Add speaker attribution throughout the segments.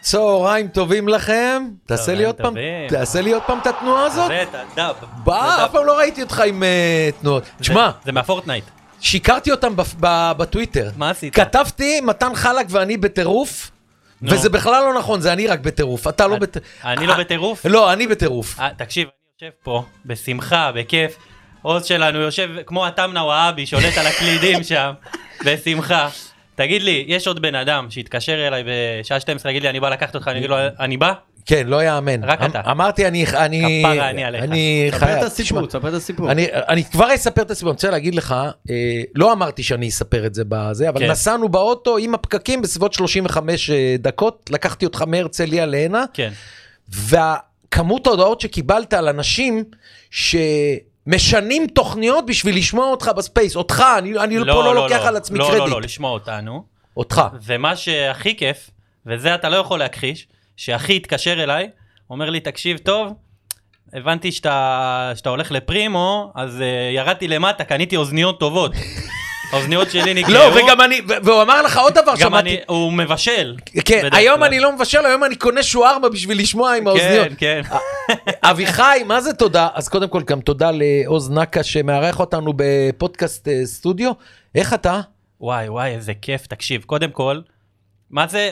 Speaker 1: צהריים טובים לכם. תעשה לי עוד פעם,
Speaker 2: טובים.
Speaker 1: תעשה לי עוד פעם את התנועה הזאת.
Speaker 2: זה, אתה- דאב. זה
Speaker 1: בא, אף
Speaker 2: דאב.
Speaker 1: פעם לא ראיתי אותך עם אה, תנועות. תשמע,
Speaker 2: זה- זה מהפורטנייט.
Speaker 1: שיקרתי אותם בפ- ב- בטוויטר.
Speaker 2: מה עשית?
Speaker 1: כתבתי מתן חלק ואני בטירוף,
Speaker 2: נו.
Speaker 1: וזה בכלל לא נכון, זה אני רק בטירוף. אתה לא
Speaker 2: אני-
Speaker 1: בטירוף.
Speaker 2: אני לא בטירוף?
Speaker 1: לא, אני בטירוף.
Speaker 2: אה, תקשיב, אני יושב פה, בשמחה, בכיף. עוז שלנו יושב כמו התמנה וואבי, שולט על הקלידים שם, בשמחה. תגיד לי, יש עוד בן אדם שיתקשר אליי בשעה 12, יגיד לי, אני בא לקחת אותך, אני אגיד לו, אני בא?
Speaker 1: כן, לא יאמן.
Speaker 2: רק
Speaker 1: אמ-
Speaker 2: אתה.
Speaker 1: אמרתי, אני... אני
Speaker 2: כפרה אני עליך.
Speaker 1: אני
Speaker 3: ספר
Speaker 1: חייב.
Speaker 3: את
Speaker 1: תשמע,
Speaker 3: הסיפור, ספר את הסיפור.
Speaker 1: אני, אני כבר אספר את הסיפור, אני רוצה להגיד לך, אה, לא אמרתי שאני אספר את זה בזה, אבל
Speaker 2: כן.
Speaker 1: נסענו באוטו עם הפקקים בסביבות 35 אה, דקות, לקחתי אותך מהרצליה להנה,
Speaker 2: כן.
Speaker 1: והכמות ההודעות שקיבלת על אנשים שמשנים תוכניות בשביל לשמוע אותך בספייס, אותך, אני, אני לא, פה לא, לוקח על עצמי
Speaker 2: לא,
Speaker 1: קרדיט,
Speaker 2: לא, לא, לשמוע אותנו.
Speaker 1: אותך.
Speaker 2: ומה שהכי כיף, וזה אתה לא יכול להכחיש, שהכי התקשר אליי, אומר לי, תקשיב טוב, הבנתי שאתה, שאתה הולך לפרימו, אז uh, ירדתי למטה, קניתי אוזניות טובות. האוזניות שלי נקראו.
Speaker 1: לא, וגם אני, ו- והוא אמר לך עוד דבר,
Speaker 2: גם
Speaker 1: שמעתי,
Speaker 2: אני, הוא מבשל.
Speaker 1: כן,
Speaker 2: בדרך
Speaker 1: היום
Speaker 2: כלל.
Speaker 1: אני לא מבשל, היום אני קונה שוארמה בשביל לשמוע עם האוזניות.
Speaker 2: כן, כן.
Speaker 1: אביחי, מה זה תודה? אז קודם כל גם תודה לעוז נקה שמארח אותנו בפודקאסט אה, סטודיו. איך אתה?
Speaker 2: וואי, וואי, איזה כיף, תקשיב, קודם כל, מה זה...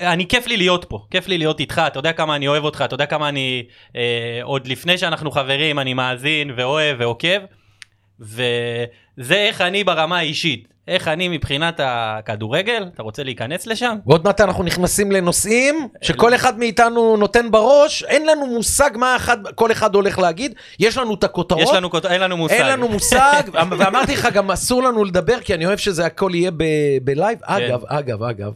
Speaker 2: אני כיף לי להיות פה, כיף לי להיות איתך, אתה יודע כמה אני אוהב אותך, אתה יודע כמה אני, אה, עוד לפני שאנחנו חברים, אני מאזין ואוהב ועוקב, וזה איך אני ברמה האישית, איך אני מבחינת הכדורגל, אתה רוצה להיכנס לשם?
Speaker 1: ועוד מעט אנחנו נכנסים לנושאים שכל אחד מאיתנו נותן בראש, אין לנו מושג מה אחד, כל אחד הולך להגיד, יש לנו את הכותרות.
Speaker 2: יש לנו, כות- אין לנו מושג.
Speaker 1: אין לנו מושג, ואמרתי לך, גם אסור לנו לדבר, כי אני אוהב שזה הכל יהיה ב- בלייב.
Speaker 2: כן.
Speaker 1: אגב, אגב, אגב,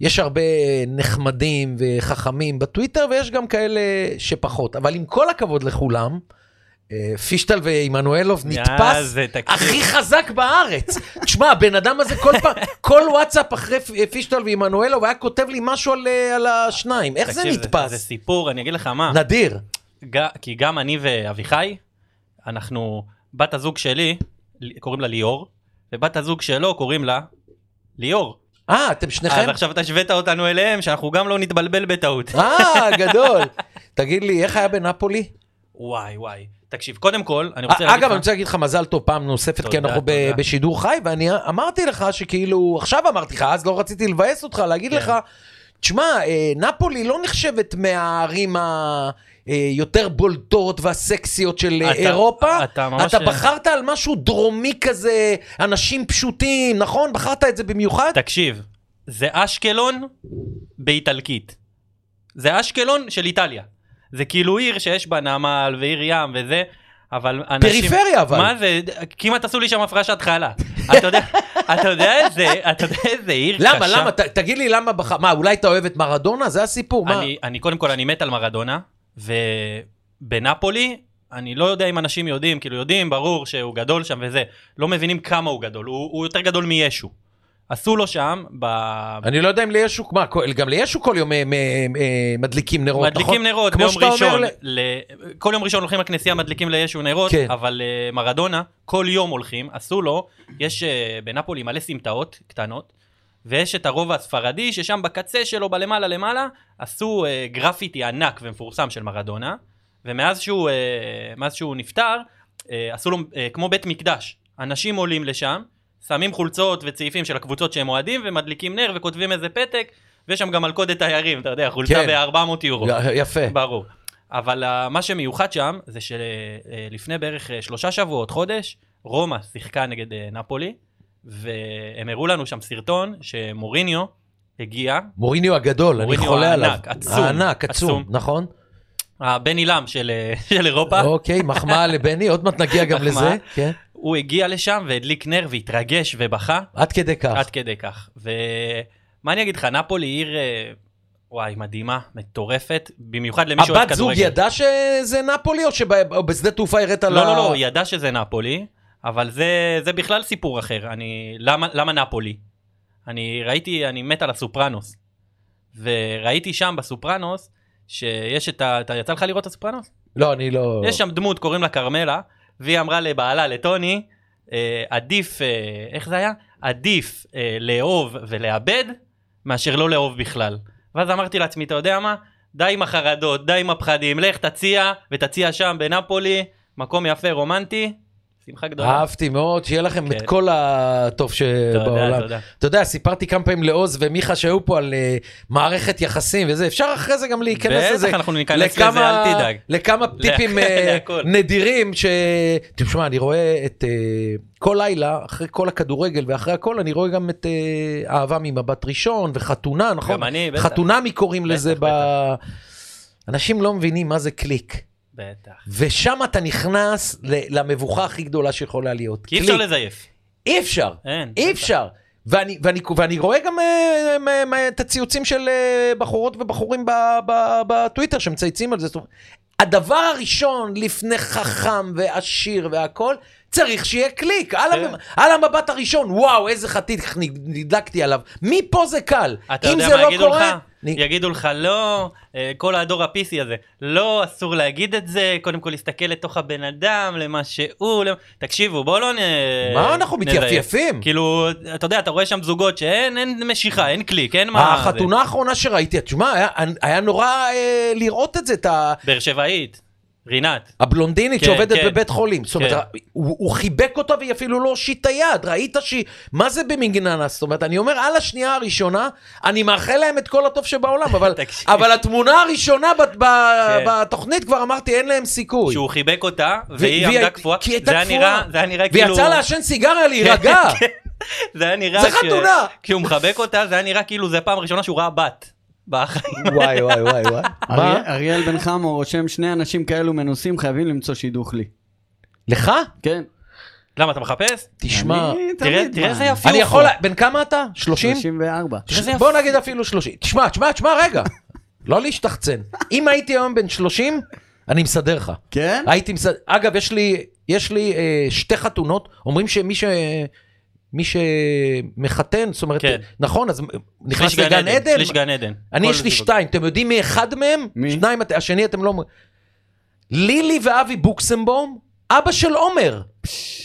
Speaker 1: יש הרבה נחמדים וחכמים בטוויטר, ויש גם כאלה שפחות. אבל עם כל הכבוד לכולם, אה, פישטל ועמנואלוב נתפס
Speaker 2: זה תקציב.
Speaker 1: הכי חזק בארץ. תשמע, הבן אדם הזה כל פעם, כל וואטסאפ אחרי פ- אה, פישטל ועמנואלוב היה כותב לי משהו על, אה, על השניים. איך זה
Speaker 2: תקשיב, זה
Speaker 1: נתפס?
Speaker 2: סיפור, אני אגיד לך מה.
Speaker 1: נדיר.
Speaker 2: ג- כי גם אני ואביחי, אנחנו, בת הזוג שלי, ל- קוראים לה ליאור, ובת הזוג שלו קוראים לה ליאור.
Speaker 1: אה, אתם שניכם?
Speaker 2: אז עכשיו אתה השווית אותנו אליהם, שאנחנו גם לא נתבלבל בטעות.
Speaker 1: אה, גדול. תגיד לי, איך היה בנפולי?
Speaker 2: וואי וואי. תקשיב, קודם כל, אני רוצה
Speaker 1: אה, אגב,
Speaker 2: להגיד
Speaker 1: אני
Speaker 2: לך...
Speaker 1: רוצה להגיד לך מזל טוב פעם נוספת, כי
Speaker 2: תודה,
Speaker 1: אנחנו ב-
Speaker 2: תודה.
Speaker 1: בשידור חי, ואני אמרתי לך שכאילו, עכשיו אמרתי לך, אז לא רציתי לבאס אותך, להגיד
Speaker 2: כן.
Speaker 1: לך, תשמע, אה, נפולי לא נחשבת מהערים היותר בולטות והסקסיות של אה,
Speaker 2: אתה-
Speaker 1: אירופה.
Speaker 2: אתה ממש- לא-
Speaker 1: אתה בחרת על משהו דרומי כזה, אנשים פשוטים, נכון? בחרת את זה במיוחד?
Speaker 2: תקשיב, זה אשקלון באיטלקית. זה אשקלון של איטליה. זה כאילו עיר שיש בה נמל ועיר ים וזה, אבל אנשים...
Speaker 1: פריפריה, אבל.
Speaker 2: מה זה? כמעט עשו לי שם הפרשת חלה. אתה יודע, אתה יודע איזה, אתה יודע איזה עיר קשה.
Speaker 1: למה, למה? ת- תגיד לי למה בחרת, מה, אולי אתה אוהב את מרדונה? זה הסיפור, מה?
Speaker 2: אני, אני קודם כל, אני מת על מרדונה, ובנפולי, אני לא יודע אם אנשים יודעים, כאילו יודעים, ברור שהוא גדול שם וזה, לא מבינים כמה הוא גדול, הוא, הוא יותר גדול מישו. עשו לו שם, ב...
Speaker 1: אני לא יודע אם לישו, מה, כל- גם לישו כל יום אה, מ- אה, מדליקים נרות, נכון?
Speaker 2: מדליקים נרות
Speaker 1: כמו
Speaker 2: ביום
Speaker 1: שאתה אומר
Speaker 2: ראשון,
Speaker 1: ל-
Speaker 2: ל... כל יום ראשון הולכים לכנסייה, מדליקים לישו נרות,
Speaker 1: כן.
Speaker 2: אבל אה, מרדונה, כל יום הולכים, עשו לו, יש אה, בנפולי מלא סמטאות קטנות. ויש את הרובע הספרדי, ששם בקצה שלו, בלמעלה למעלה, עשו אה, גרפיטי ענק ומפורסם של מרדונה, ומאז שהוא, אה, מאז שהוא נפטר, אה, עשו לו אה, כמו בית מקדש. אנשים עולים לשם, שמים חולצות וצעיפים של הקבוצות שהם אוהדים, ומדליקים נר וכותבים איזה פתק, ויש שם גם מלכודת תיירים, אתה יודע, חולצה
Speaker 1: כן.
Speaker 2: ב-400 יורו.
Speaker 1: י- יפה.
Speaker 2: ברור. אבל אה, מה שמיוחד שם, זה שלפני בערך אה, שלושה שבועות, חודש, רומא שיחקה נגד אה, נפולי, והם הראו לנו שם סרטון שמוריניו הגיע,
Speaker 1: מוריניו הגדול, אני
Speaker 2: מוריניו
Speaker 1: חולה עליו.
Speaker 2: הענק, עצום,
Speaker 1: הענק, עצום,
Speaker 2: עצום.
Speaker 1: נכון?
Speaker 2: הבן עילם של אה, של אירופה,
Speaker 1: אוקיי, מחמאה לבני, עוד מעט נגיע גם
Speaker 2: מחמאה.
Speaker 1: לזה. כן.
Speaker 2: הוא הגיע לשם והדליק נר והתרגש ובכה,
Speaker 1: עד כדי כך.
Speaker 2: עד כדי כך. ומה אני אגיד לך, נפולי היא עיר, אה, וואי, מדהימה, מטורפת, במיוחד למי שאוהב
Speaker 1: הבת זוג
Speaker 2: כדורגל.
Speaker 1: ידעה שזה נפולי, או שבשדה תעופה הראת לה...
Speaker 2: לא, לא, לא, היא ידעה שזה נפולי, אבל זה, זה בכלל סיפור אחר. אני, למה, למה נפולי? אני ראיתי, אני מת על הסופרנוס. וראיתי שם בסופרנוס, שיש את ה... אתה יצא לך לראות את הסופרנוס?
Speaker 1: לא, אני לא...
Speaker 2: יש שם דמות, קוראים לה כרמלה, והיא אמרה לבעלה, לטוני, אה, עדיף, אה, איך זה היה? עדיף אה, לאהוב ולאבד, מאשר לא לאהוב בכלל. ואז אמרתי לעצמי, אתה יודע מה? די עם החרדות, די עם הפחדים, לך תציע, ותציע שם בנפולי, מקום יפה, רומנטי, שמחה גדולה.
Speaker 1: אהבתי מאוד, שיהיה לכם את
Speaker 2: כן.
Speaker 1: כל הטוב שבעולם.
Speaker 2: תודה, תודה.
Speaker 1: אתה יודע, סיפרתי כמה פעמים לעוז ומיכה שהיו פה על אה, מערכת יחסים וזה, אפשר אחרי זה גם להיכנס
Speaker 2: בטח,
Speaker 1: לזה.
Speaker 2: אנחנו ניכנס לזה, אל תדאג.
Speaker 1: לכמה טיפים אה,
Speaker 2: להכל.
Speaker 1: נדירים ש... תשמע, אני רואה את... אה, כל לילה, אחרי כל הכדורגל ואחרי הכל, אני רואה גם את אה, אהבה ממבט ראשון וחתונה, נכון?
Speaker 2: גם אני, בטח.
Speaker 1: חתונמי קוראים
Speaker 2: בטח,
Speaker 1: לזה ב...
Speaker 2: בטח.
Speaker 1: אנשים לא מבינים מה זה קליק.
Speaker 2: בטח.
Speaker 1: ושם אתה נכנס ל- למבוכה הכי גדולה שיכולה להיות.
Speaker 2: כי אי
Speaker 1: קליק.
Speaker 2: אפשר לזייף.
Speaker 1: אי אפשר.
Speaker 2: אין.
Speaker 1: אי אפשר. ואני, ואני, ואני רואה גם אה, אה, אה, את הציוצים של אה, בחורות ובחורים ב- ב- בטוויטר שמצייצים על זה. זאת אומרת, הדבר הראשון לפני חכם ועשיר והכל, צריך שיהיה קליק. על,
Speaker 2: כן.
Speaker 1: המ, על המבט הראשון, וואו, איזה חתיך נ- נדלקתי עליו. מפה זה קל.
Speaker 2: אתה
Speaker 1: אם
Speaker 2: יודע
Speaker 1: זה
Speaker 2: מה
Speaker 1: לא
Speaker 2: יגידו לך?
Speaker 1: קורה, אני-
Speaker 2: יגידו לך, לא, אה, כל הדור הפיסי הזה, לא, אסור להגיד את זה, קודם כל להסתכל לתוך הבן אדם, למה שהוא, למ- תקשיבו, בואו לא נ...
Speaker 1: מה אנחנו
Speaker 2: נזייף.
Speaker 1: מתייפייפים?
Speaker 2: כאילו, אתה יודע, אתה רואה שם זוגות שאין אין משיכה, אין קליק, אין מה... זה.
Speaker 1: החתונה האחרונה שראיתי, תשמע, היה, היה נורא אה, לראות את זה, את ה...
Speaker 2: באר שבעית, רינת.
Speaker 1: הבלונדינית
Speaker 2: כן,
Speaker 1: שעובדת
Speaker 2: כן.
Speaker 1: בבית חולים. זאת אומרת, הוא הוא חיבק אותה והיא אפילו לא הושיטה יד, ראית שהיא... מה זה במגננה? זאת אומרת, אני אומר, על השנייה הראשונה, אני מאחל להם את כל הטוב שבעולם, אבל-
Speaker 2: תקשיב.
Speaker 1: אבל התמונה הראשונה ב- ב-
Speaker 2: כן.
Speaker 1: בתוכנית כבר אמרתי, אין להם סיכוי.
Speaker 2: שהוא חיבק אותה,
Speaker 1: ו-
Speaker 2: והיא
Speaker 1: והיא-
Speaker 2: עמדה קפואה.
Speaker 1: כי היא הייתה
Speaker 2: זה היה נראה-
Speaker 1: קפואה.
Speaker 2: זה היה נראה כאילו...
Speaker 1: ויצא לעשן סיגריה להירגע.
Speaker 2: כן, זה היה נראה...
Speaker 1: זה
Speaker 2: ש-
Speaker 1: חתונה.
Speaker 2: כשהוא מחבק אותה, זה היה נראה כאילו זה פעם ראשונה שהוא ראה בת. בחיים.
Speaker 1: וואי, וואי, וואי, וואי. מה?
Speaker 3: אריאל- אריאל בן חמו רושם שני אנשים כאלו מנוסים חייבים למצוא שידוך לי.
Speaker 1: לך?
Speaker 3: כן.
Speaker 2: למה, אתה מחפש?
Speaker 1: תשמע,
Speaker 3: אני
Speaker 2: תראה-
Speaker 3: תמיד,
Speaker 2: תראה
Speaker 3: מה,
Speaker 2: איזה יפה.
Speaker 1: אני
Speaker 2: הוא
Speaker 1: יכול...
Speaker 2: פה.
Speaker 1: בן כמה אתה? 30?
Speaker 3: 34.
Speaker 1: ש-
Speaker 2: איזה יפה.
Speaker 1: בוא נגיד אפילו 30. תשמע, תשמע, תשמע, רגע. לא להשתחצן. אם הייתי היום בן 30, אני מסדר לך.
Speaker 3: כן?
Speaker 1: הייתי מסדר... אגב, יש לי, יש לי אה, שתי חתונות, אומרים שמי ש... מי שמחתן, זאת אומרת,
Speaker 2: כן.
Speaker 1: נכון, אז נכנס
Speaker 2: שליש
Speaker 1: לגן עדן,
Speaker 2: שליש גן עדן.
Speaker 1: אני
Speaker 2: כל
Speaker 1: יש לי
Speaker 2: זוג.
Speaker 1: שתיים, אתם יודעים מי אחד מהם?
Speaker 3: מי?
Speaker 1: שניים, את- השני אתם לא... אומרים. לילי ואבי בוקסמבום, אבא של עומר.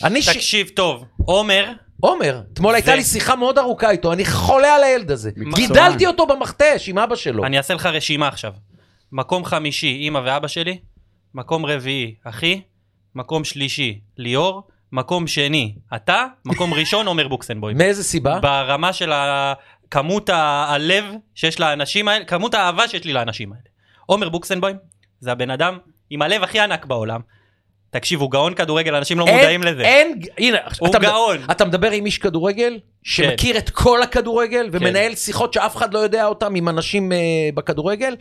Speaker 1: אני ש...
Speaker 2: תקשיב טוב, עומר,
Speaker 1: עומר, אתמול הייתה
Speaker 2: זה-
Speaker 1: לי שיחה מאוד ארוכה איתו, אני חולה על הילד הזה.
Speaker 3: מקצוען.
Speaker 1: גידלתי אותו במכתש עם אבא שלו.
Speaker 2: אני אעשה לך רשימה עכשיו. מקום חמישי, אימא ואבא שלי. מקום רביעי, אחי. מקום שלישי, ליאור. מקום שני, אתה. מקום ראשון, עומר בוקסנבוים.
Speaker 1: מאיזה סיבה?
Speaker 2: ברמה של ה- כמות ה- הלב שיש לאנשים האלה, כמות האהבה שיש לי לאנשים האלה. עומר בוקסנבוים זה הבן אדם עם הלב הכי ענק בעולם. תקשיב, הוא גאון כדורגל, אנשים לא
Speaker 1: אין-
Speaker 2: מודעים לזה.
Speaker 1: אין, הנה,
Speaker 2: הוא
Speaker 1: אתה מד-
Speaker 2: גאון.
Speaker 1: אתה מדבר עם איש
Speaker 2: כן.
Speaker 1: כדורגל שמכיר את כל הכדורגל ומנהל שיחות שאף אחד לא יודע אותם עם אנשים אה, בכדורגל.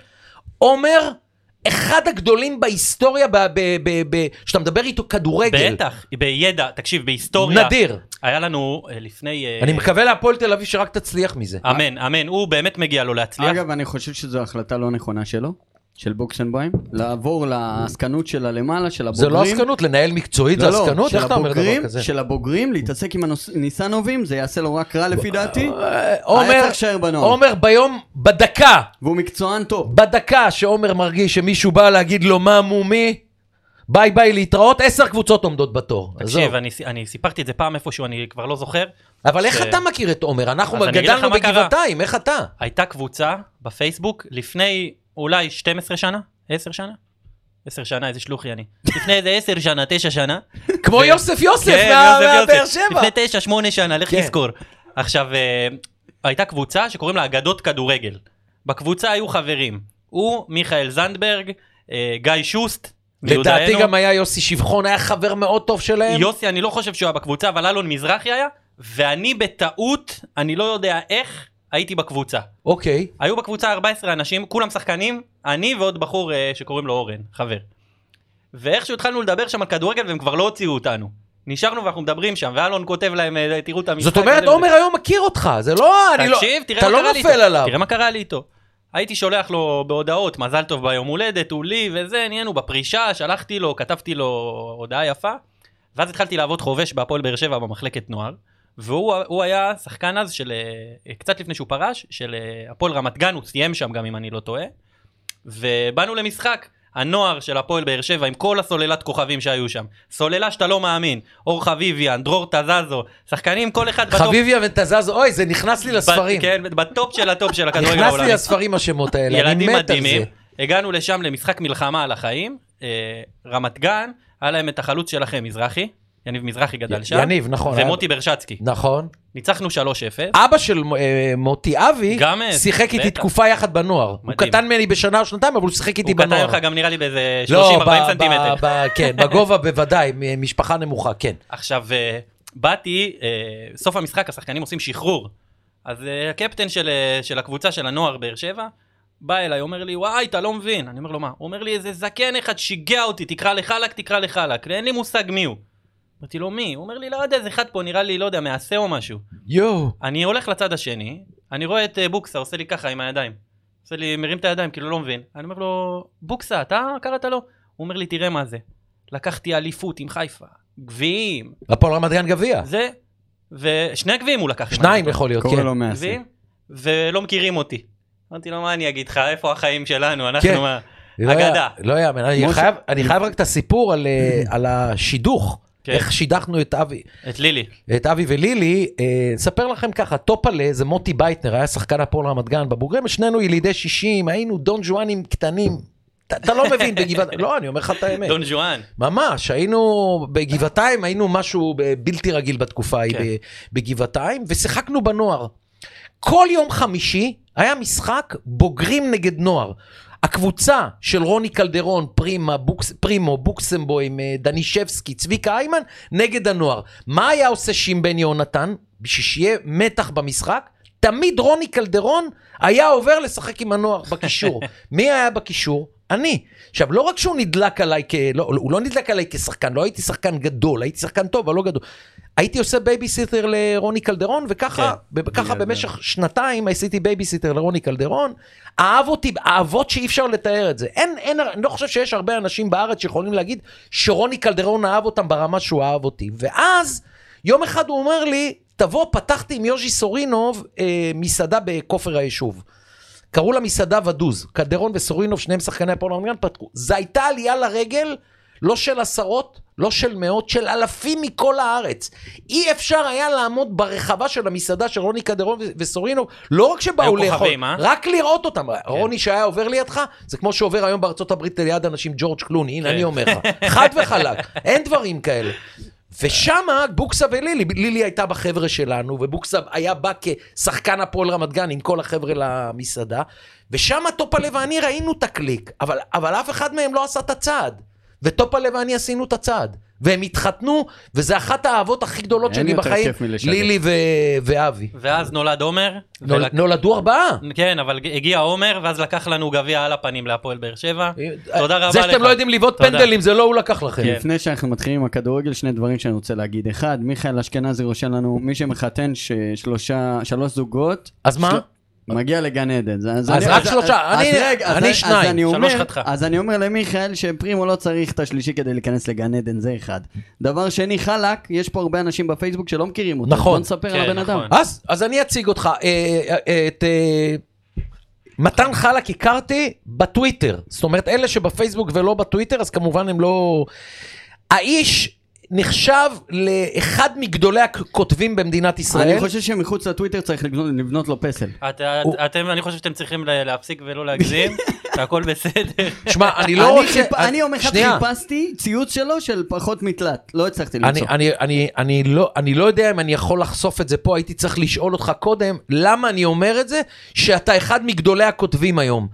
Speaker 1: עומר, אחד הגדולים בהיסטוריה, ב- ב- ב- ב- שאתה מדבר איתו כדורגל.
Speaker 2: בטח, בידע, תקשיב, בהיסטוריה.
Speaker 1: נדיר.
Speaker 2: היה לנו אה, לפני... אה,
Speaker 1: אני מקווה להפועל תל אביב שרק תצליח מזה.
Speaker 2: אמן, אמן, הוא באמת מגיע לו להצליח.
Speaker 3: אגב, אני חושב שזו החלטה לא נכונה שלו, של בוקסנבוים, לעבור לעסקנות של הלמעלה, של
Speaker 1: זה
Speaker 3: הבוגרים.
Speaker 1: לא עסקנות, לנהל מקצועית זה
Speaker 3: לא, לא,
Speaker 1: עסקנות?
Speaker 3: של
Speaker 1: איך אתה אומר
Speaker 3: הבוגרים-
Speaker 1: דבר כזה?
Speaker 3: של הבוגרים, להתעסק עם הניסנובים, זה יעשה לו רק רע לפי דעתי,
Speaker 1: אה, עומר-
Speaker 3: צריך להישאר בנוער.
Speaker 1: עומר ביום, בדקה,
Speaker 3: והוא מקצוען טוב.
Speaker 1: בדקה שעומר מרגיש שמישהו בא להגיד לו מה מו מי, ביי ביי להתראות, עשר קבוצות עומדות בתור.
Speaker 2: תקשיב,
Speaker 1: עזוב.
Speaker 2: אני, אני סיפרתי את זה פעם איפשהו, אני כבר לא זוכר.
Speaker 1: אבל איך
Speaker 2: ש-
Speaker 1: אתה מכיר את עומר? אנחנו
Speaker 2: אז אני אגיד
Speaker 1: גדלנו
Speaker 2: לך מה קרה.
Speaker 1: בגבעתיים, איך אתה?
Speaker 2: הייתה קבוצה בפייסבוק לפני אולי 12 שנה, 10 שנה? 10 שנה, איזה שלוחי אני. לפני איזה 10 שנה, 9 שנה.
Speaker 1: כמו
Speaker 2: כן.
Speaker 1: יוסף יוסף
Speaker 2: כן,
Speaker 1: מה-
Speaker 2: יוסף, יוסף.
Speaker 1: מהבאר שבע.
Speaker 2: לפני 9, 8 שנה, לך
Speaker 1: כן.
Speaker 2: תזכור. עכשיו, אה, הייתה קבוצה שקוראים לה אגדות כדורגל. בקבוצה היו חברים, הוא, מיכאל זנדברג, אה, גיא שוסט,
Speaker 1: לדעתי
Speaker 2: מיודענו.
Speaker 1: גם היה יוסי שבחון, היה חבר מאוד טוב שלהם.
Speaker 2: יוסי, אני לא חושב שהוא היה בקבוצה, אבל אלון מזרחי היה, ואני בטעות, אני לא יודע איך, הייתי בקבוצה.
Speaker 1: אוקיי.
Speaker 2: היו בקבוצה 14 אנשים, כולם שחקנים, אני ועוד בחור אה, שקוראים לו אורן, חבר. ואיכשהו התחלנו לדבר שם על כדורגל והם כבר לא הוציאו אותנו. נשארנו ואנחנו מדברים שם, ואלון כותב להם, אה, תראו את המשחק.
Speaker 1: זאת אומרת,
Speaker 2: הזה וזה."
Speaker 1: עומר היום מכיר אותך, זה לא... אני לא-
Speaker 2: תקשיב, תראה
Speaker 1: אתה
Speaker 2: מה
Speaker 1: לא
Speaker 2: קרה לי
Speaker 1: נופל
Speaker 2: איתו.
Speaker 1: עליו.
Speaker 2: תראה מה קרה לי איתו. הייתי שולח לו בהודעות, מזל טוב ביום הולדת, הוא לי וזה, נהיינו בפרישה, שלחתי לו, כתבתי לו הודעה יפה. ואז התחלתי לעבוד חובש בהפועל באר שבע במחלקת נוער. והוא הוא היה שחקן אז של, אה, קצת לפני שהוא פרש, של אה, הפועל רמת גן, הוא סיים שם גם אם אני לא טועה. ובאנו למשחק, הנוער של הפועל באר שבע עם כל הסוללת כוכבים שהיו שם. סוללה שאתה לא מאמין, אור חביביאן, דרור תזזו, שחקנים כל אחד בטופ.
Speaker 1: חביביה ותזזו, אוי, זה נכנס לי לספרים.
Speaker 2: ב- כן, בטופ של הטופ של הכדורגל
Speaker 1: נכנס
Speaker 2: העולמי.
Speaker 1: לי לספרים השמות האלה, אני
Speaker 2: ילדים
Speaker 1: מת על זה.
Speaker 2: מדהימים. הגענו לשם למשחק מלחמה על החיים, אה, רמת גן, היה להם את החלוץ שלכם, מזרחי, יניב מזרחי גדל שם.
Speaker 1: יניב, נכון. היה-
Speaker 2: ומוטי ברשצקי.
Speaker 1: נכון.
Speaker 2: ניצחנו 3-0.
Speaker 1: אבא של אה, מוטי אבי
Speaker 2: גם, אה,
Speaker 1: שיחק איתי
Speaker 2: בטח.
Speaker 1: תקופה יחד בנוער. הוא
Speaker 2: מדהים.
Speaker 1: קטן ממני בשנה או שנתיים, אבל הוא שיחק איתי
Speaker 2: הוא קטן
Speaker 1: בנוער.
Speaker 2: לך גם נראה לי באיזה 30-40
Speaker 1: לא, ב-
Speaker 2: סנטימטר.
Speaker 1: ב- ב- כן, בגובה בוודאי, מ- משפחה נמוכה, כן.
Speaker 2: עכשיו, אה, באתי, אה, סוף המשחק, השחקנים עושים שחרור. אז אה, הקפטן של, אה, של הקבוצה של הנוער באר שבע, בא אליי, אומר לי, וואי, אתה לא מבין. אני אומר לו, מה? הוא אומר לי, איזה זקן אחד שיגע אותי, תקרא לחלק, תקרא לחלק. אין לי מושג מי הוא. אמרתי לו, מי? הוא אומר לי, לא יודע, איזה אחד פה נראה לי, לא יודע, מעשה או משהו.
Speaker 1: יואו.
Speaker 2: אני הולך לצד השני, אני רואה את אה, בוקסה עושה לי ככה עם הידיים. עושה לי, מרים את הידיים, כאילו לא מבין. אני אומר לו, בוקסה, אתה קראת לו? הוא אומר לי, תראה מה זה. לקחתי אליפות עם חיפה, גביעים,
Speaker 1: הפועל רמת גן גביע.
Speaker 2: זה, ושני הגביעים הוא לקח. אם אני
Speaker 1: שניים
Speaker 2: לא
Speaker 1: יכול להיות,
Speaker 3: קורא
Speaker 1: כן.
Speaker 3: לו
Speaker 2: טועה.
Speaker 3: מעשה.
Speaker 2: גביעים, ולא מכירים אותי. אמרתי לו, מה אני אגיד לך, איפה החיים שלנו, אנחנו
Speaker 1: כן.
Speaker 2: מה...
Speaker 1: לא היה-
Speaker 2: אגדה.
Speaker 1: לא יאמן, אני
Speaker 3: משה-
Speaker 1: חייב- אני חייב רק את הסיפור על, אה, על השידוך.
Speaker 2: כן.
Speaker 1: איך שידכנו את אבי,
Speaker 2: את לילי.
Speaker 1: את אבי ולילי, אה, נספר לכם ככה, טופלה זה מוטי בייטנר, היה שחקן הפועל רמת גן בבוגרים, שנינו ילידי 60, היינו דון ג'ואנים קטנים, אתה- אתה לא מבין בגבעת, לא, אני אומר לך את האמת.
Speaker 2: דון ז'ואן.
Speaker 1: ממש, היינו בגבעתיים, היינו משהו ב- בלתי רגיל בתקופה ההיא
Speaker 2: כן.
Speaker 1: ב- בגבעתיים, ושיחקנו בנוער. כל יום חמישי היה משחק בוגרים נגד נוער. הקבוצה של רוני קלדרון, פרימה, בוקס, פרימו, בוקסמבוים, אה, דנישבסקי, צביקה איימן, נגד הנוער. מה היה עושה שימבן יהונתן? בשביל שיהיה מתח במשחק? תמיד רוני קלדרון היה עובר לשחק עם הנוער בקישור. מי היה בקישור? אני. עכשיו, לא רק שהוא נדלק עליי, כ... לא, הוא לא נדלק עליי כשחקן, לא הייתי שחקן גדול, הייתי שחקן טוב, אבל לא גדול. הייתי עושה בייביסיטר לרוני קלדרון, וככה,
Speaker 2: כן.
Speaker 1: ב- ככה
Speaker 3: גדול.
Speaker 1: במשך שנתיים עשיתי בייביסיטר לרוני קלדרון. אהב אותי, אהבות שאי אפשר לתאר את זה. אין, אין, אני לא חושב שיש הרבה אנשים בארץ שיכולים להגיד שרוני קלדרון אהב אותם ברמה שהוא אהב אותי. ואז, יום אחד הוא אומר לי, תבוא, פתחתי עם יוז'י סורינוב אה, מסעדה בכופר היישוב. קראו לה מסעדה ודוז, קדרון וסורינוב, שניהם שחקני הפועל רמת גן, פתחו. זו הייתה עלייה לרגל, לא של עשרות, לא של מאות, של אלפים מכל הארץ. אי אפשר היה לעמוד ברחבה של המסעדה של רוני קדרון ו- וסורינוב, לא רק שבאו
Speaker 2: היו
Speaker 1: לאכול,
Speaker 2: כוכבים, אה?
Speaker 1: רק לראות אותם. רוני שהיה עובר לידך, זה כמו שעובר היום בארצות הברית ליד אנשים ג'ורג' קלוני, הנה
Speaker 2: כן.
Speaker 1: אני אומר לך, חד וחלק, אין דברים כאלה. ושמה בוקסה ולילי, לילי הייתה בחבר'ה שלנו, ובוקסה היה בא כשחקן הפועל רמת גן עם כל החבר'ה למסעדה, ושמה טופלה ואני ראינו את הקליק, אבל, אבל אף אחד מהם לא עשה את הצעד. וטופלה ואני עשינו את הצעד, והם התחתנו, וזה אחת האהבות הכי גדולות
Speaker 3: אין
Speaker 1: שלי
Speaker 3: יותר
Speaker 1: בחיים,
Speaker 3: כיף מלשדר.
Speaker 1: לילי ו- ואבי.
Speaker 2: ואז נולד עומר.
Speaker 1: נול-
Speaker 2: ולק-
Speaker 1: נולדו ארבעה.
Speaker 2: כן, אבל הגיע עומר, ואז לקח לנו גביע על הפנים להפועל באר שבע. תודה רבה לך.
Speaker 1: זה שאתם לא יודעים לבעוט
Speaker 2: תודה.
Speaker 1: פנדלים, זה לא הוא לקח לכם.
Speaker 2: כן.
Speaker 3: לפני שאנחנו מתחילים עם הכדורגל, שני דברים שאני רוצה להגיד. אחד, מיכאל אשכנזי רושם לנו, מי שמחתן ש- שלושה, שלוש זוגות,
Speaker 1: אז מה?
Speaker 3: מגיע לגן עדן.
Speaker 1: אז
Speaker 3: אז,
Speaker 1: רק שלושה, אני-
Speaker 3: רגע,
Speaker 1: אני
Speaker 3: אז-
Speaker 1: שניים,
Speaker 3: אז אני
Speaker 2: שלוש
Speaker 3: אומר,
Speaker 2: חתיכה.
Speaker 3: אז אני אומר למיכאל שפרימו לא צריך את השלישי כדי להיכנס לגן עדן, זה אחד. דבר שני, חלק, יש פה הרבה אנשים בפייסבוק שלא מכירים אותו.
Speaker 1: נכון.
Speaker 3: בוא נספר
Speaker 2: כן,
Speaker 3: על הבן אדם.
Speaker 2: נכון.
Speaker 1: אז, אז אני אציג אותך. אה, אה, את אה, מתן חלק הכרתי בטוויטר. זאת אומרת, אלה שבפייסבוק ולא בטוויטר, אז כמובן הם לא... האיש נחשב לאחד מגדולי הכותבים במדינת
Speaker 3: אני
Speaker 1: ישראל.
Speaker 3: חושב שמחוץ לטוויטר צריך לבנות, לבנות לו פסל.
Speaker 2: את- את-
Speaker 1: אה, הוא-
Speaker 2: אתם, אני חושב שאתם צריכים ל- להפסיק ולא להגזים, שהכל בסדר.
Speaker 1: שמע, אני לא
Speaker 3: אני
Speaker 1: רוצה...
Speaker 3: חיפ- אני יום אחד
Speaker 1: שנייה.
Speaker 3: חיפשתי ציוץ שלו של פחות מתלת, לא הצלחתי
Speaker 1: אני,
Speaker 3: למצוא.
Speaker 1: אני, אני, אני, לא, אני לא יודע אם אני יכול לחשוף את זה פה, הייתי צריך לשאול אותך קודם, למה אני אומר את זה, שאתה אחד מגדולי הכותבים היום.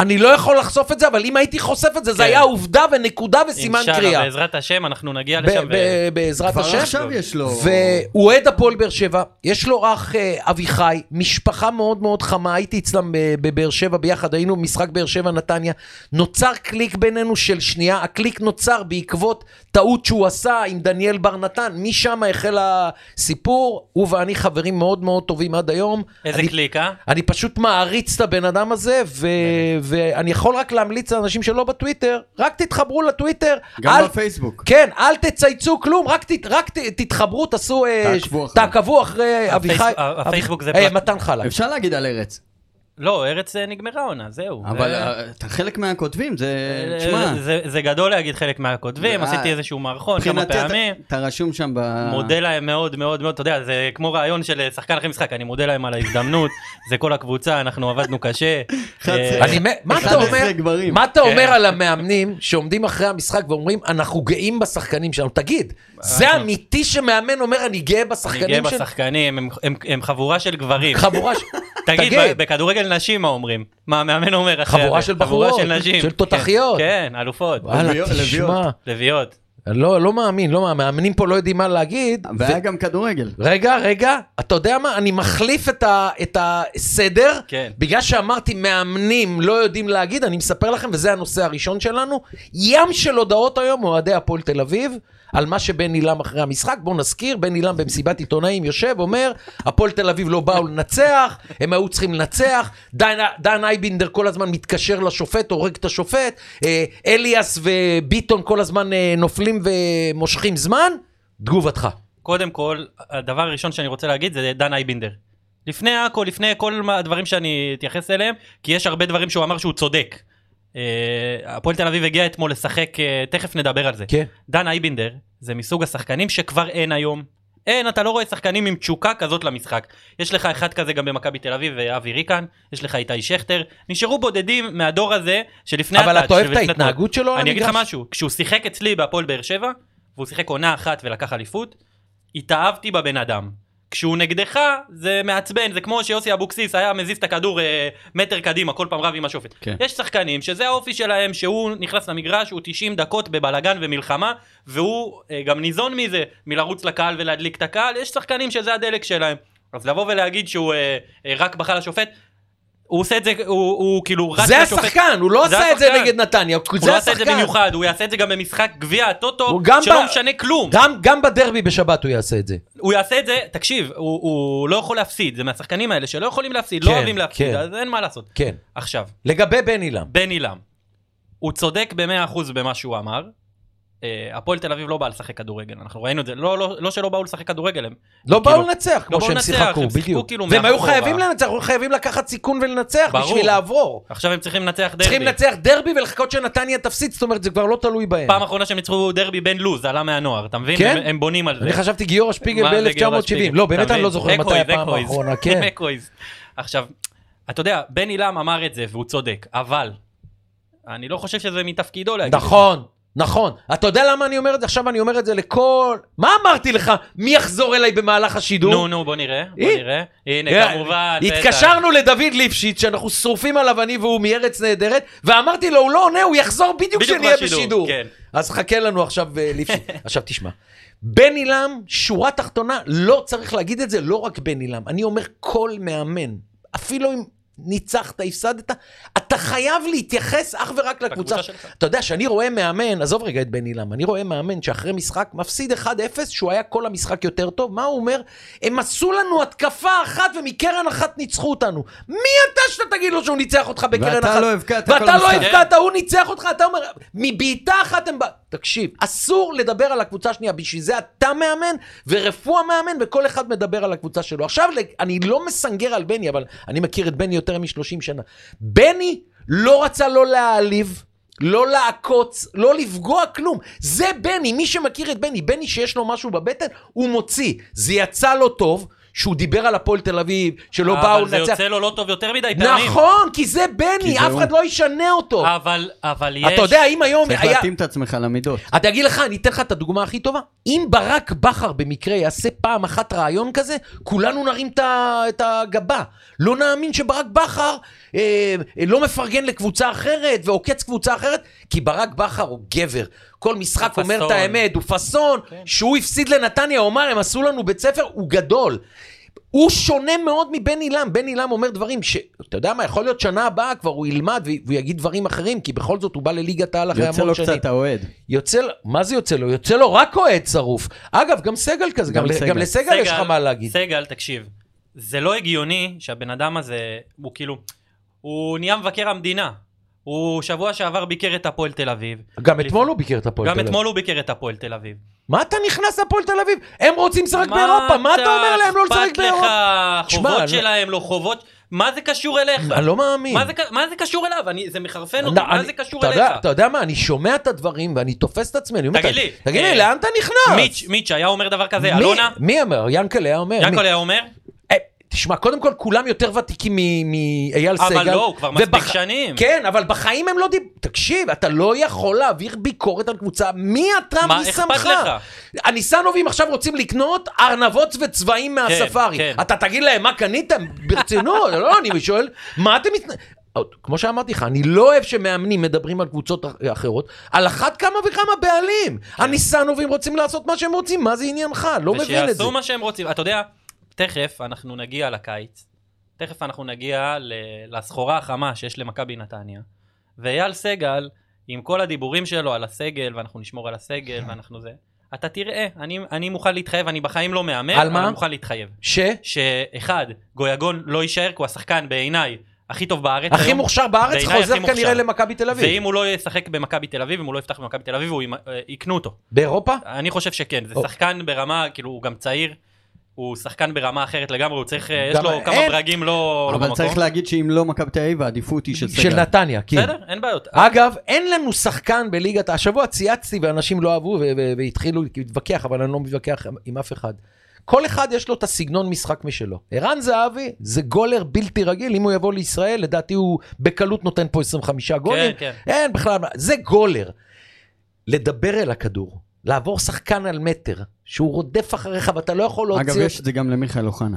Speaker 1: אני לא יכול לחשוף את זה, אבל אם הייתי חושף את זה, זה
Speaker 2: כן.
Speaker 1: היה עובדה ונקודה וסימן
Speaker 2: אינשאללה,
Speaker 1: קריאה.
Speaker 2: בעזרת השם, אנחנו נגיע
Speaker 1: ב-
Speaker 2: לשם. ו-
Speaker 1: ב- בעזרת
Speaker 3: כבר
Speaker 1: השם.
Speaker 3: עכשיו יש לו...
Speaker 1: והוא אוהד הפועל באר שבע, יש לו אח אה, אביחי, משפחה מאוד מאוד חמה, הייתי אצלם ב- בבאר שבע ביחד, היינו במשחק באר שבע נתניה, נוצר קליק בינינו של שנייה, הקליק נוצר בעקבות טעות שהוא עשה עם דניאל בר נתן, משם החל הסיפור, הוא ואני חברים מאוד מאוד טובים עד היום.
Speaker 2: איזה
Speaker 1: אני-
Speaker 2: קליק, אה?
Speaker 1: אני פשוט מעריץ את הבן אדם הזה, ו- ואני יכול רק להמליץ לאנשים שלא בטוויטר, רק תתחברו לטוויטר.
Speaker 3: גם
Speaker 1: אל-
Speaker 3: בפייסבוק.
Speaker 1: כן, אל תצייצו כלום, רק, ת, רק ת, תתחברו, תעשו... אה,
Speaker 3: תעקבו אחרי.
Speaker 1: תעקבו אחרי אביחי...
Speaker 2: הפייסבוק זה
Speaker 1: אה,
Speaker 2: פלט-
Speaker 1: מתן חלק.
Speaker 3: אפשר להגיד על ארץ.
Speaker 2: לא, ארץ אה, נגמרה העונה, זהו.
Speaker 3: אבל
Speaker 2: זה-
Speaker 3: אה, אתה חלק מהכותבים, זה...
Speaker 2: אה,
Speaker 3: תשמע,
Speaker 2: זה- זה גדול להגיד חלק מהכותבים,
Speaker 3: אה,
Speaker 2: עשיתי איזשהו מערכון כמה
Speaker 3: מבחינתי אתה-
Speaker 2: פעמים.
Speaker 3: אתה רשום שם ב...
Speaker 1: אה.
Speaker 2: מודה להם מאוד מאוד מאוד, אתה יודע, זה כמו רעיון של אה, שחקן אחרי משחק, אני מודה להם על ההזדמנות, זה כל הקבוצה, אנחנו עבדנו קשה.
Speaker 3: אחד
Speaker 2: אה,
Speaker 3: זה-
Speaker 1: אני מ- מה אתה
Speaker 3: 11
Speaker 1: אומר?
Speaker 3: גברים.
Speaker 1: מה אתה
Speaker 2: כן.
Speaker 1: אומר על המאמנים שעומדים אחרי המשחק ואומרים, אנחנו גאים בשחקנים שלנו? תגיד,
Speaker 3: אה,
Speaker 1: זה אמיתי שמאמן אומר, אני גאה
Speaker 2: אני גאה
Speaker 1: בשחקנים שלי?
Speaker 2: בשחקנים, הם- הם- הם חבורה של גברים.
Speaker 1: חבורה ש-
Speaker 2: תגיד,
Speaker 1: תגיד.
Speaker 2: ב- בכדורגל נשים מה אומרים? מה המאמן אומר אחרי
Speaker 1: חבורה
Speaker 2: זה?
Speaker 1: של
Speaker 2: חבורה
Speaker 1: בחורות,
Speaker 2: של נשים.
Speaker 1: של
Speaker 2: כן,
Speaker 1: תותחיות.
Speaker 2: כן, אלופות,
Speaker 1: וואלה,
Speaker 3: לביאות,
Speaker 1: תשמע.
Speaker 3: לביאות.
Speaker 2: לביאות.
Speaker 1: לא, לא מאמין, לא מאמין. המאמנים פה לא יודעים מה להגיד.
Speaker 3: והיה
Speaker 1: ו-
Speaker 3: גם כדורגל.
Speaker 1: רגע, רגע, אתה יודע מה? אני מחליף את ה- את הסדר.
Speaker 2: כן.
Speaker 1: בגלל שאמרתי מאמנים לא יודעים להגיד, אני מספר לכם, וזה הנושא הראשון שלנו, ים של הודעות היום, אוהדי הפועל תל אביב, על מה שבן עילם אחרי המשחק. בואו נזכיר, בן עילם במסיבת עיתונאים יושב, אומר, הפועל תל אביב לא באו לנצח, הם היו צריכים לנצח, דן, דן אייבינדר כל הזמן מתקשר לשופט, הורג את השופט, אה, אליאס וביטון כל הזמן אה, נופלים ומושכים זמן, תגובתך.
Speaker 2: קודם כל, הדבר הראשון שאני רוצה להגיד זה דן אייבינדר. לפני הכל, לפני כל מה- הדברים שאני אתייחס אליהם, כי יש הרבה דברים שהוא אמר שהוא צודק. אה, הפועל תל אביב הגיע אתמול לשחק, אה, תכף נדבר על זה.
Speaker 1: כן.
Speaker 2: דן אייבינדר זה מסוג השחקנים שכבר אין היום. אין, אתה לא רואה שחקנים עם תשוקה כזאת למשחק. יש לך אחד כזה גם במכבי תל אביב, אה, אבי ריקן, יש לך איתי שכטר. נשארו בודדים מהדור הזה שלפני...
Speaker 1: אבל
Speaker 2: הטאץ'
Speaker 1: אתה אוהב את
Speaker 2: ולפני
Speaker 1: ההתנהגות שלו על
Speaker 2: אני אגיד לך
Speaker 1: המגרש?
Speaker 2: משהו, כשהוא שיחק אצלי בהפועל באר שבע, והוא שיחק עונה אחת ולקח אליפות, התאהבתי בבן אדם. כשהוא נגדך זה מעצבן, זה כמו שיוסי אבוקסיס היה מזיז את הכדור אה, מטר קדימה, כל פעם רב עם השופט.
Speaker 3: כן.
Speaker 2: יש שחקנים שזה האופי שלהם, שהוא נכנס למגרש, הוא 90 דקות בבלגן ומלחמה, והוא אה, גם ניזון מזה, מלרוץ לקהל ולהדליק את הקהל, יש שחקנים שזה הדלק שלהם. אז לבוא ולהגיד שהוא אה, אה, רק בכה לשופט, הוא עושה את זה, הוא, הוא כאילו רץ
Speaker 1: זה
Speaker 2: לשופט.
Speaker 1: השחקן, הוא לא
Speaker 2: זה
Speaker 1: עשה את זה
Speaker 2: השחקן.
Speaker 1: נגד נתניה, הוא-
Speaker 2: הוא
Speaker 1: זה
Speaker 2: לא יעשה את זה
Speaker 1: השחקן.
Speaker 2: במיוחד, הוא יעשה את זה גם במשחק גביע הטוטו,
Speaker 1: הוא גם
Speaker 2: שלא
Speaker 1: ב-
Speaker 2: משנה כלום.
Speaker 1: גם, גם בדרבי בשבת הוא יעשה את זה.
Speaker 2: הוא יעשה את זה, תקשיב, הוא, הוא לא יכול להפסיד, זה מהשחקנים האלה שלא יכולים להפסיד,
Speaker 1: כן,
Speaker 2: לא אוהבים להפסיד,
Speaker 1: כן.
Speaker 2: אז אין מה לעשות.
Speaker 1: כן.
Speaker 2: עכשיו,
Speaker 1: לגבי בן עילם.
Speaker 2: בן עילם, הוא צודק ב-100% במה שהוא אמר. אה, הפועל תל אביב לא באה לשחק כדורגל, אנחנו ראינו את זה, לא, לא, לא שלא באו לשחק כדורגל, הם
Speaker 1: לא באו
Speaker 2: כאילו-
Speaker 1: לנצח כמו
Speaker 2: באו
Speaker 1: שהם
Speaker 2: לנצח,
Speaker 1: שיחקו,
Speaker 2: הם שיחקו
Speaker 1: בדיוק.
Speaker 2: כאילו
Speaker 1: והם היו
Speaker 2: מאחורה.
Speaker 1: חייבים לנצח, היו חייבים לקחת סיכון ולנצח
Speaker 2: ברור.
Speaker 1: בשביל לעבור.
Speaker 2: עכשיו הם צריכים לנצח דרבי.
Speaker 1: צריכים לנצח דרבי ולחכות שנתניה תפסיד, זאת אומרת זה כבר לא תלוי בהם.
Speaker 2: פעם אחרונה שהם ניצחו דרבי בן לוז, עלה מהנוער, אתה מבין?
Speaker 1: כן?
Speaker 2: הם, הם בונים על זה.
Speaker 1: אני חשבתי גיורא שפיגל
Speaker 2: מה זה גיורא שפיגל?
Speaker 1: ב-1970. לא, באמת
Speaker 2: אתה
Speaker 1: אני לא
Speaker 2: מבין?
Speaker 1: זוכר מתי
Speaker 2: אקויז,
Speaker 1: הפעם
Speaker 2: אקויז.
Speaker 1: האחרונה, כן.
Speaker 2: אקויז. עכשיו, אתה יודע, בן עילם אמר את זה והוא צודק, אבל אני לא חושב שזה מתפקידו להגיד. את זה.
Speaker 1: נכון, נכון. אתה יודע למה אני אומר את זה? עכשיו אני אומר את זה לכל... מה אמרתי לך? מי יחזור אליי במהלך השידור?
Speaker 2: נו, נו, בוא נראה, בוא
Speaker 1: אה.
Speaker 2: נראה. הנה,
Speaker 1: אה,
Speaker 2: כמובן. בטח.
Speaker 1: התקשרנו לדוד ליפשיץ, שאנחנו שורפים עליו אני והוא מארץ נהדרת, ואמרתי לו, הוא לא עונה, הוא יחזור בדיוק
Speaker 2: בדיוק
Speaker 1: כשנהיה
Speaker 2: בשידור,
Speaker 1: בשידור.
Speaker 2: כן.
Speaker 1: אז חכה לנו עכשיו אה, ליפשיץ. עכשיו תשמע, בן עילם, שורה תחתונה, לא צריך להגיד את זה, לא רק בן עילם. אני אומר, כל מאמן, אפילו אם ניצחת, הפסדת, אתה חייב להתייחס אך ורק לקבוצה.
Speaker 2: לקבוצה שלך.
Speaker 1: אתה יודע, שאני רואה מאמן, עזוב רגע את בן עילם, אני רואה מאמן שאחרי משחק מפסיד 1-0, שהוא היה כל המשחק יותר טוב, מה הוא אומר? הם עשו לנו התקפה אחת ומקרן אחת ניצחו אותנו. מי אתה שאתה תגיד לו שהוא ניצח אותך בקרן אחת?
Speaker 3: ואתה לא הבקעת כל
Speaker 1: ואתה לא
Speaker 3: המשחק.
Speaker 1: הבקעת, הוא ניצח אותך, אתה אומר, מבעיטה אחת הם... ב-" תקשיב, אסור לדבר על הקבוצה השנייה, בשביל זה אתה מאמן, ורפואה מאמן, וכל אחד מדבר על הקבוצה שלו. עכשיו, לג- אני לא מסנגר על בני, אבל אני מכיר את בני יותר מ-30 שנה. בני לא רצה לא להעליב. לא לעקוץ, לא לפגוע כלום. זה בני, מי שמכיר את בני, בני שיש לו משהו בבטן, הוא מוציא. זה יצא לו טוב, שהוא דיבר על הפועל תל אביב, שלא באו
Speaker 2: אבל זה
Speaker 1: לנצח.
Speaker 2: יוצא לו לא טוב יותר מדי, תאמין.
Speaker 1: נכון, כי זה
Speaker 3: כי
Speaker 1: בני,
Speaker 3: זה
Speaker 1: אף
Speaker 3: הוא. אה,
Speaker 1: אחד לא ישנה אותו.
Speaker 2: אבל, אבל יש...
Speaker 1: אתה יודע, אם היום
Speaker 3: צריך
Speaker 1: היה...
Speaker 3: להתאים את עצמך למידות.
Speaker 1: אתה אגיד לך, אני אתן לך את הדוגמה הכי טובה. אם ברק בכר במקרה יעשה פעם אחת רעיון כזה, כולנו נרים את ה- את הגבה. לא נאמין שברק בכר אה, לא מפרגן לקבוצה אחרת ועוקץ קבוצה אחרת, כי ברק בכר הוא גבר. כל משחק
Speaker 2: הוא
Speaker 1: אומר את
Speaker 2: פאסון.
Speaker 1: האמת, הוא פאסון. שהוא הפסיד לנתניה, הוא אמר, הם עשו לנו בית ספר, הוא גדול. הוא שונה מאוד מבן עילם, בן עילם אומר דברים ש... אתה יודע מה, יכול להיות שנה הבאה כבר הוא ילמד והוא- והוא יגיד דברים אחרים, כי בכל זאת הוא בא לליגת העל אחרי המון
Speaker 3: יוצא
Speaker 1: שנים.
Speaker 3: לו קצת האוהד.
Speaker 1: יוצא לו, מה זה יוצא לו? יוצא לו רק אוהד שרוף. אגב, גם סגל כזה, גם,
Speaker 3: גם
Speaker 1: גם,
Speaker 3: סגל.
Speaker 1: גם לסגל יש לך מה להגיד.
Speaker 2: סגל, תקשיב, זה לא הגיוני שהבן אדם הזה, הוא כאילו, הוא נהיה מבקר המדינה. הוא שבוע שעבר ביקר את הפועל תל אביב.
Speaker 1: גם אתמול הוא ביקר את הפועל
Speaker 2: גם
Speaker 1: תל אביב.
Speaker 2: אתמול הוא ביקר את הפועל תל אביב.
Speaker 1: מה אתה נכנס לפועל תל אביב? הם רוצים לשחק באירופה, מה אתה אומר להם לא לשחק באירופה?
Speaker 2: אכפת לך?
Speaker 1: תשמע,
Speaker 2: חובות
Speaker 1: לא-
Speaker 2: שלהם, לא חובות... מה זה קשור אליך?
Speaker 1: אני לא מאמין.
Speaker 2: מה זה ק- מה זה קשור אליו? אני- זה מחרפן אותי,
Speaker 1: אני-
Speaker 2: מה זה קשור
Speaker 1: אתה יודע-
Speaker 2: אליך?
Speaker 1: אתה יודע מה, אני שומע את הדברים ואני תופס את עצמי, אני אומר,
Speaker 2: תגיד לי,
Speaker 1: תגיד
Speaker 2: אה,
Speaker 1: לי, לאן אתה נכנס?
Speaker 2: מיץ', מיץ' היה אומר דבר כזה,
Speaker 1: מי-
Speaker 2: אלונה?
Speaker 1: מי אמר? ינקלה היה אומר. מי-
Speaker 2: יעקב היה אומר?
Speaker 1: אה, תשמע, קודם כל כולם יותר ותיקים מ- מאייל סגל.
Speaker 2: אבל לא, הוא כבר מספיק
Speaker 1: ובח-
Speaker 2: שנים.
Speaker 1: כן, אבל בחיים הם לא דיב... תקשיב, אתה לא יכול להעביר ביקורת על קבוצה. מי אתה?
Speaker 2: מה
Speaker 1: מי
Speaker 2: אכפת
Speaker 1: שמך? הניסנובים עכשיו רוצים לקנות ארנבות וצבעים מהספארי.
Speaker 2: כן.
Speaker 1: אתה תגיד להם, מה קניתם? ברצינות, לא, אני שואל, מה אתם... מת... כמו שאמרתי לך, אני לא אוהב שמאמנים מדברים על קבוצות אח- אחרות, על אחת כמה וכמה בעלים. הניסנובים רוצים לעשות מה שהם רוצים, מה זה עניינך? לא מבין את זה.
Speaker 2: כן. ושיעשו מה שהם רוצים. אתה יודע, תכף אנחנו נגיע לקיץ, תכף אנחנו נגיע ל- לסחורה החמה שיש למכבי נתניה, ואייל סגל, עם כל הדיבורים שלו על הסגל, ואנחנו נשמור על הסגל, ואנחנו זה, אתה תראה, אני, אני מוכן להתחייב, אני בחיים לא מהמר,
Speaker 1: על
Speaker 2: אבל
Speaker 1: מה?
Speaker 2: אני מוכן להתחייב.
Speaker 1: ש...
Speaker 2: שאחד, גויגון לא יישאר, כי הוא השחקן בעיניי הכי טוב בארץ.
Speaker 1: הכי
Speaker 2: היום.
Speaker 1: מוכשר בארץ
Speaker 2: בעיניי הכי
Speaker 1: חוזר
Speaker 2: מוכשר.
Speaker 1: כנראה למכבי תל אביב.
Speaker 2: ואם הוא לא ישחק במכבי תל אביב, אם הוא לא יפתח במכבי תל אביב, הוא ימ- אה, יקנו אותו.
Speaker 1: באירופה?
Speaker 2: אני חושב שכן, זה
Speaker 1: או.
Speaker 2: שחקן ברמה, כאילו הוא גם צעיר, הוא שחקן ברמה אחרת לגמרי, הוא צריך, אה, יש
Speaker 1: גם
Speaker 2: לו כמה
Speaker 1: אין-
Speaker 2: ברגים לא לא
Speaker 3: אבל
Speaker 2: במקום.
Speaker 3: צריך להגיד שאם לא מכבי תל אביב, העדיפות היא של סגל.
Speaker 1: של נתניה, כן.
Speaker 2: בסדר, אין בעיות.
Speaker 1: אגב, אין לנו שחקן בליגת... השבוע צייצתי ואנשים לא אהבו ו- ו- והתחילו להתווכח, אבל אני לא מתווכח עם אף אחד. כל אחד יש לו את הסגנון משחק משלו. ערן זהבי זה גולר בלתי רגיל, אם הוא יבוא לישראל, לדעתי הוא בקלות נותן פה 25 גולים.
Speaker 2: כן,
Speaker 1: אין בכלל, מה- זה גולר. לדבר אל הכדור, לעבור שחקן על מטר, שהוא רודף אחריך ואתה לא יכול להוציא...
Speaker 3: אגב,
Speaker 1: אותו.
Speaker 3: יש את זה גם למיכאל אוחנה.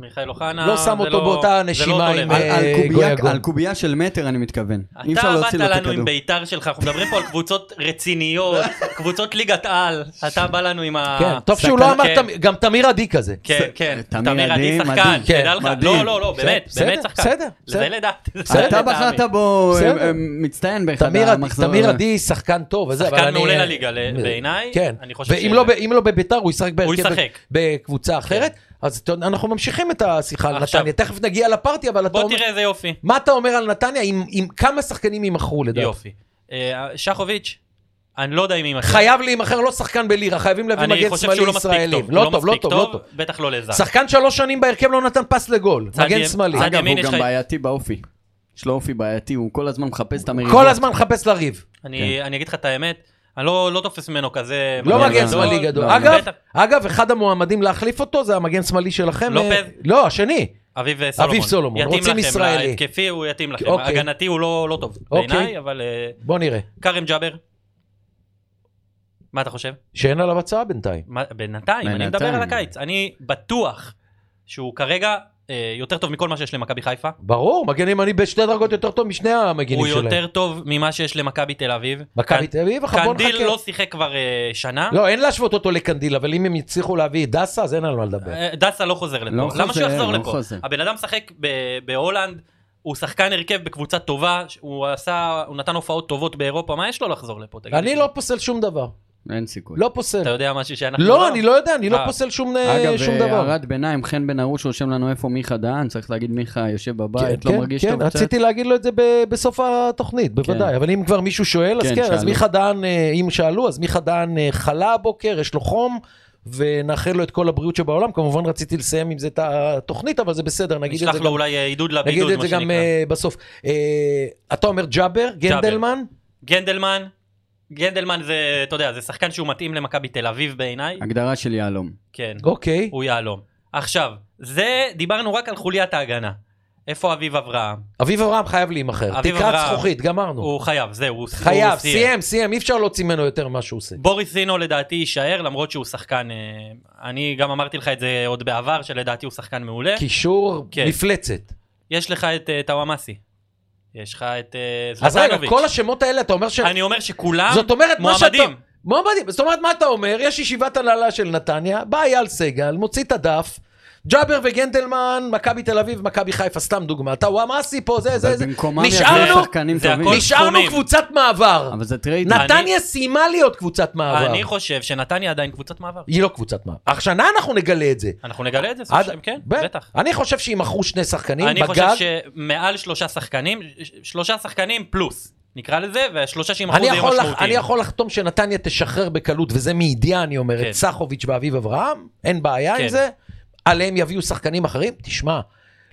Speaker 2: מיכאל אוחנה,
Speaker 1: לא שם
Speaker 2: זה
Speaker 1: אותו באותה
Speaker 2: זה לא
Speaker 1: נשימה
Speaker 2: אותו
Speaker 1: עם,
Speaker 2: level.
Speaker 3: על- על
Speaker 1: אה,
Speaker 3: קובייה-
Speaker 1: גויגון.
Speaker 3: על קובייה של מטר אני מתכוון. אי
Speaker 2: אתה
Speaker 3: אפשר
Speaker 2: באת
Speaker 3: להוציא לו את
Speaker 2: לנו עם
Speaker 3: הכדור.
Speaker 2: ביתר שלך, אנחנו מדברים פה על קבוצות רציניות, קבוצות ליגת על, אתה בא לנו עם ה...
Speaker 1: כן, טוב שהוא
Speaker 2: סכנה-
Speaker 1: לא אמר,
Speaker 2: כן,
Speaker 1: תמ- גם תמיר עדי כזה.
Speaker 2: כן, כן,
Speaker 3: תמיר
Speaker 2: תמיר עדי
Speaker 3: עדי,
Speaker 2: שחקן,
Speaker 3: מדהים.
Speaker 2: תדע
Speaker 1: כן,
Speaker 2: לך,
Speaker 3: מדהים.
Speaker 2: לא, לא, לא, באמת,
Speaker 1: בסדר,
Speaker 2: באמת שחקן.
Speaker 1: בסדר,
Speaker 2: זה
Speaker 1: בסדר.
Speaker 2: לדעתי. זה
Speaker 1: בסדר.
Speaker 3: אתה
Speaker 2: לטעמי.
Speaker 3: בחרת בו
Speaker 1: בסדר.
Speaker 3: אה, אה, מצטיין באחד
Speaker 1: תמיר עדי-
Speaker 3: המחזור.
Speaker 1: תמיר עדי שחקן טוב, וזה, אבל
Speaker 2: שחקן
Speaker 1: אני... אה,
Speaker 2: מעולה לליגה, ל- בעיניי,
Speaker 1: כן,
Speaker 2: אני חושב
Speaker 1: ואם
Speaker 2: ש-
Speaker 1: לא ב- אם לא בביתר, הוא ישחק בהרכב
Speaker 2: ישחק. כן.
Speaker 1: בקבוצה אחרת. אז אתה- אנחנו ממשיכים את השיחה על
Speaker 2: עכשיו-
Speaker 1: נתניה, תכף נגיע לפארטי, אבל אתה
Speaker 2: בוא
Speaker 1: אומר...
Speaker 2: תראה איזה יופי.
Speaker 1: מה אתה אומר על נתניה, עם- עם כמה שחקנים יימכרו לדעת?
Speaker 2: יופי. אה, שחוביץ', אני לא יודע אם יימכר.
Speaker 1: חייב להימכר לא שחקן בלירה, חייבים להביא
Speaker 2: אני
Speaker 1: מגן
Speaker 2: חושב שהוא
Speaker 1: שמאלי
Speaker 2: לא מספיק
Speaker 1: ישראלי.
Speaker 2: טוב. הוא
Speaker 1: לא טוב, לא
Speaker 2: מספיק
Speaker 1: טוב, לא טוב.
Speaker 2: בטח לא לזר.
Speaker 1: שחקן שלוש שנים בהרכב לא נתן פס לגול,
Speaker 2: צד
Speaker 1: מגן
Speaker 2: ימין-
Speaker 1: שמאלי.
Speaker 2: צד
Speaker 3: אגב, הוא
Speaker 2: ימין יש
Speaker 3: גם
Speaker 2: לך-
Speaker 3: בעייתי באופי. יש לו אופי בעייתי, הוא כל הזמן מחפש את המריבות.
Speaker 1: כל הזמן מחפש לריב.
Speaker 2: אני אני אגיד לך את האמת, אני לא לא תופס ממנו כזה...
Speaker 1: כן. לא
Speaker 3: מגן
Speaker 1: מגן
Speaker 3: גדול,
Speaker 1: שמאלי גדול.
Speaker 3: לא,
Speaker 1: אגב,
Speaker 2: בטח.
Speaker 1: אגב, אחד המועמדים להחליף אותו זה המגן שמאלי שלכם.
Speaker 2: לופז.
Speaker 1: אה, לא, השני.
Speaker 2: אביב סולומון.
Speaker 1: סולומון,
Speaker 2: יתאים
Speaker 1: רוצים
Speaker 2: לכם,
Speaker 1: ישראלי.
Speaker 2: התקפי הוא יתאים לכם.
Speaker 1: אוקיי.
Speaker 2: הגנתי הוא לא לא טוב
Speaker 1: אוקיי.
Speaker 2: בעיניי, אבל... אה,
Speaker 1: בוא נראה.
Speaker 2: כרם ג'אבר. מה אתה חושב?
Speaker 1: שאין עליו הצעה בינתיים.
Speaker 2: מה- בינתיים, אני
Speaker 3: בינתיים.
Speaker 2: מדבר על הקיץ. אני בטוח שהוא כרגע אה, יותר טוב מכל מה שיש למכבי חיפה.
Speaker 1: ברור, מגן ימני בשתי דרגות יותר טוב משני המגנים
Speaker 2: הוא
Speaker 1: שלהם.
Speaker 2: יותר טוב ממה שיש למכבי תל אביב.
Speaker 1: מכבי
Speaker 2: קנ-
Speaker 1: תל אביב, אחר, בוא
Speaker 2: קנדיל
Speaker 1: נחכה.
Speaker 2: לא שיחק כבר אה, שנה.
Speaker 1: לא, אין להשוות אותו לקנדיל, אבל אם הם יצליחו להביא את דסה, אז אין על מה לדבר.
Speaker 2: אה, דסה לא חוזר לפה.
Speaker 3: לא
Speaker 2: למה שהוא
Speaker 3: חוזר,
Speaker 2: יחזור
Speaker 3: לא
Speaker 2: לפה?
Speaker 3: חוזר.
Speaker 2: הבן אדם משחק ב- בהולנד, הוא שחקן הרכב בקבוצה טובה, הוא עשה, הוא נתן הופעות טובות באירופה, מה יש לו לחזור לפה? תגיד לי?
Speaker 1: אני לא פוסל שום דבר.
Speaker 3: אין סיכוי.
Speaker 1: לא פוסל.
Speaker 2: אתה יודע משהו שאנחנו
Speaker 1: לא, אני לא יודע, אני לא
Speaker 2: אה.
Speaker 1: פוסל שום אה,
Speaker 3: אגב,
Speaker 1: שום
Speaker 3: אה,
Speaker 1: דבר.
Speaker 3: הערת ביניים, חן בן ארוש רושם לנו איפה מיכה דהן, צריך להגיד מיכה יושב
Speaker 1: כן,
Speaker 3: בבית, לא
Speaker 1: כן,
Speaker 3: מרגיש
Speaker 1: כן,
Speaker 3: טוב קצת.
Speaker 1: רציתי להגיד לו את זה ב- בסוף התוכנית, בוודאי, אבל אם כבר מישהו שואל, אז
Speaker 3: כן,
Speaker 1: כן, אז
Speaker 3: שאלו.
Speaker 1: מיכה דהן, אה, אם שאלו, אז מיכה דהן אה, חלה הבוקר, יש לו חום, ונאחל לו את כל הבריאות שבעולם, כמובן רציתי לסיים עם זה את התוכנית, אבל זה בסדר, נגיד את
Speaker 2: נשלח
Speaker 1: זה
Speaker 2: לו
Speaker 1: גם-
Speaker 2: אולי אה, עידוד
Speaker 1: נגיד
Speaker 2: לבידוד,
Speaker 1: את
Speaker 2: מה
Speaker 1: זה
Speaker 2: שנקרא.
Speaker 1: גם אה, בסוף. אה, אתה אומר ג'אבר, גנדלמן?
Speaker 2: גנדלמן, גנדלמן זה, אתה יודע, זה שחקן שהוא מתאים למכבי תל אביב בעיניי,
Speaker 3: הגדרה של יהלום.
Speaker 2: כן,
Speaker 1: אוקיי.
Speaker 2: הוא יהלום. עכשיו, זה, דיברנו רק על חוליית ההגנה. איפה אביב אברהם?
Speaker 1: אביב אברהם חייב להימכר,
Speaker 2: אביב
Speaker 1: תקרת
Speaker 2: אברהם.
Speaker 1: זכוכית, גמרנו.
Speaker 2: הוא חייב, זהו, הוא הוא
Speaker 1: חייב, סיים, סיים, אי אפשר להוציא ממנו יותר ממה שהוא עושה.
Speaker 2: בוריס זינו לדעתי יישאר למרות שהוא שחקן אה, אני גם אמרתי לך את זה עוד בעבר שלדעתי הוא שחקן מעולה כי...
Speaker 1: קישור,
Speaker 2: כן.
Speaker 1: מפלצת.
Speaker 2: יש לך את אה, טוואמאסי יש לך את אה,
Speaker 1: אז רגע,
Speaker 2: זלטנוביץ'
Speaker 1: כל השמות האלה, אתה אומר ש...
Speaker 2: אני אומר שכולם
Speaker 1: זאת אומרת, מה שאתה...
Speaker 2: מועמדים
Speaker 1: מועמדים. זאת אומרת, מה אתה אומר? יש ישיבת הנהלה של נתניה, בא אייל סגל, מוציא את הדף, ג'אבר וגנדלמן, מכבי תל אביב, מכבי חיפה, סתם דוגמא. אתה וואמאסי פה, זה, זה, זה.
Speaker 3: במקומם
Speaker 1: נשארנו-
Speaker 3: יביאו שחקנים
Speaker 2: זה
Speaker 3: טובים.
Speaker 2: הכל-
Speaker 1: נשארנו
Speaker 2: סכומים.
Speaker 1: קבוצת מעבר.
Speaker 3: אבל זה טרייד.
Speaker 1: נתניה סיימה להיות קבוצת מעבר.
Speaker 2: אני חושב שנתניה עדיין קבוצת מעבר
Speaker 1: היא לא קבוצת מעבר. השנה אנחנו נגלה את זה.
Speaker 2: אנחנו נגלה את זה סוף
Speaker 1: עד-
Speaker 2: שם כן
Speaker 1: ב-
Speaker 2: בטח
Speaker 1: אני חושב שימכרו שני שחקנים
Speaker 2: אני חושב
Speaker 1: בגג.
Speaker 2: שמעל שלושה שחקנים ש- שלושה שחקנים פלוס נקרא לזה והשלושה שימכרו
Speaker 1: אני
Speaker 2: זה יהיה
Speaker 1: יכול, לח...
Speaker 2: משמעותי
Speaker 1: אני יכול לחתום שנתניה תשחרר בקלות, וזה מידיעה אני אומר,
Speaker 2: כן.
Speaker 1: את סחוביץ' ואביב אברהם, אין בעיה
Speaker 2: כן.
Speaker 1: עם זה, עליהם יביאו שחקנים אחרים, תשמע,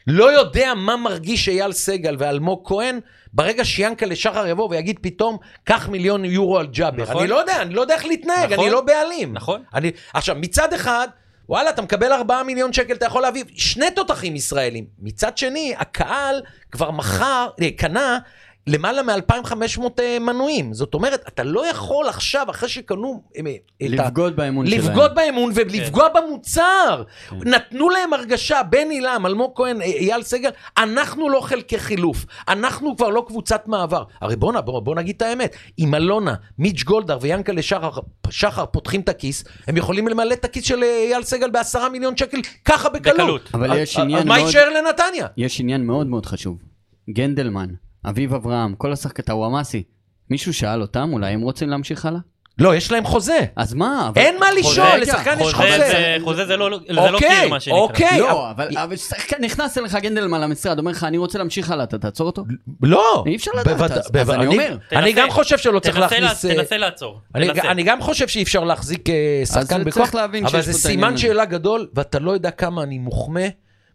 Speaker 1: לא יודע מה מרגיש אייל סגל ואלמוג כהן ברגע שיאנקלה שחר יבוא ויגיד פתאום, קח מיליון יורו על ג'אבר.
Speaker 2: נכון.
Speaker 1: אני לא יודע, אני לא יודע איך להתנהג,
Speaker 2: נכון.
Speaker 1: אני לא בעלים.
Speaker 2: נכון.
Speaker 1: אני, עכשיו, מצד אחד, וואלה, אתה מקבל 4 מיליון שקל, אתה יכול להביא שני תותחים ישראלים. מצד שני, הקהל כבר מכר, אה, קנה למעלה מ-2,500 אה, מנויים. זאת אומרת, אתה לא יכול עכשיו, אחרי שקנו... אה, אה, את ה-
Speaker 3: לבגוד באמון שלהם.
Speaker 1: לבגוד באמון ולפגוע
Speaker 2: כן.
Speaker 1: במוצר. נתנו להם הרגשה, בני לם, אלמוג כהן, אי- אייל סגל, אנחנו לא חלקי חילוף, אנחנו כבר לא קבוצת מעבר. הרי בוא'נה, בוא, בוא נגיד את האמת, אם אלונה, מיץ' גולדהר ויאנקלה שחר, שחר פותחים את הכיס, הם יכולים למלא את הכיס של אה, אייל סגל בעשרה מיליון שקל ככה בקלות.
Speaker 2: בקלות.
Speaker 3: אבל
Speaker 1: אז-
Speaker 3: יש
Speaker 1: אז
Speaker 3: עניין
Speaker 1: אה, מה
Speaker 3: מאוד-
Speaker 1: יישאר לנתניה?
Speaker 3: יש עניין מאוד מאוד חשוב. גנדלמן, אביב אברהם, כל השחקת הוואמאסי. מישהו שאל אותם, אולי הם רוצים להמשיך הלאה?
Speaker 1: לא, יש להם חוזה.
Speaker 3: אז מה? אבל-
Speaker 1: אין מה לשאול,
Speaker 3: רגע,
Speaker 1: לשחקן יש
Speaker 2: חוזה
Speaker 1: חוזה.
Speaker 2: זה- חוזה זה לא זה לא
Speaker 1: אוקיי,
Speaker 2: קיר, מה שנקרא.
Speaker 1: אוקיי.
Speaker 3: לא, אבל אבל שחקן נכנס אליך גנדלמן למשרד, אומר לך, אני רוצה להמשיך הלאה, אתה תעצור אותו?
Speaker 1: לא.
Speaker 3: אי אפשר לדעת,
Speaker 1: בוודא-
Speaker 3: אז- אז
Speaker 1: בוודא-
Speaker 3: אני אומר.
Speaker 1: אני
Speaker 2: תנסה.
Speaker 1: גם חושב שלא צריך
Speaker 2: תנסה לה-
Speaker 1: להכניס... אה,
Speaker 2: תנסה לעצור.
Speaker 1: אני,
Speaker 2: תנסה.
Speaker 1: אני גם חושב שאי אפשר להחזיק אה, שחקן
Speaker 3: צריך
Speaker 1: בכוח,
Speaker 3: להבין
Speaker 1: אבל
Speaker 3: שיש
Speaker 1: זה
Speaker 3: פה את העניין
Speaker 1: סימן
Speaker 3: הזה.
Speaker 1: שאלה גדול, ואתה לא יודע כמה אני מוחמא